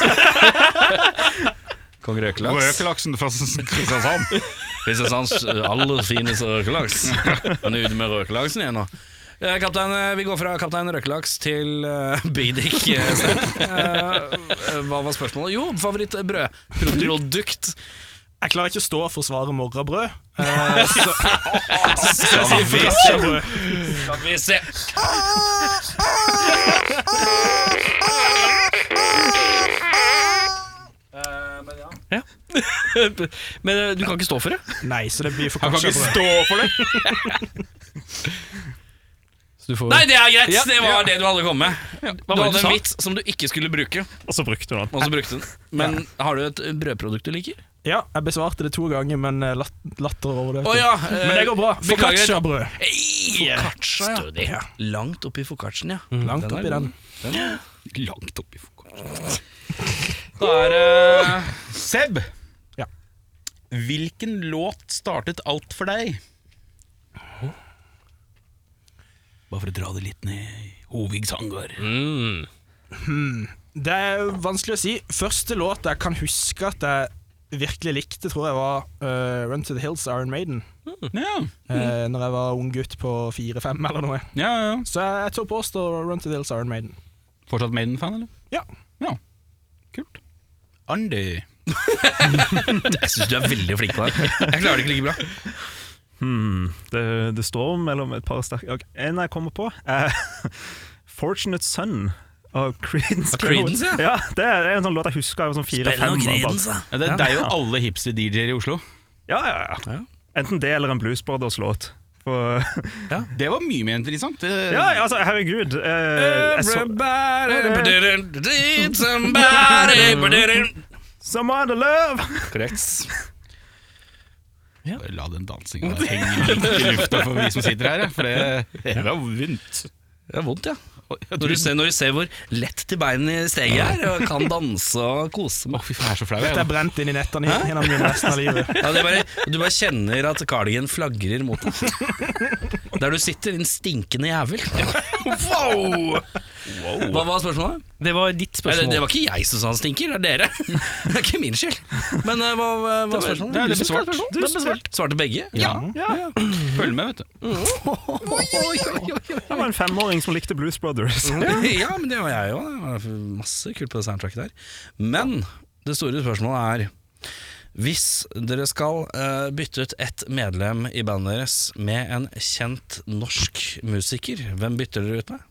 Speaker 1: Kong Røkelaks.
Speaker 3: Røkelaksen fra Kristiansand.
Speaker 1: Kristiansands eh, aller fineste røkelaks. Han er ute med røkelaksen igjen nå. Eh, Kaptein, eh, vi går fra kaptein Røkelaks til uh, Bidik. eh, Snap. Eh, hva var spørsmålet? Jo, favorittbrød. Produkt.
Speaker 6: Jeg klarer ikke å stå og forsvare morrabrød. Eh, så,
Speaker 1: Skal vi se. Skal vi se.
Speaker 2: Men eh, du kan ikke stå for det.
Speaker 6: nei, så det blir for
Speaker 3: Han kan
Speaker 6: kanskje
Speaker 3: ikke
Speaker 6: brød.
Speaker 3: stå for det!
Speaker 2: Så du får
Speaker 1: Nei, det er greit! Det var det du hadde kommet med. Du
Speaker 2: var det du
Speaker 1: hadde
Speaker 2: sa?
Speaker 1: en vits som du ikke skulle bruke, og
Speaker 5: og så brukte hun den.
Speaker 1: så brukte du den. Men har du et brødprodukt du liker?
Speaker 6: Ja, jeg besvarte det to ganger, men eh, lat, latter over det.
Speaker 1: Å ja, eh,
Speaker 6: Men det går bra.
Speaker 1: beklager.
Speaker 6: Foccaccia-brød.
Speaker 1: Focaccia, ja. Stødig.
Speaker 6: Ja.
Speaker 1: Langt oppi foccacciaen, ja.
Speaker 6: Langt
Speaker 1: er
Speaker 6: oppi
Speaker 1: god.
Speaker 6: den.
Speaker 3: Langt oppi fokkeren.
Speaker 1: Da er det
Speaker 3: Seb,
Speaker 6: Ja.
Speaker 3: hvilken låt startet alt for deg? Bare for å dra det litt ned i Hovigs hangar.
Speaker 6: Det er vanskelig å si. Første låt jeg kan huske at jeg virkelig likte, tror jeg var eh, Run to the Hills Iron Maiden.
Speaker 3: Ja,
Speaker 6: Uh, når jeg var ung gutt på fire-fem eller noe.
Speaker 3: ja, ja.
Speaker 6: Så jeg, jeg tør påstå Run to the Hills Iron Maiden.
Speaker 3: Fortsatt Maiden-fan, eller?
Speaker 6: Ja.
Speaker 3: Ja, kult. Andy.
Speaker 1: Jeg syns du er veldig flink på det. Jeg klarer det ikke like bra.
Speaker 5: Hmm. Det, det står mellom et par sterke Ok, En jeg kommer på, er Fortunate Son av Creedence.
Speaker 1: Av Creedence, ja.
Speaker 5: ja. Det er en sånn låt jeg husker. Jeg var sånn fire-fem.
Speaker 3: Ja, det, det er jo alle hipster-DJ-er i Oslo.
Speaker 5: Ja, ja, ja. Enten det eller en Blues Brothers-låt. For-
Speaker 3: Det var mye mer interessant. Det-
Speaker 5: Ja, ja, altså, herregud. Eh, jeg så,
Speaker 1: Everybody did somebody
Speaker 5: Someone to love!
Speaker 1: Korrekt.
Speaker 3: Bare La den dansinga henge litt i lufta for vi som sitter her, ja, for det, det var vondt.
Speaker 1: Det er vondt, ja. Når du, ser, når du ser hvor lett til beina steget er, og kan danse og kose
Speaker 3: Å,
Speaker 1: med
Speaker 3: fy faen, jeg er så flau.
Speaker 6: Dette
Speaker 3: Jeg.
Speaker 6: er brent inn i nettene gjennom min resten av livet.
Speaker 1: ja, det er bare, Du bare kjenner at cardigan flagrer mot deg. Der du sitter, din stinkende jævel. Wow! Hva var spørsmålet?
Speaker 2: Det var
Speaker 1: Nei,
Speaker 2: ditt
Speaker 1: det,
Speaker 2: spørsmål.
Speaker 1: det var ikke jeg som sa han stinker, det er dere. Det er ikke min skyld. Men eh, hva hva var spørsmålet?
Speaker 3: det er litt
Speaker 1: Du svarte.
Speaker 3: besvart.
Speaker 1: Du svarte. Svarte begge? Ja.
Speaker 3: Følg med, vet du.
Speaker 5: Det var en femåring som likte Blues Brothers.
Speaker 1: ja, men det var jeg òg. Det var Masse kult på det soundtracket der. Men det store spørsmålet er hvis dere skal eh, bytte ut ett medlem i bandet deres med en kjent norsk musiker, hvem bytter dere ut med?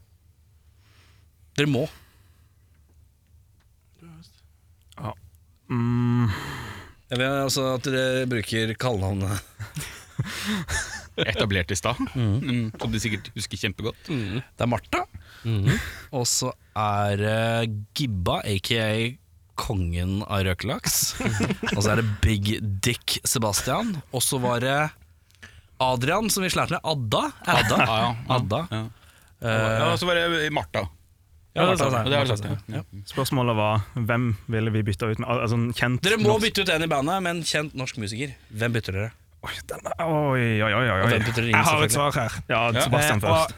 Speaker 1: Dere må.
Speaker 5: Mm.
Speaker 1: Jeg vil altså at dere bruker kallenavnet
Speaker 3: Etablert i stad, mm, som de sikkert husker kjempegodt.
Speaker 1: Det er Martha. Og så er det Gibba, aka kongen av røkelaks. og så er det Big Dick Sebastian. Og så var det Adrian, som vi slærte med. Adda. Adda.
Speaker 3: Ja, ja.
Speaker 1: Adda.
Speaker 3: Ja.
Speaker 1: Eh,
Speaker 3: Ja, og så var det Martha.
Speaker 1: ja, det er
Speaker 3: Ja,
Speaker 1: sant,
Speaker 3: det har du
Speaker 1: det
Speaker 3: sagt,
Speaker 1: er sant.
Speaker 3: ja.
Speaker 5: Spørsmålet var hvem ville vi bytta ut med? Al- Altså en kjent
Speaker 1: Dere må
Speaker 5: norsk-
Speaker 1: bytte ut en i bandet med en kjent norsk musiker. Hvem bytter dere?
Speaker 5: Oi, den er- oi, oi, oi,
Speaker 1: Og
Speaker 5: oi.
Speaker 1: hvem bytter dere inn,
Speaker 6: Jeg har et
Speaker 1: selvfølgelig?
Speaker 6: svar her.
Speaker 5: Ja, Sebastian
Speaker 6: Eh,
Speaker 5: først.
Speaker 6: Og,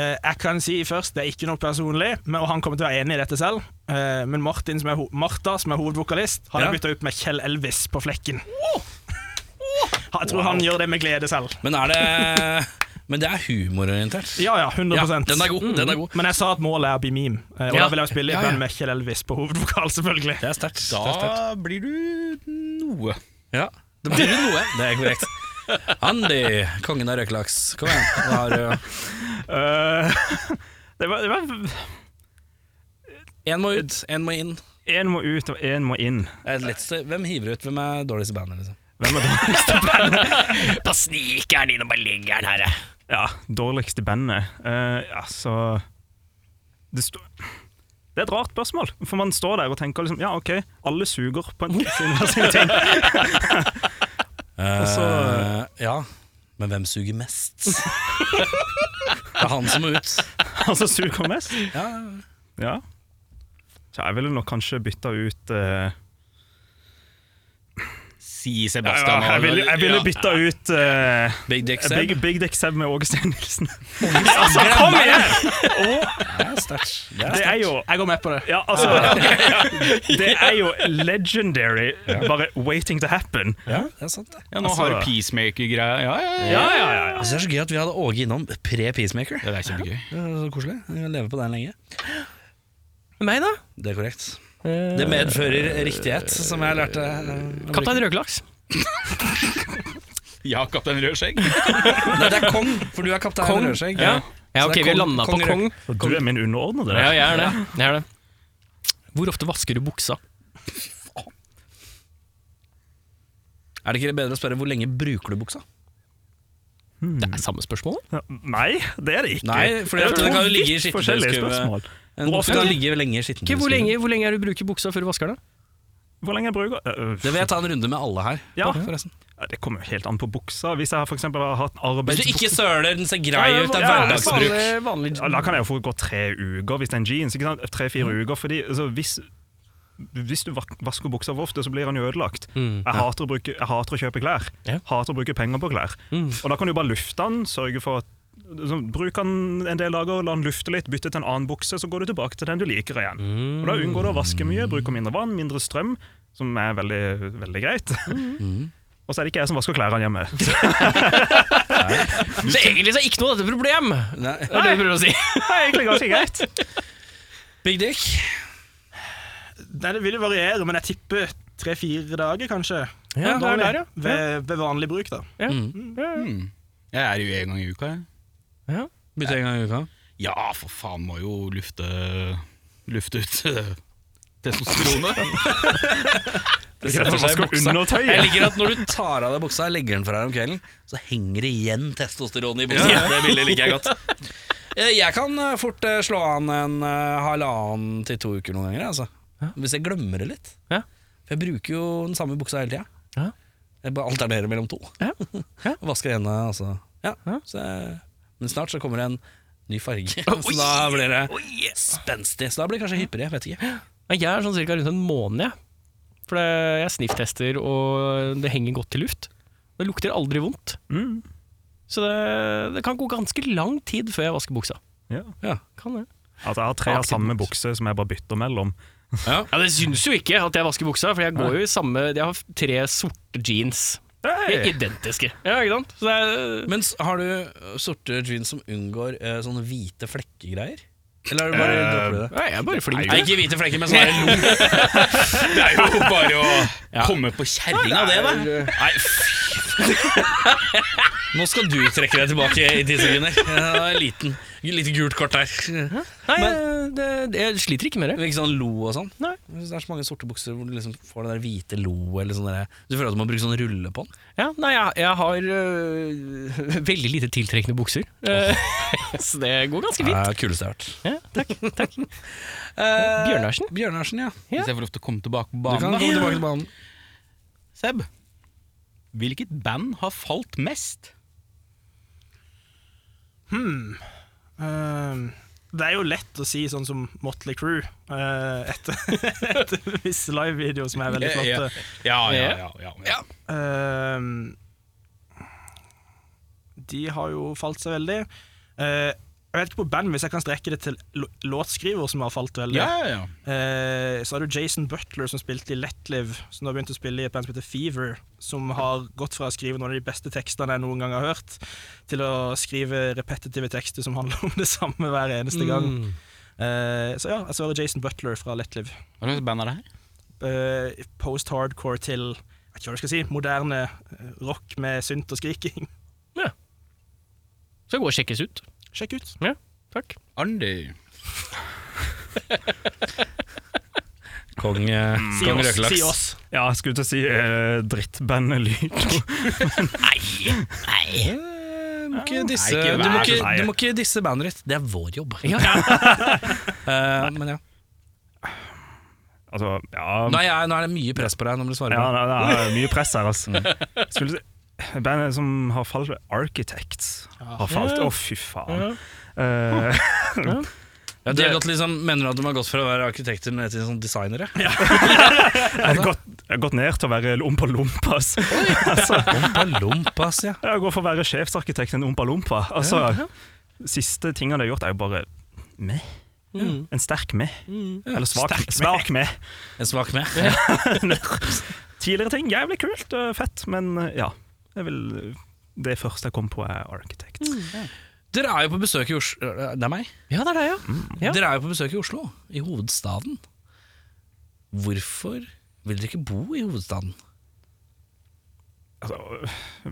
Speaker 6: eh, jeg kan si først, det er ikke noe personlig, men, og han kommer til å være enig i dette selv, eh, men Martin, som er ho Martha, som er hovedvokalist, har
Speaker 1: Ja.
Speaker 6: jeg bytta ut med Kjell Elvis på flekken. Jeg tror han gjør det med glede selv.
Speaker 1: Men er det Men det er humororientert.
Speaker 6: Ja ja,
Speaker 1: Ja,
Speaker 6: 100
Speaker 1: den er god. Den er god.
Speaker 6: Men jeg sa at målet er å bli meme, eh, og
Speaker 1: Ja.
Speaker 6: da vil jeg spille i
Speaker 1: Ja,
Speaker 6: band
Speaker 1: ja.
Speaker 6: med Kjell Elvis på hovedvokal, selvfølgelig.
Speaker 1: Det er sterkt. Det er sterkt.
Speaker 3: Da blir du noe.
Speaker 1: Ja, det blir jo noe. Det er korrekt. Andy, kongen av røkelaks. Kom igjen. Da har du
Speaker 5: Eh, det var, det var
Speaker 1: Én må ut, én må inn.
Speaker 5: En må ut, og en må inn.
Speaker 1: Det er det letteste. Hvem hiver ut? Hvem er dårligst i bandet? liksom?
Speaker 5: Hvem er dårlig?
Speaker 2: Da sniker han inn og bare legger den her. jeg.
Speaker 5: Ja, dårligst i bandet? Eh, ja, så det, sto- det er et rart spørsmål, for man står der og tenker liksom Ja, OK, alle suger på en sin, sin ting. så-
Speaker 1: Eh, ja, men hvem suger mest? Det er han som må ut.
Speaker 5: Han som suger mest.
Speaker 1: Ja,
Speaker 5: Altså, Ja. Så jeg ville nok kanskje bytta ut eh,
Speaker 3: Si
Speaker 5: jeg,
Speaker 3: Sebastian.
Speaker 5: jeg, ville, jeg ville
Speaker 3: Ja.
Speaker 5: bytta ut eh,
Speaker 1: Big Dick Seb.
Speaker 5: Big, Big Dick Seb med Åge Stein Nilsen.
Speaker 6: Altså, kom igjen!
Speaker 5: Det er jo
Speaker 6: Jeg går med på det.
Speaker 5: Ja, altså Det er jo legendary, bare waiting to happen.
Speaker 1: Ja, det er sant det.
Speaker 3: Ja, nå
Speaker 5: Altså-
Speaker 3: har du peacemaker-greia. Ja, ja, ja.
Speaker 5: Ja, ja, ja, ja.
Speaker 1: Altså, det er så gøy at vi hadde Åge innom pre-Peacemaker.
Speaker 3: Ja, Det er kjempegøy.
Speaker 1: Det er så koselig. Vi kan leve på den lenge.
Speaker 2: Meg, da?
Speaker 1: Det er korrekt.
Speaker 2: Eh,
Speaker 1: Det medfører riktighet, som jeg lærte. eh,
Speaker 2: Kaptein Røkelaks.
Speaker 3: Ja, Kaptein Rødskjegg.
Speaker 1: Nei, det er kong, for du er kaptein Rødskjegg.
Speaker 2: Ja. Ja,
Speaker 1: Så
Speaker 2: ok,
Speaker 1: det er
Speaker 2: vi har
Speaker 1: kong-
Speaker 2: landa på
Speaker 1: kong Rød-
Speaker 2: kong.
Speaker 5: Så Du er min underordnede.
Speaker 2: Ja, jeg er det. Jeg er det. Hvor ofte vasker du buksa?
Speaker 1: Er det ikke bedre å spørre hvor lenge bruker du buksa?
Speaker 2: Det er samme spørsmål.
Speaker 5: Nei, det er det ikke.
Speaker 1: Nei, for det,
Speaker 5: er
Speaker 1: kan jo
Speaker 5: to
Speaker 1: ligge i
Speaker 5: vidt forskjellige spørsmål.
Speaker 1: skittentøyskuret. En bukse kan ligge lenge i
Speaker 2: Ikke
Speaker 1: skittentøyskuret.
Speaker 2: hvor, lenge, hvor lenge er det du bruker buksa før du vasker den?
Speaker 5: Hvor lenge jeg bruker øh,
Speaker 1: Det vil jeg ta en runde med alle her.
Speaker 5: Ja.
Speaker 1: på, forresten.
Speaker 5: ja, Det kommer jo helt an på buksa. Hvis jeg for eksempel har hatt
Speaker 1: Hvis du
Speaker 5: arbeidsbukse
Speaker 1: ikke søler, den ser grei ut, det er
Speaker 5: Ja,
Speaker 1: hverdagsbruk.
Speaker 2: Vanlig, vanlig.
Speaker 5: ja, Da kan jeg jo få gå tre uker hvis det er en jeans. ikke sant? Tre-fire uker. Fordi altså, hvis, hvis du vak- vasker buksa for ofte, så blir den jo ødelagt.
Speaker 2: Mm.
Speaker 5: Jeg, hater å bruke, jeg hater å kjøpe klær.
Speaker 2: Ja.
Speaker 5: Hater å bruke penger på klær. Og da kan du bare lufte den. sørge for at liksom, Bruk den en del dager, la den lufte litt, bytte til en annen bukse, så går du tilbake til den du liker igjen. Og Da unngår du å vaske mye, bruker mindre vann, mindre strøm, som er veldig, veldig greit. Og så er det ikke jeg som vasker klærne hjemme.
Speaker 2: Så egentlig så er ikke noe av dette problem, det
Speaker 1: Nei.
Speaker 2: er Mm. det du prøver å si.
Speaker 5: Det er egentlig ganske greit.
Speaker 1: Big Dick.
Speaker 6: Nei, det vil jo variere, men jeg tipper tre-fire dager, kanskje.
Speaker 2: Ja, det er der, ja.
Speaker 6: Ved, ved vanlig bruk, da.
Speaker 3: Jeg er jo en gang i uka, jeg.
Speaker 1: Bytte en gang i uka.
Speaker 3: Ja, for faen, må jo lufte Lufte ut eh, testosteronet.
Speaker 5: Det er greit å vaske undertøyet.
Speaker 1: Jeg liker at når du tar av deg buksa og legger den fra deg om kvelden, så henger det igjen testosteron i buksa. Det bildet liker jeg godt. Eh, Jeg kan eh, fort eh, slå an en eh, halvannen til to uker noen ganger, jeg, altså. hvis jeg glemmer det litt.
Speaker 2: Ja.
Speaker 1: For jeg bruker jo den samme buksa hele tida.
Speaker 2: Ja.
Speaker 1: Jeg bare alternerer mellom to.
Speaker 2: Ja. Ja.
Speaker 1: Vasker henne, altså. Ja.
Speaker 2: Ja.
Speaker 1: Så, jeg- men snart så kommer det en ny farge, så da blir det spenstig. Så da blir det kanskje hyppigere, jeg vet ikke.
Speaker 2: Nei, Jeg er sånn cirka rundt en måned, jeg. For det- jeg snifftester, og det henger godt til luft. Det lukter aldri vondt.
Speaker 5: Mm.
Speaker 2: Så det, det kan gå ganske lang tid før jeg vasker buksa.
Speaker 5: Ja.
Speaker 2: Kan det.
Speaker 5: Altså, jeg har tre av
Speaker 2: Aktiv
Speaker 5: samme
Speaker 2: bukse.
Speaker 5: bukse som jeg bare bytter mellom.
Speaker 2: Ja, Det syns jo ikke at jeg vasker buksa, for jeg går jo i samme Jeg har tre sorte jeans. De er
Speaker 5: Hey!
Speaker 2: identiske. Ja, ikke sant? Så det er,
Speaker 1: Men s- har du eh, sorte jeans som unngår eh, sånne hvite flekkegreier? Eller har du bare
Speaker 3: Eh,
Speaker 1: dropper du det?
Speaker 2: Nei, jeg er bare flink til
Speaker 1: Nei,
Speaker 2: det.
Speaker 1: ikke hvite flekker, men sånn sånne lort.
Speaker 3: Det er jo bare å komme på kjerringa, det, da.
Speaker 1: Nei, fy. Nå skal du trekke deg tilbake i ti sekunder. Ja, liten, lite gult kort der.
Speaker 2: Nei, det, det, jeg sliter ikke med det.
Speaker 1: Ikke sånn lo og sånn.
Speaker 2: Nei.
Speaker 1: Jeg synes Det er så mange sorte bukser hvor du liksom får det der hvite lo eller sånn der. Du føler at du må bruke sånn rulle på den.
Speaker 2: Ja, nei, jeg, jeg har øh, veldig lite tiltrekkende bukser, Eh, så det går ganske fint.
Speaker 1: er kuleste jeg har hørt.
Speaker 2: Ja, takk. takk.
Speaker 1: Eh,
Speaker 2: Bjørnarsen?
Speaker 1: Bjørnarsen, ja.
Speaker 2: Ja.
Speaker 3: Hvis jeg får lov til å komme tilbake på
Speaker 1: Du kan
Speaker 3: banen,
Speaker 1: komme tilbake til banen.
Speaker 3: da. Seb, hvilket band har falt mest?
Speaker 6: Ehm, det er jo lett å si sånn som Motley Crew eh, etter, etter visse livevideoer som er veldig
Speaker 3: Ja, ja.
Speaker 6: flotte.
Speaker 3: Ja, ja, ja. ja, ja.
Speaker 6: Ehm, de har jo falt seg veldig. Eh, jeg vet ikke på band, hvis jeg kan strekke det til lå- låtskriver som har falt veldig.
Speaker 3: ja, ja, ja.
Speaker 6: Eh, så har du Jason Butler som spilte i Let Live, som nå har begynt å spille i et band som heter Fever, som har gått fra å skrive noen av de beste tekstene jeg noen gang har hørt, til å skrive repetitive tekster som handler om det samme hver eneste gang.
Speaker 1: Mm.
Speaker 6: Eh, så ja, jeg svarer Jason Butler fra Let Live.
Speaker 3: Hva slags band er det her?
Speaker 6: Eh, Post-hardcore til jeg vet ikke hva du skal si, moderne eh, rock med synt og skriking.
Speaker 2: Så går og sjekkes ut.
Speaker 6: Sjekk ut.
Speaker 2: Ja, takk.
Speaker 3: Andy.
Speaker 1: Kong, eh,
Speaker 6: Si
Speaker 1: Kong
Speaker 6: oss.
Speaker 1: Røkelaks.
Speaker 6: Si oss.
Speaker 5: Ja, jeg skulle til å si eh, drittbandet Lydo.
Speaker 1: Eh, må ikke disse,
Speaker 3: Nei, ikke
Speaker 1: du, må
Speaker 3: vær
Speaker 1: ikke,
Speaker 5: så snill.
Speaker 1: du må ikke disse bandet ditt. Det er vår jobb. Eh, men ja.
Speaker 5: Altså, ja,
Speaker 1: Nå er, jeg, nå er det mye press på deg. Nå må du svare
Speaker 5: ja
Speaker 1: på
Speaker 5: det, det er mye press her, altså. Jeg Skulle si Bandet som har falt, Architects, har falt. Å, fy faen. Eh,
Speaker 1: Jeg tror at liksom, Mener du at de har gått fra å være arkitekter ned til sånn designere?
Speaker 5: Jeg har gått, jeg har gått ned til å være ompa lompas. Altså,
Speaker 1: Lompa lompas, ja.
Speaker 5: jeg går for å være sjefsarkitekt til en ompa lompa. Altså, siste tingene jeg har gjort, er jo bare med. En sterk med. Eller svak, svak Mm. med.
Speaker 1: En svak med.
Speaker 5: Tidligere ting, jævlig kult og fett, men eh, ja. Jeg vil, det første jeg kom på, er arkitekt.
Speaker 1: Dere er jo på besøk i Oslo Det er meg. Mm.
Speaker 2: Ja, det er det, ja. Ja.
Speaker 1: Dere er jo på besøk i Oslo, i hovedstaden. Hvorfor vil dere ikke bo i hovedstaden?
Speaker 5: Altså,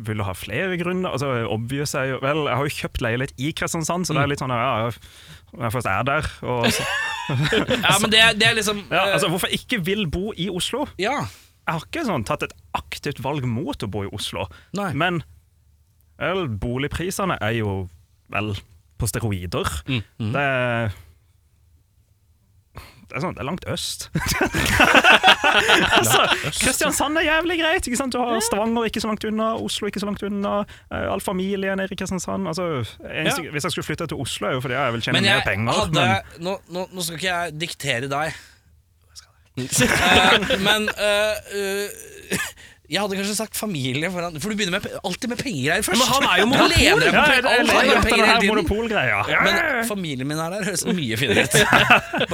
Speaker 5: vil du ha flere grunner? Altså, obvious er jo, vel, jeg har jo kjøpt leilighet i Kristiansand, så
Speaker 1: Mm.
Speaker 5: det er litt sånn ja, ja, jeg først er der. Og så,
Speaker 1: Ja, men det, er- det er liksom
Speaker 5: ja,
Speaker 1: eh,
Speaker 5: altså, hvorfor jeg ikke vil bo i Oslo?
Speaker 1: ja.
Speaker 5: Jeg har ikke sånn, tatt et aktivt valg mot å bo i Oslo,
Speaker 1: Nei.
Speaker 5: men vel, boligprisene er jo vel på steroider.
Speaker 1: Mm.
Speaker 5: Det er det er, sånn, det er langt øst. altså, Kristiansand er jævlig greit. Ikke sant? Du har Stavanger ikke så langt unna, Oslo ikke så langt unna. eh, All familie nede i Kristiansand. Altså, eneste, Hvis jeg skulle flytte til Oslo, er jo fordi jeg vil tjene
Speaker 1: Men
Speaker 5: mer
Speaker 1: jeg
Speaker 5: penger.
Speaker 1: hadde
Speaker 5: men-
Speaker 1: nå, nå, nå skal ikke jeg diktere deg. Eh, men eh, eh, jeg hadde kanskje sagt familie foran For du begynner med, pe- alltid med penger her først.
Speaker 2: Men han er jo
Speaker 1: Du leder deg på
Speaker 2: monopol.
Speaker 5: ja, jeg,
Speaker 1: penger, alt
Speaker 5: jeg,
Speaker 1: handler om
Speaker 5: leter etter
Speaker 1: penger
Speaker 5: den her
Speaker 1: hele tiden.
Speaker 5: monopolgreia. Ja, ja, ja.
Speaker 1: Men familien min er der, høres mye finere ut.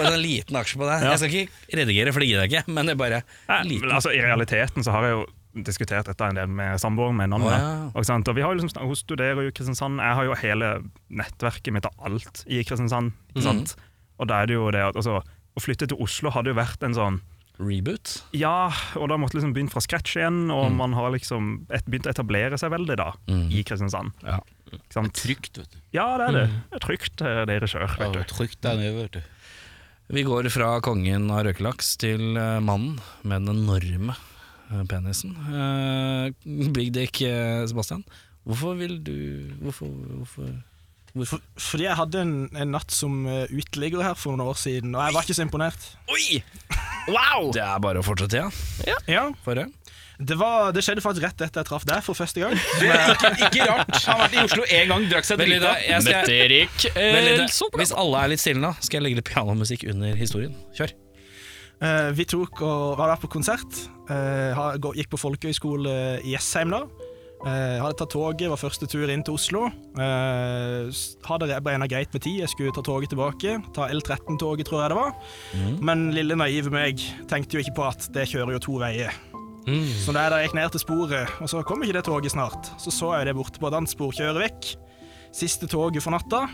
Speaker 1: Bare en liten aksje på det. Jeg skal ikke redigere, for det gidder jeg ikke. Men det er bare
Speaker 5: Nei,
Speaker 1: liten.
Speaker 5: men altså, I realiteten så har jeg jo diskutert dette en del med samboeren min.
Speaker 1: Å,
Speaker 5: Oh,
Speaker 1: ja.
Speaker 5: og, sant? og vi har jo liksom, snak- Hun studerer jo i Kristiansand. Jeg har jo hele nettverket mitt av alt i Kristiansand. Ikke sant? Og da er det jo det at altså, Å flytte til Oslo hadde jo vært en sånn
Speaker 1: Reboot.
Speaker 5: Ja, og da måtte liksom begynne fra scratch igjen, og man har liksom et, begynt å etablere seg veldig da, i Kristiansand.
Speaker 1: Ja.
Speaker 5: Ikke sant?
Speaker 3: Trygt, vet du.
Speaker 5: Ja, det er det. Det er trygt eh, dere kjører, vet du.
Speaker 3: Trygt der nede, vet du.
Speaker 1: Vi går fra kongen av røkelaks til eh, mannen med den enorme eh, penisen. Eh, Big Dick eh, Sebastian, hvorfor vil du Hvorfor, hvorfor?
Speaker 6: For, fordi jeg hadde en, en natt som eh, uteligger her for noen år siden, og jeg var ikke så imponert.
Speaker 1: Det er bare å fortsette, ja.
Speaker 6: Ja,
Speaker 1: Forrige.
Speaker 6: Det, var, det skjedde faktisk rett etter jeg traff deg for første gang.
Speaker 3: Ikke rart. Han har vært i Oslo én gang, drakk seg
Speaker 1: Vent litt,
Speaker 3: drita.
Speaker 1: da. Jeg skal,
Speaker 2: Møtte Erik
Speaker 1: vent litt,
Speaker 2: Elsson.
Speaker 1: da. Hvis alle er litt stille nå, skal jeg legge litt pianomusikk under historien. Kjør.
Speaker 6: Eh, vi tok og var der på konsert. eh, ha- gå- gikk på folkehøyskole i Jessheim da. Eh, hadde tatt toget, var første tur inn til Oslo. Eh, s- hadde re- beregnet greit med tid, jeg skulle ta toget tilbake. Ta L13-toget, tror jeg det var. Men lille naive meg tenkte jo ikke på at det kjører jo to veier. Så da jeg gikk ned til sporet, og så kom ikke det toget snart, så så jeg det borte på et annet spor kjøre vekk. Siste toget for natta.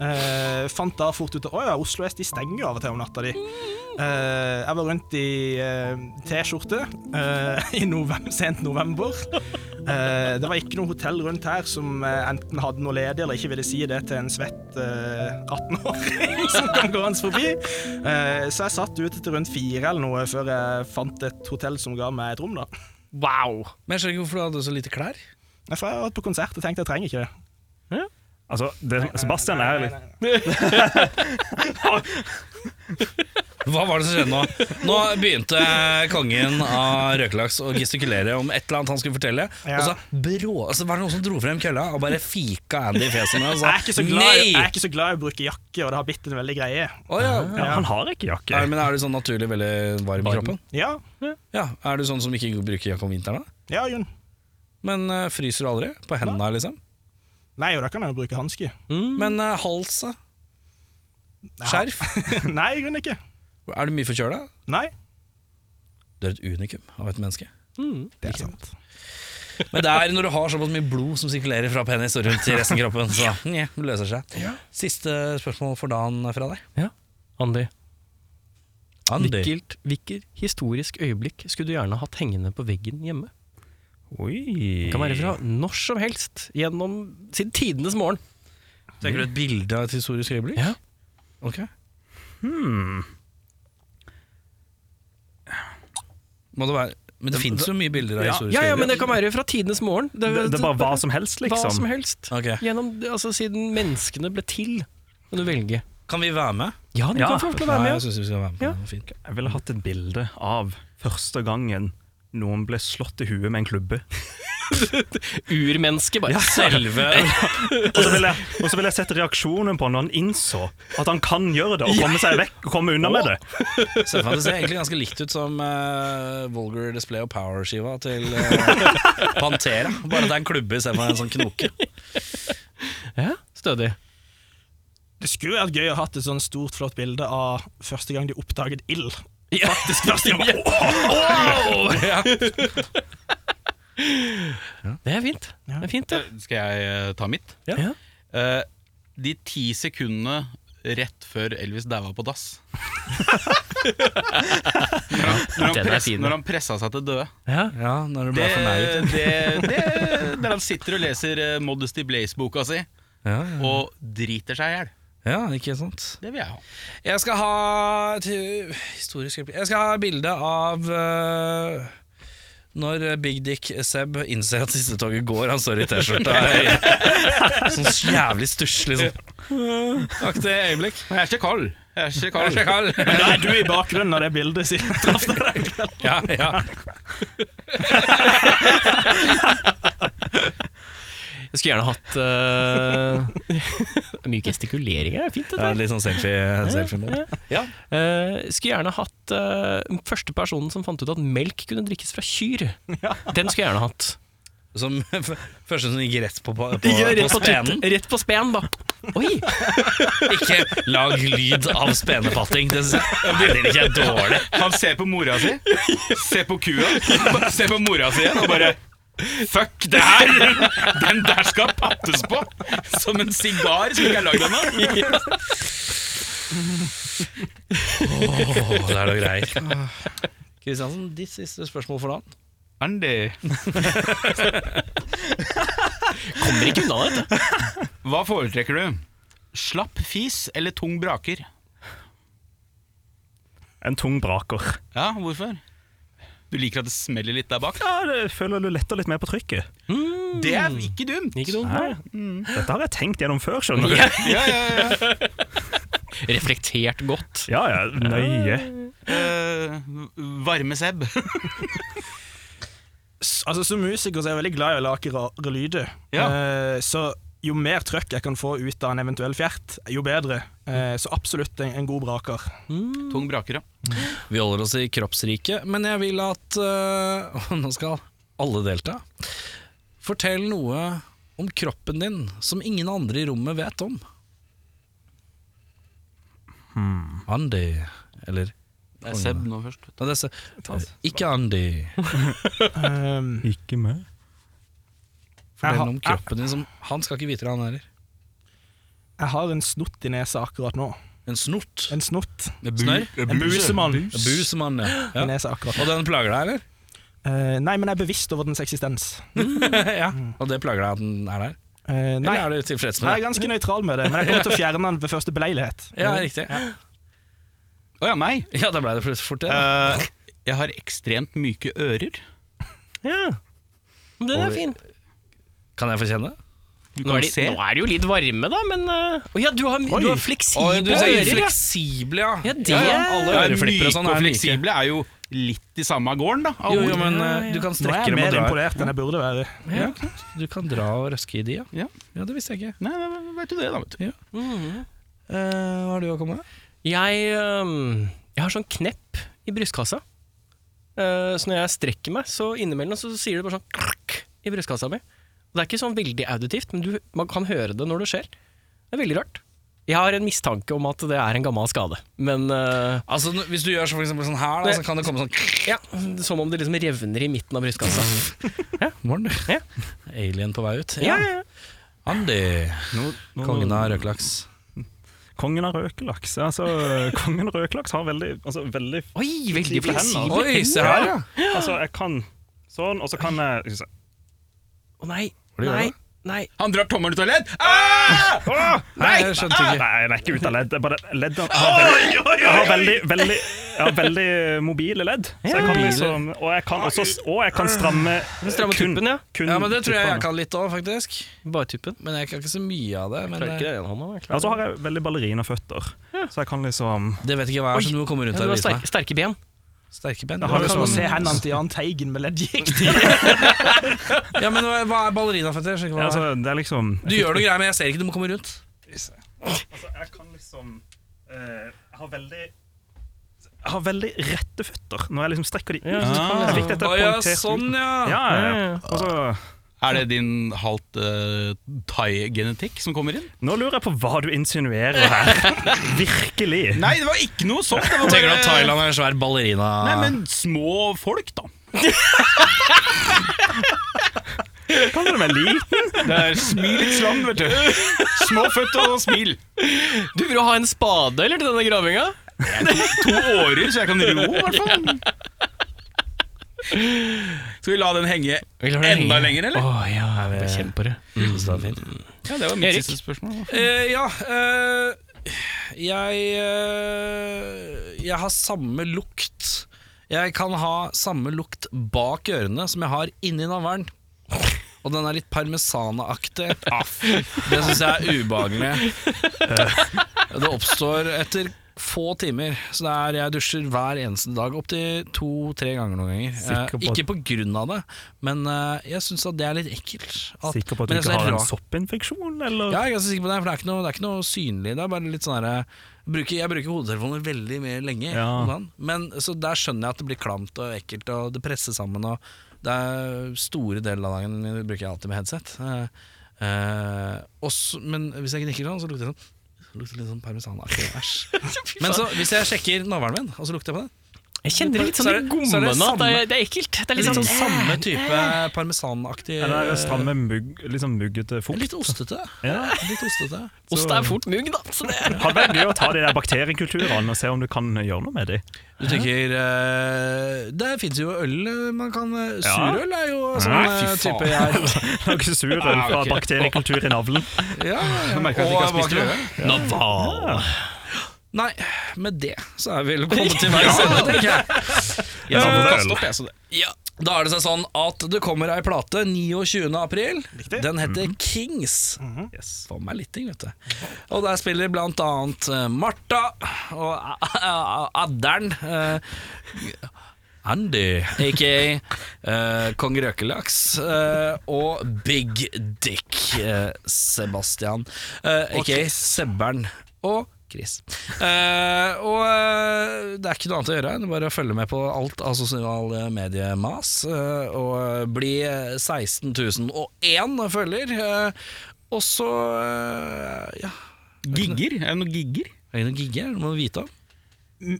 Speaker 6: Eh, fant da fort ut at å ja, Oslo S de stenger jo av og til om natta, de. Eh, jeg var rundt i eh, T-skjorte eh, i novem- sent november. Eh, det var ikke noe hotell rundt her som eh, enten hadde noe ledig eller ikke ville si det til en svett eh, 18-åring som kom gående forbi. Eh, så jeg satt ute til rundt fire eller noe før jeg fant et hotell som ga meg et rom, da.
Speaker 2: Wow.
Speaker 1: Men jeg skjønner ikke hvorfor du hadde så lite klær.
Speaker 6: Nei, For jeg har vært på konsert og tenkte jeg trenger ikke det. Eh,
Speaker 5: Altså, det, Sebastian er litt
Speaker 1: Hva var det som skjedde nå? Nå begynte kongen av røkelaks å gestikulere om et eller annet han skulle fortelle.
Speaker 6: Ja.
Speaker 1: Og så, brå, så var det noen som dro frem kølla og bare fika Andy i fjeset med og
Speaker 6: Jeg
Speaker 1: sa
Speaker 6: er ikke så glad, i- jeg er ikke så glad i å bruke jakke, og det har blitt en veldig greie.
Speaker 1: Å ja.
Speaker 5: ja, Han har ikke jakke.
Speaker 1: Er, men er du sånn naturlig veldig varm i kroppen?
Speaker 6: Ja,
Speaker 1: Ja, Er du sånn som ikke bruker jakke om vinteren, da?
Speaker 6: ja Jun.
Speaker 1: Men eh, fryser du aldri? På hendene, liksom?
Speaker 6: Nei, og da kan jeg jo bruke hanske.
Speaker 1: Men uh, halsa? Skjerf?
Speaker 6: Nei, i grunnen ikke.
Speaker 1: Er du mye forkjøla?
Speaker 6: Nei.
Speaker 1: Du er et unikum av et menneske.
Speaker 6: Det er sant.
Speaker 1: Men det er når du har såpass mye blod som sirkulerer fra penis og rundt i resten av kroppen, så nje, det løser seg. Siste spørsmål for dagen fra deg.
Speaker 2: Andy,
Speaker 1: Andy.
Speaker 2: hvilket, hvilket historisk øyeblikk skulle du gjerne hatt hengende på veggen hjemme?
Speaker 5: Oi.
Speaker 2: Det kan være
Speaker 1: Eh.
Speaker 2: fra når som helst gjennom siden tidenes morgen.
Speaker 1: Tenker du et Mm. bilde av et historisk øyeblikk?
Speaker 2: Ja. Hmm.
Speaker 1: Ok. Må det være Men det fins jo mye bilder av
Speaker 5: Ja.
Speaker 1: historiske
Speaker 2: Ja, ja, men
Speaker 1: øyeblikk.
Speaker 2: det kan være fra tidenes morgen. Det,
Speaker 5: Det, det er bare hva som helst, liksom.
Speaker 2: hva som helst.
Speaker 1: Ok.
Speaker 2: Gjennom, altså, siden menneskene ble til, kan du velge.
Speaker 1: Kan vi være med?
Speaker 2: Ja, du
Speaker 5: Ja.
Speaker 2: kan få lov til å være
Speaker 1: Ja,
Speaker 2: med.
Speaker 1: jeg syns vi skal være med.
Speaker 2: Ja.
Speaker 1: Det var Fint.
Speaker 5: Jeg ville hatt et bilde av første gangen noen ble slått i huet med en klubbe.
Speaker 2: Urmenneske, bare. Selve
Speaker 5: Og så ville jeg, og så ville jeg sett reaksjonen på han når han innså at han kan gjøre det, og komme seg vekk og komme unna med det.
Speaker 1: Ser for meg Det ser egentlig ganske likt ut som eh, Vulgar Display of Power-skiva til eh, Pantera. Bare at det er en klubbe istedenfor en sånn knoke.
Speaker 2: Ja, stødig.
Speaker 6: Det skulle vært gøy å ha hatt et sånn stort, flott bilde av første gang de oppdaget ild. Faktisk første gang Åh!
Speaker 2: Det er fint. Det er fint, det.
Speaker 3: Skal jeg eh, ta mitt?
Speaker 2: Ja.
Speaker 3: Eh, de ti sekundene rett før Elvis daua på dass. når, han, når, han
Speaker 2: Den er
Speaker 3: press,
Speaker 2: fin,
Speaker 3: når han pressa seg til døde.
Speaker 2: Ja.
Speaker 1: Ja, når du
Speaker 3: Det,
Speaker 1: ble for nær.
Speaker 3: det, det, der han sitter og leser eh, Modesty Blaze-boka si
Speaker 1: Ja, ja.
Speaker 3: og driter seg i hjel.
Speaker 1: ja, ikke sant.
Speaker 3: Det vil jeg ha.
Speaker 1: Jeg skal ha et hu- historisk øyeblikk. Jeg skal ha bilde av eh, når Big Dick Seb innser at siste toget går, han står i T-skjorta. Sånn jævlig stusslig sånn. Aktig øyeblikk.
Speaker 3: Jeg er ikke kald. Jeg er ikke kald.
Speaker 1: Sjekal.
Speaker 6: Da er du i bakgrunnen av det bildet, sier traff deg der.
Speaker 1: Ja, ja.
Speaker 2: Jeg skulle gjerne hatt eh, Mye gestikulering er fint,
Speaker 1: Ja,
Speaker 2: dette.
Speaker 1: litt sånn selfie- selfie-mode. ja.
Speaker 2: Eh, skulle gjerne hatt eh, den første personen som fant ut at melk kunne drikkes fra kyr. Den skulle jeg gjerne hatt.
Speaker 1: Som f- første som gikk rett på, på, på,
Speaker 2: rett,
Speaker 1: på
Speaker 2: på
Speaker 1: spenen.
Speaker 2: tut- rett på spenen, da. Oi!
Speaker 1: Ikke lag lyd av spenepatting. Det synes jeg- det blir ikke dårlig.
Speaker 3: Han ser på mora si, ser på kua, bare ser på mora si igjen og bare Fuck det her! Den der skal pattes på! Som en sigar som ikke er lagd ennå.
Speaker 1: Åh, det er da greier. Kristiansen, ditt siste spørsmål for dagen.
Speaker 3: Andy,
Speaker 2: Kommer ikke unna dette.
Speaker 3: hva foretrekker du? Slapp fis eller tung braker?
Speaker 5: En tung braker.
Speaker 3: Ja, hvorfor? Du liker at det smeller litt der bak?
Speaker 5: Ja, det føler du letter litt mer på trykket.
Speaker 3: Det er ikke dumt!
Speaker 2: Ikke dumt.
Speaker 5: Nei. Dette har jeg tenkt gjennom før, skjønner du.
Speaker 3: Ja, ja, ja.
Speaker 2: Reflektert godt.
Speaker 5: Ja, ja, nøye.
Speaker 3: Eh, varme Seb.
Speaker 6: Altså, som musiker så er jeg veldig glad i å lage rare lyder.
Speaker 3: Ja.
Speaker 6: Eh, så jo mer trøkk jeg kan få ut av en eventuell fjert, jo bedre. Eh, så absolutt en, en god braker.
Speaker 3: Tung braker, ja.
Speaker 1: Vi holder oss i kroppsriket, men jeg vil at øh, og Nå skal alle delta. Fortell noe om kroppen din som ingen andre i rommet vet om. Hmm. Andy Eller
Speaker 3: Det er Seb nå først.
Speaker 1: Nei, det er, se- Ikke Andy.
Speaker 6: Um,
Speaker 5: Ikke meg.
Speaker 6: jeg,
Speaker 1: Fortell
Speaker 6: har,
Speaker 1: noe om
Speaker 6: jeg,
Speaker 1: kroppen din som Han skal ikke vite det, han heller.
Speaker 6: jeg har en snott i nesa akkurat nå.
Speaker 1: En snort.
Speaker 6: En snott.
Speaker 1: Snørr.
Speaker 6: En busemann
Speaker 1: En busemann, ja.
Speaker 6: i
Speaker 1: ja.
Speaker 6: nesa akkurat nå.
Speaker 1: Og den plager deg, eller?
Speaker 6: Eh, nei, men jeg er bevisst over dens eksistens.
Speaker 1: ja. Og det plager deg at den er der?
Speaker 6: Eh, nei,
Speaker 1: Eller er du tilfreds
Speaker 6: jeg er
Speaker 1: med det?
Speaker 6: ganske nøytral med det, men jeg kommer til å fjerne den ved første beleilighet.
Speaker 1: Ja, riktig.
Speaker 3: Å ja, meg.
Speaker 1: Ja, da ble det plutselig fort det. da.
Speaker 3: Eh, jeg har ekstremt myke ører.
Speaker 2: Ja. Men Den er fin.
Speaker 1: Kan jeg få kjenne?
Speaker 3: Du
Speaker 2: Nå
Speaker 3: kan
Speaker 2: er, de,
Speaker 3: se.
Speaker 2: nå er det jo litt varme, da, men eh, Å ja, du har, du har fleksible
Speaker 1: Oi, du sier
Speaker 2: ører, ja.
Speaker 1: fleksible, ja.
Speaker 2: Ja, det-
Speaker 1: Alle
Speaker 3: Ja,
Speaker 1: øreflipper og
Speaker 3: myke
Speaker 1: sånn
Speaker 3: og
Speaker 1: er like.
Speaker 3: fleksible er jo litt i samme gården, da. av
Speaker 1: Jo,
Speaker 3: ord.
Speaker 1: jo, men eh, du kan
Speaker 6: Nå er
Speaker 1: strekke
Speaker 6: jeg
Speaker 1: dem og
Speaker 6: mer
Speaker 1: dra.
Speaker 6: imponert enn jeg burde være.
Speaker 1: Ja, ikke sant? du kan dra og røske i de, ja.
Speaker 3: Ja.
Speaker 1: Ja, det visste jeg ikke.
Speaker 3: Nei, nei, vet du det, da. Vet du.
Speaker 1: Eh, hva har du å komme med?
Speaker 2: Jeg, øhm, jeg har sånn knepp i brystkassa. Eh, så når jeg strekker meg, så innimellom så sier det bare sånn krakk i brystkassa mi. Og det er ikke sånn veldig auditivt, men du, man kan høre det når det skjer. Det er veldig rart. Jeg har en mistanke om at det er en gammel skade, men eh,
Speaker 1: Altså, n- Hvis du gjør så for eksempel sånn her, da,
Speaker 2: Det-
Speaker 1: så kan det komme sånn
Speaker 2: ja, som om det liksom revner i midten av brystkassa.
Speaker 1: Morgen, du.
Speaker 2: Ja.
Speaker 1: Alien på vei ut.
Speaker 2: Ja, ja, ja.
Speaker 1: Andy, kongen av røkelaks.
Speaker 5: Kongen av røkelaks. Altså, kongen av røkelaks har veldig, altså, veldig
Speaker 2: Oi, veldig
Speaker 5: Fleksible hender.
Speaker 2: fleksibel.
Speaker 1: Oi, se her, ja.
Speaker 5: Altså, jeg kan sånn, og så kan jeg skal vi se.
Speaker 2: Å nei,
Speaker 1: du gjør
Speaker 2: nei,
Speaker 1: da?
Speaker 2: nei.
Speaker 3: Han drar tommelen ut av ledd! Ah!
Speaker 5: Åh!
Speaker 1: Nei, Ah! jeg skjønte
Speaker 5: Nei,
Speaker 1: ikke.
Speaker 5: jeg er ikke ute av ledd. det er Bare ledd jeg har veldig, jeg har veldig, veldig, jeg har veldig mobile ledd. Så jeg kan liksom, og, jeg kan også, og jeg kan stramme
Speaker 2: Stramme
Speaker 5: kun-
Speaker 2: tuppen, ja.
Speaker 5: kun
Speaker 1: Ja, men Det tror jeg jeg
Speaker 5: tuppene.
Speaker 1: kan litt òg, faktisk.
Speaker 2: Bare tuppen.
Speaker 1: Men jeg kan ikke så mye av det. Men
Speaker 2: Klarer ikke
Speaker 1: eh,
Speaker 2: det ene hånda. jeg
Speaker 5: Ja, så
Speaker 2: klarer det.
Speaker 5: har jeg veldig ballerinaføtter. Så jeg kan liksom
Speaker 1: det vet ikke hva jeg er, så du må komme rundt her
Speaker 2: Ja, du
Speaker 1: og
Speaker 2: har
Speaker 1: vise meg.
Speaker 2: sterke, sterke ben.
Speaker 1: Sterke band.
Speaker 5: Jeg har
Speaker 1: Det
Speaker 5: jo
Speaker 1: var
Speaker 6: Kan du
Speaker 1: sånn-
Speaker 6: se hendene til Jahn Teigen med leddgikt?
Speaker 1: Ja, men hva hva er ballerina-fetisj? Ikke hva
Speaker 5: Ja,
Speaker 1: det er.
Speaker 5: altså, det er liksom
Speaker 1: Du gjør noe greier, men jeg ser ikke du kommer rundt.
Speaker 5: Altså, jeg kan liksom eh, Jeg har veldig jeg har veldig rette føtter når jeg liksom strekker de ut. Jeg fikk dette
Speaker 1: Å ja,
Speaker 5: poengtert ut.
Speaker 1: sånn, ja.
Speaker 5: Ja, ja, liksom- ja. Og så-
Speaker 3: Er det din halvt eh, thai-genetikk som kommer inn?
Speaker 5: nå lurer jeg på hva du insinuerer her. Virkelig.
Speaker 3: Nei, det var ikke noe sånt! Det var
Speaker 1: Tenker du at Thailand er en svær ballerina?
Speaker 3: Nei, men små folk, da.
Speaker 5: Kaller du meg liten?
Speaker 3: Det er smil litt slam, vet du. Små føtter og smil.
Speaker 2: Du vil jo ha en spade eller til denne gravinga?
Speaker 3: To årer, så jeg kan ro, i hvert fall. Skal vi la den henge enda lenger, eller?
Speaker 2: Å ja, jeg vil kjenne på det.
Speaker 3: Ja, det var mitt
Speaker 2: Erik?
Speaker 3: siste spørsmål.
Speaker 1: Eh, ja eh, jeg, eh, jeg har samme lukt. Jeg kan ha samme lukt bak ørene som jeg har inni navlen. Og den er litt parmesanaktig.
Speaker 5: Ah,
Speaker 1: Det syns jeg er ubehagelig. Eh, Det oppstår etter få timer. Så det er, jeg dusjer hver eneste dag, opptil to-tre ganger noen ganger. Eh,
Speaker 5: Sikker på at-
Speaker 1: ikke på grunn av det, men eh, jeg syns at det er litt ekkelt. At-
Speaker 5: Sikker på at du
Speaker 1: men jeg
Speaker 5: ikke
Speaker 1: synes det er
Speaker 5: har en
Speaker 1: rart.
Speaker 5: soppinfeksjon, eller?
Speaker 1: Ja, jeg er ganske sikker på det, for det er ikke noe, det er ikke noe synlig. Det er bare litt sånn herre bruker- Jeg bruker hodetelefoner veldig mye lenge.
Speaker 5: Ja.
Speaker 1: om dagen. Men Så der skjønner jeg at det blir klamt og ekkelt, og det presser sammen. Og det er store deler av dagen min bruker jeg alltid med headset. Eh, eh, også, men hvis jeg gnikker sånn, så lukter det sånn det lukter litt sånn parmesanaktig. Æsj. Men så, hvis jeg sjekker navlen min, og så lukter jeg på det
Speaker 2: Jeg kjenner det litt sånn
Speaker 1: Så er
Speaker 2: i
Speaker 1: det- så er
Speaker 2: gommene
Speaker 1: det
Speaker 2: at det,
Speaker 1: samme-
Speaker 2: er- det er ekkelt. Det er
Speaker 1: Litt sånn
Speaker 2: eh,
Speaker 1: samme type parmesanaktig
Speaker 5: Eller stramme, mugg, litt sånn muggete fot?
Speaker 1: Litt ostete.
Speaker 5: Ja.
Speaker 1: Litt ostete.
Speaker 2: Ost er fort mugg, da. Så det er.
Speaker 5: Hadde vært gøy å ta de der bakteriekulturene og se om du kan gjøre noe med de.
Speaker 1: Du tenker eh, Det fins jo øl man kan eh, Surøl er jo sånn
Speaker 5: Nei,
Speaker 1: eh,
Speaker 5: fy faen.
Speaker 1: type jeg
Speaker 5: Noe surøl
Speaker 1: Ah,
Speaker 5: fra bakteriekultur i navlen.
Speaker 1: ja, ja.
Speaker 3: merker at jeg ikke har spist det.
Speaker 1: Nei, med det så er vi vel kommet til veis ende, tenker jeg.
Speaker 5: Ja,
Speaker 1: Eh,
Speaker 5: men
Speaker 3: Stopp, jeg, så det.
Speaker 1: Da er det seg sånn at det kommer ei plate 29. april. Den heter
Speaker 5: Mhm.
Speaker 1: Kings.
Speaker 5: Yes.
Speaker 1: Få meg litt ting, vet du. Og der spiller blant annet eh, Martha og A- A- Adderen. eh, Andy, aka eh, Kong Røkelaks, eh, og Big Dick eh, Sebastian, eh, aka Sebbern og Chris. Eh, og eh, det er ikke noe annet å gjøre enn bare å følge med på alt av sosiale mediemas, eh, og bli eh, 16.001 følger. Eh, og så eh, ja.
Speaker 3: Gigger? Er det noen gigger?
Speaker 1: Er det noen gigger du må vite om?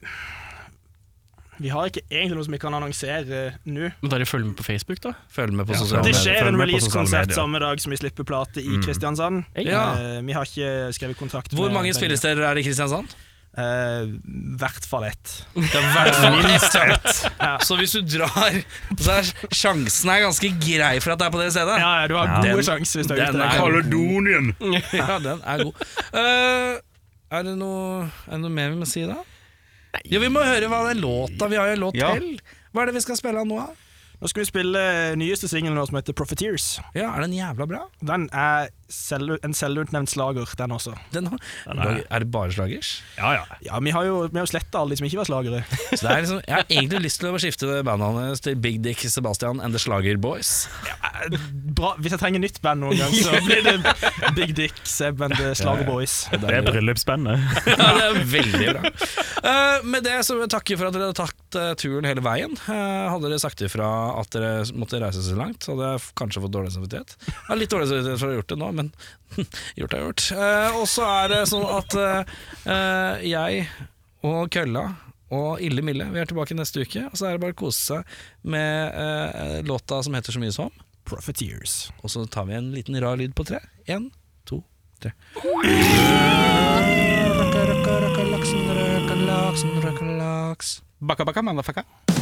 Speaker 6: Vi har ikke egentlig noe som vi kan annonsere eh, nå.
Speaker 2: Men bare følg med på Facebook, da.
Speaker 1: Følg med på sosiale
Speaker 6: Det
Speaker 5: men
Speaker 1: medier.
Speaker 5: følg
Speaker 6: skjer
Speaker 5: med
Speaker 6: en
Speaker 5: på sosiale
Speaker 6: releasekonsert
Speaker 5: medier.
Speaker 6: samme dag som vi slipper plate i Kristiansand.
Speaker 1: Ja.
Speaker 6: Eh, Vi har ikke skrevet kontrakt
Speaker 1: Hvor mange
Speaker 6: begge.
Speaker 1: spillesteder er det i Kristiansand?
Speaker 6: Eh, hvert fall ett.
Speaker 1: Det er hvert fall minst ett. Så hvis du drar, så er sjansen er ganske grei for at det er på det stedet.
Speaker 6: Ja, ja, du har
Speaker 5: Ja.
Speaker 6: gode
Speaker 1: Den-
Speaker 6: sjanser hvis du er
Speaker 1: den er-
Speaker 6: ute der.
Speaker 3: Kaledonien.
Speaker 1: Ja, den er god. Eh, er, det noe, er det noe mer vi må si da? Jo, vi må høre hva den låta Vi har jo en låt
Speaker 3: Ja.
Speaker 1: til. Hva er det vi skal spille av nå? da?
Speaker 6: Nå skal vi spille eh, nyeste singelen vår som heter Profiteers.
Speaker 1: Ja, Er den jævla bra?
Speaker 6: Den er selv, en selvutnevnt slager, den også.
Speaker 1: Den har, er, det bare slagers?
Speaker 5: Ja, ja.
Speaker 6: Ja, Vi har jo, vi har jo sletta alle de som ikke var slagere.
Speaker 1: Så det er liksom, jeg har egentlig lyst til å skifte bandet hans til Big Dick Sebastian and The Slager Boys.
Speaker 6: Eh, Bra, Hvis jeg trenger nytt band noen gang, så blir det Big Dick, Seb and the Slager Boys.
Speaker 5: Det er bryllupsspennet.
Speaker 1: Ja, det er veldig bra. Eh, med det så vil jeg takke for at dere har tatt eh, turen hele veien. Eh, hadde dere sagt ifra at dere måtte reise så langt, hadde jeg f- kanskje fått dårlig samvittighet. Jeg har litt dårlig samvittighet for å ha gjort det nå, men gjort er gjort. Eh, og så er det sånn at eh, eh, jeg og Kølla og Ille Mille, vi er tilbake neste uke. Og så er det bare å kose seg med eh, låta som heter så mye som.
Speaker 6: Profiteers.
Speaker 1: Og så tar vi en liten rar lyd på tre. En, to, tre.
Speaker 3: Bakka, bakka, motherfucker.
Speaker 7: Ah. Ah. Ah.